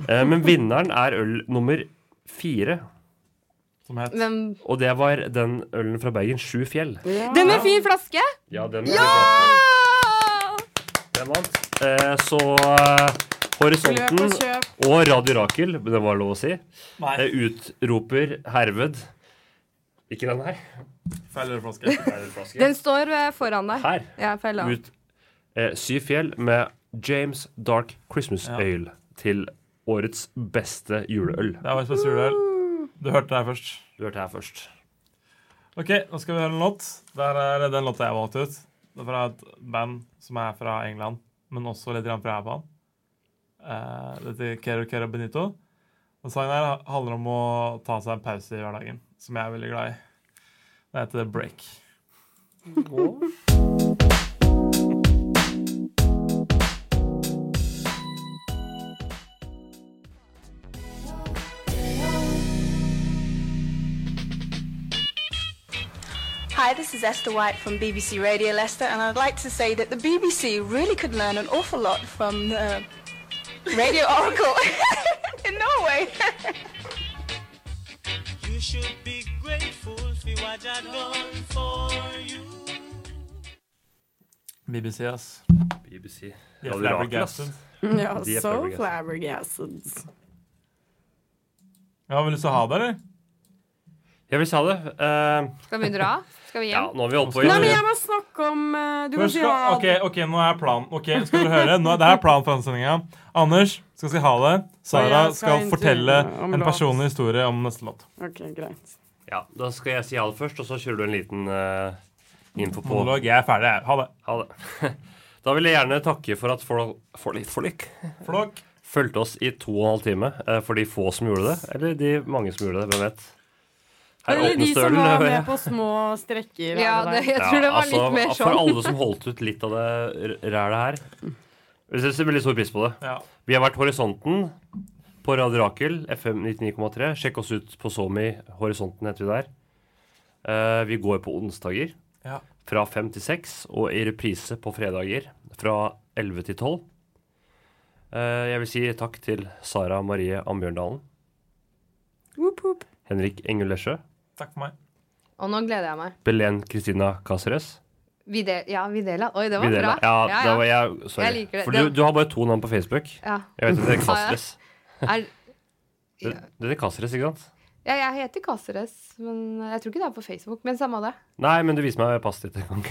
Speaker 6: Eh, men vinneren er øl nummer fire.
Speaker 7: Men
Speaker 6: Og det var den ølen fra Bergen, Sju fjell.
Speaker 7: Den med fin flaske!
Speaker 6: Ja, den
Speaker 7: Ja!
Speaker 6: Den vant. Eh, så eh, Horisonten
Speaker 5: Løp og kjøp.
Speaker 6: og Radio Rakel, det var lov å si,
Speaker 4: Nei.
Speaker 6: eh, utroper herved Ikke den her.
Speaker 4: Feil ølflaske.
Speaker 6: Feil flaske.
Speaker 7: Den står eh, foran deg.
Speaker 6: Her.
Speaker 7: Ja, feil da.
Speaker 6: Ut eh, Syv fjell med James Dark Christmas Ale til årets beste juleøl.
Speaker 4: Det var spesielt juleøl.
Speaker 7: Mm.
Speaker 4: Du hørte det her først.
Speaker 6: Du hørte her først.
Speaker 4: Ok, nå skal vi høre en låt. Der er den låta jeg valgte ut. Det er fra et band som er fra England, men også litt grann fra Japan. Eh, det heter Kero Kero Benito. Og sangen her handler om å ta seg en pause i hverdagen, som jeg er veldig glad i. Den heter Break.
Speaker 18: Hi, this is Esther White from BBC Radio Leicester, and I'd like to say that the BBC really could learn an awful lot from uh, Radio Oracle in Norway.
Speaker 19: You should be grateful for what I done for you.
Speaker 4: BBC, ass.
Speaker 6: BBC.
Speaker 4: De er
Speaker 6: Radio Rakel, ass.
Speaker 4: flabbergasted.
Speaker 5: Ja,
Speaker 6: De er
Speaker 5: so
Speaker 6: flabbergasted.
Speaker 5: flabbergasted.
Speaker 4: Ja, vil du så ha det, eller?
Speaker 6: Jeg vil si ha det. Eh,
Speaker 7: Skal vi dra? Skal vi
Speaker 6: ja,
Speaker 7: hjem?
Speaker 6: nå har vi holdt på i
Speaker 5: Nei, men jeg må snakke om eh, Du
Speaker 4: Hvor
Speaker 5: kan si
Speaker 4: skal,
Speaker 5: ha
Speaker 4: ok, ok, nå er planen. Ok, skal dere høre? Nå, det her er planen for denne sendingen. Anders skal si ha det. Sara
Speaker 5: Og jeg skal
Speaker 4: skal,
Speaker 5: intervjue
Speaker 4: fortelle
Speaker 5: om
Speaker 4: en
Speaker 5: låt.
Speaker 4: personlig historie om neste låt.
Speaker 5: Ok, greit.
Speaker 6: Ja, Da skal jeg si ha det først, og så kjører du en liten eh, info på
Speaker 4: Monolog. Jeg er ferdig. jeg. Ha det.
Speaker 6: Ha det. Da vil jeg gjerne takke for at folk, folk, folk
Speaker 4: Flokk.
Speaker 6: fulgte oss i to og en halv time. eh, For de få som gjorde det, eller de mange som gjorde det. Hvem vet.
Speaker 5: Eller de
Speaker 6: åpnes
Speaker 5: som
Speaker 6: ølen,
Speaker 5: var
Speaker 6: hører
Speaker 5: med
Speaker 6: jeg.
Speaker 5: på små strekker. her
Speaker 7: Ja,
Speaker 5: og
Speaker 7: det,
Speaker 5: der.
Speaker 7: jeg tror det var
Speaker 6: altså,
Speaker 7: litt mer
Speaker 6: For
Speaker 7: sånn.
Speaker 6: alle som holdt ut litt av det r- rælet her. Vi setter veldig stor pris på det.
Speaker 4: Ja.
Speaker 6: Vi har vært Horisonten på Radio Rakel, FM 99,3. Sjekk oss ut på SoMe. Horisonten heter vi der. Eh, vi går på onsdager
Speaker 4: Ja.
Speaker 6: fra fem til seks, og i reprise på fredager fra elleve til tolv. Eh, jeg vil si takk til Sara Marie Ambjørndalen,
Speaker 5: Whoop, whoop.
Speaker 6: Henrik Engel Lesjø,
Speaker 4: Takk for meg.
Speaker 7: Og nå gleder jeg meg.
Speaker 6: Belen Kristina Cáceres
Speaker 7: Vi del, ja, Videla. Oi, det var
Speaker 6: Videla.
Speaker 7: bra.
Speaker 6: Ja, det var jeg, sorry.
Speaker 7: Jeg liker det.
Speaker 6: For
Speaker 7: Det-
Speaker 6: du, du har bare to navn på Facebook.
Speaker 7: Ja.
Speaker 6: Jeg vet at det er
Speaker 7: Har jeg?
Speaker 6: Castres.
Speaker 7: Er,
Speaker 6: Det, det er Castres, ikke sant?
Speaker 7: ja, jeg heter Caceres, men jeg tror ikke det er på Facebook. Men samme av det.
Speaker 6: Nei, men du viser meg passet ditt en gang.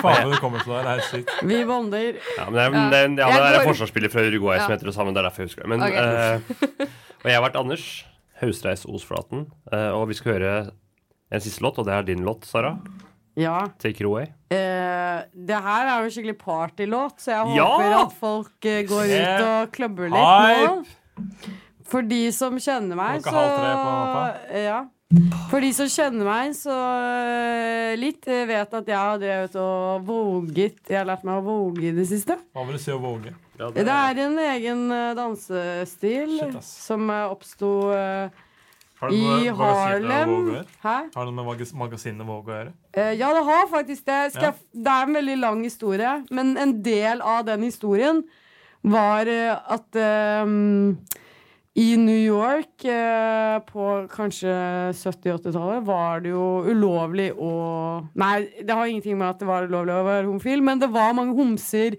Speaker 17: Faen, du kommer til det. Det er sykt.
Speaker 5: Vi bonder.
Speaker 6: Ja, men det,
Speaker 5: Ja.
Speaker 6: er- det, er en- ja, det er
Speaker 5: Jeg
Speaker 6: en
Speaker 5: går-
Speaker 6: forsvarsspiller fra Uruguay som
Speaker 5: Ja.
Speaker 6: heter det samme. Det er derfor jeg husker det. Men,
Speaker 5: Ok.
Speaker 6: eh, og jeg har vært Anders Haustreis Osflaten. eh, og vi skal høre en siste låt, og det er din låt, Sara.
Speaker 5: Ja.
Speaker 6: Take it away.
Speaker 5: Eh, det her er jo en skikkelig partylåt, så jeg
Speaker 6: Ja!
Speaker 5: håper at folk eh, går
Speaker 6: Yeah.
Speaker 5: ut og klubber litt nå. For de som kjenner meg,
Speaker 17: Klokka
Speaker 5: så
Speaker 17: halv tre på natta.
Speaker 5: Eh, ja. For de som kjenner meg så eh, litt, eh, vet at jeg har drevet og voget Jeg har lært meg å voge i det siste.
Speaker 17: Hva vil du si å våge?
Speaker 5: Det er en egen eh, dansestil
Speaker 17: Shit, ass.
Speaker 5: som eh, oppsto eh,
Speaker 17: Har det noe
Speaker 5: i
Speaker 17: med magasinet
Speaker 5: Harlem.
Speaker 17: Våge å gjøre?
Speaker 5: Hæ?
Speaker 17: Har det noe med magas- magasinet Våge å gjøre?
Speaker 5: Eh, ja, det har faktisk det. Skal
Speaker 17: Ja.
Speaker 5: jeg f- Det er en veldig lang historie, men en del av den historien var eh, at eh, i New York eh, på kanskje 70-80-tallet var det jo ulovlig å Nei, det har ingenting med at det var ulovlig å være homofil, men det var mange homser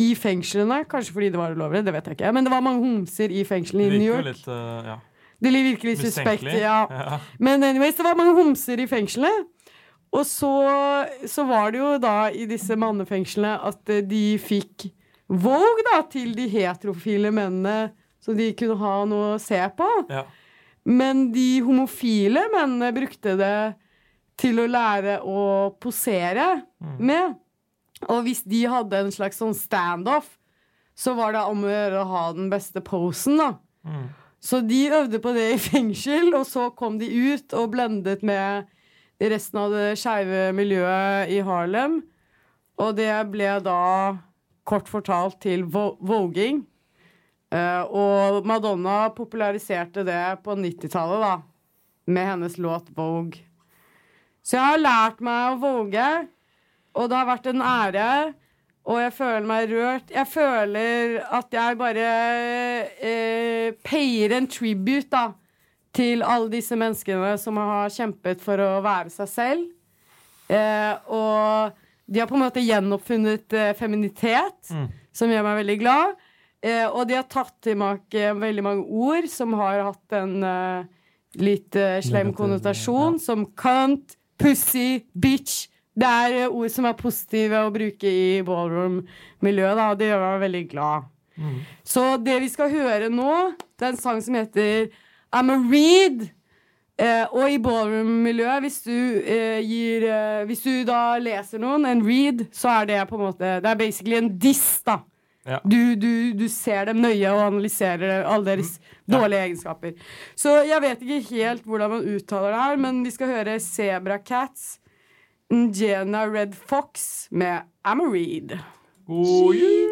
Speaker 5: i fengslene. Kanskje fordi det var ulovlig, det vet jeg ikke. Men det var mange homser i fengslene i
Speaker 17: Det virker
Speaker 5: New
Speaker 17: jo
Speaker 5: York.
Speaker 17: litt eh, ja.
Speaker 5: Det blir virkelig suspekt.
Speaker 17: Mistenkelig.
Speaker 5: Ja.
Speaker 17: Ja.
Speaker 5: Men anyways, det var mange homser i fengselet. Og så, så var det jo da i disse mannefengslene at eh, de fikk Vogue da, til de heterofile mennene, så de kunne ha noe å se på.
Speaker 17: Ja.
Speaker 5: Men de homofile mennene brukte det til å lære å posere med. Og hvis de hadde en slags sånn standoff, så var det om å gjøre å ha den beste posen, da. Så de øvde på det i fengsel, og så kom de ut og blendet med resten av det skeive miljøet i Harlem. Og det ble da kort fortalt til vo- voging. Eh, og Madonna populariserte det på 90-tallet, da. Med hennes låt Vogue. Så jeg har lært meg å voge, og det har vært en ære. Og jeg føler meg rørt. Jeg føler at jeg bare eh, payer en tribute da, til alle disse menneskene som har kjempet for å være seg selv. Eh, og de har på en måte gjenoppfunnet eh, feminitet, som gjør meg veldig glad. Eh, og de har tatt tilbake veldig mange ord som har hatt en eh, litt eh, slem
Speaker 16: Negativ,
Speaker 5: konnotasjon, som cunt, pussy, bitch. Det er eh, ord som er positive å bruke i ballroom-miljøet, da, og det gjør meg veldig glad. Så det vi skal høre nå, det er en sang som heter I'm a read. Eh, og i ballroom-miljøet, hvis du eh, gir eh, Hvis du da leser noen, en read, så er det på en måte Det er basically en diss, da.
Speaker 17: Ja.
Speaker 5: Du, du, du ser dem nøye og analyserer alle deres dårlige egenskaper. Så jeg vet ikke helt hvordan man uttaler det her, men vi skal høre Zebra Cats, Njena Red Fox med I'm a read.
Speaker 17: God jul!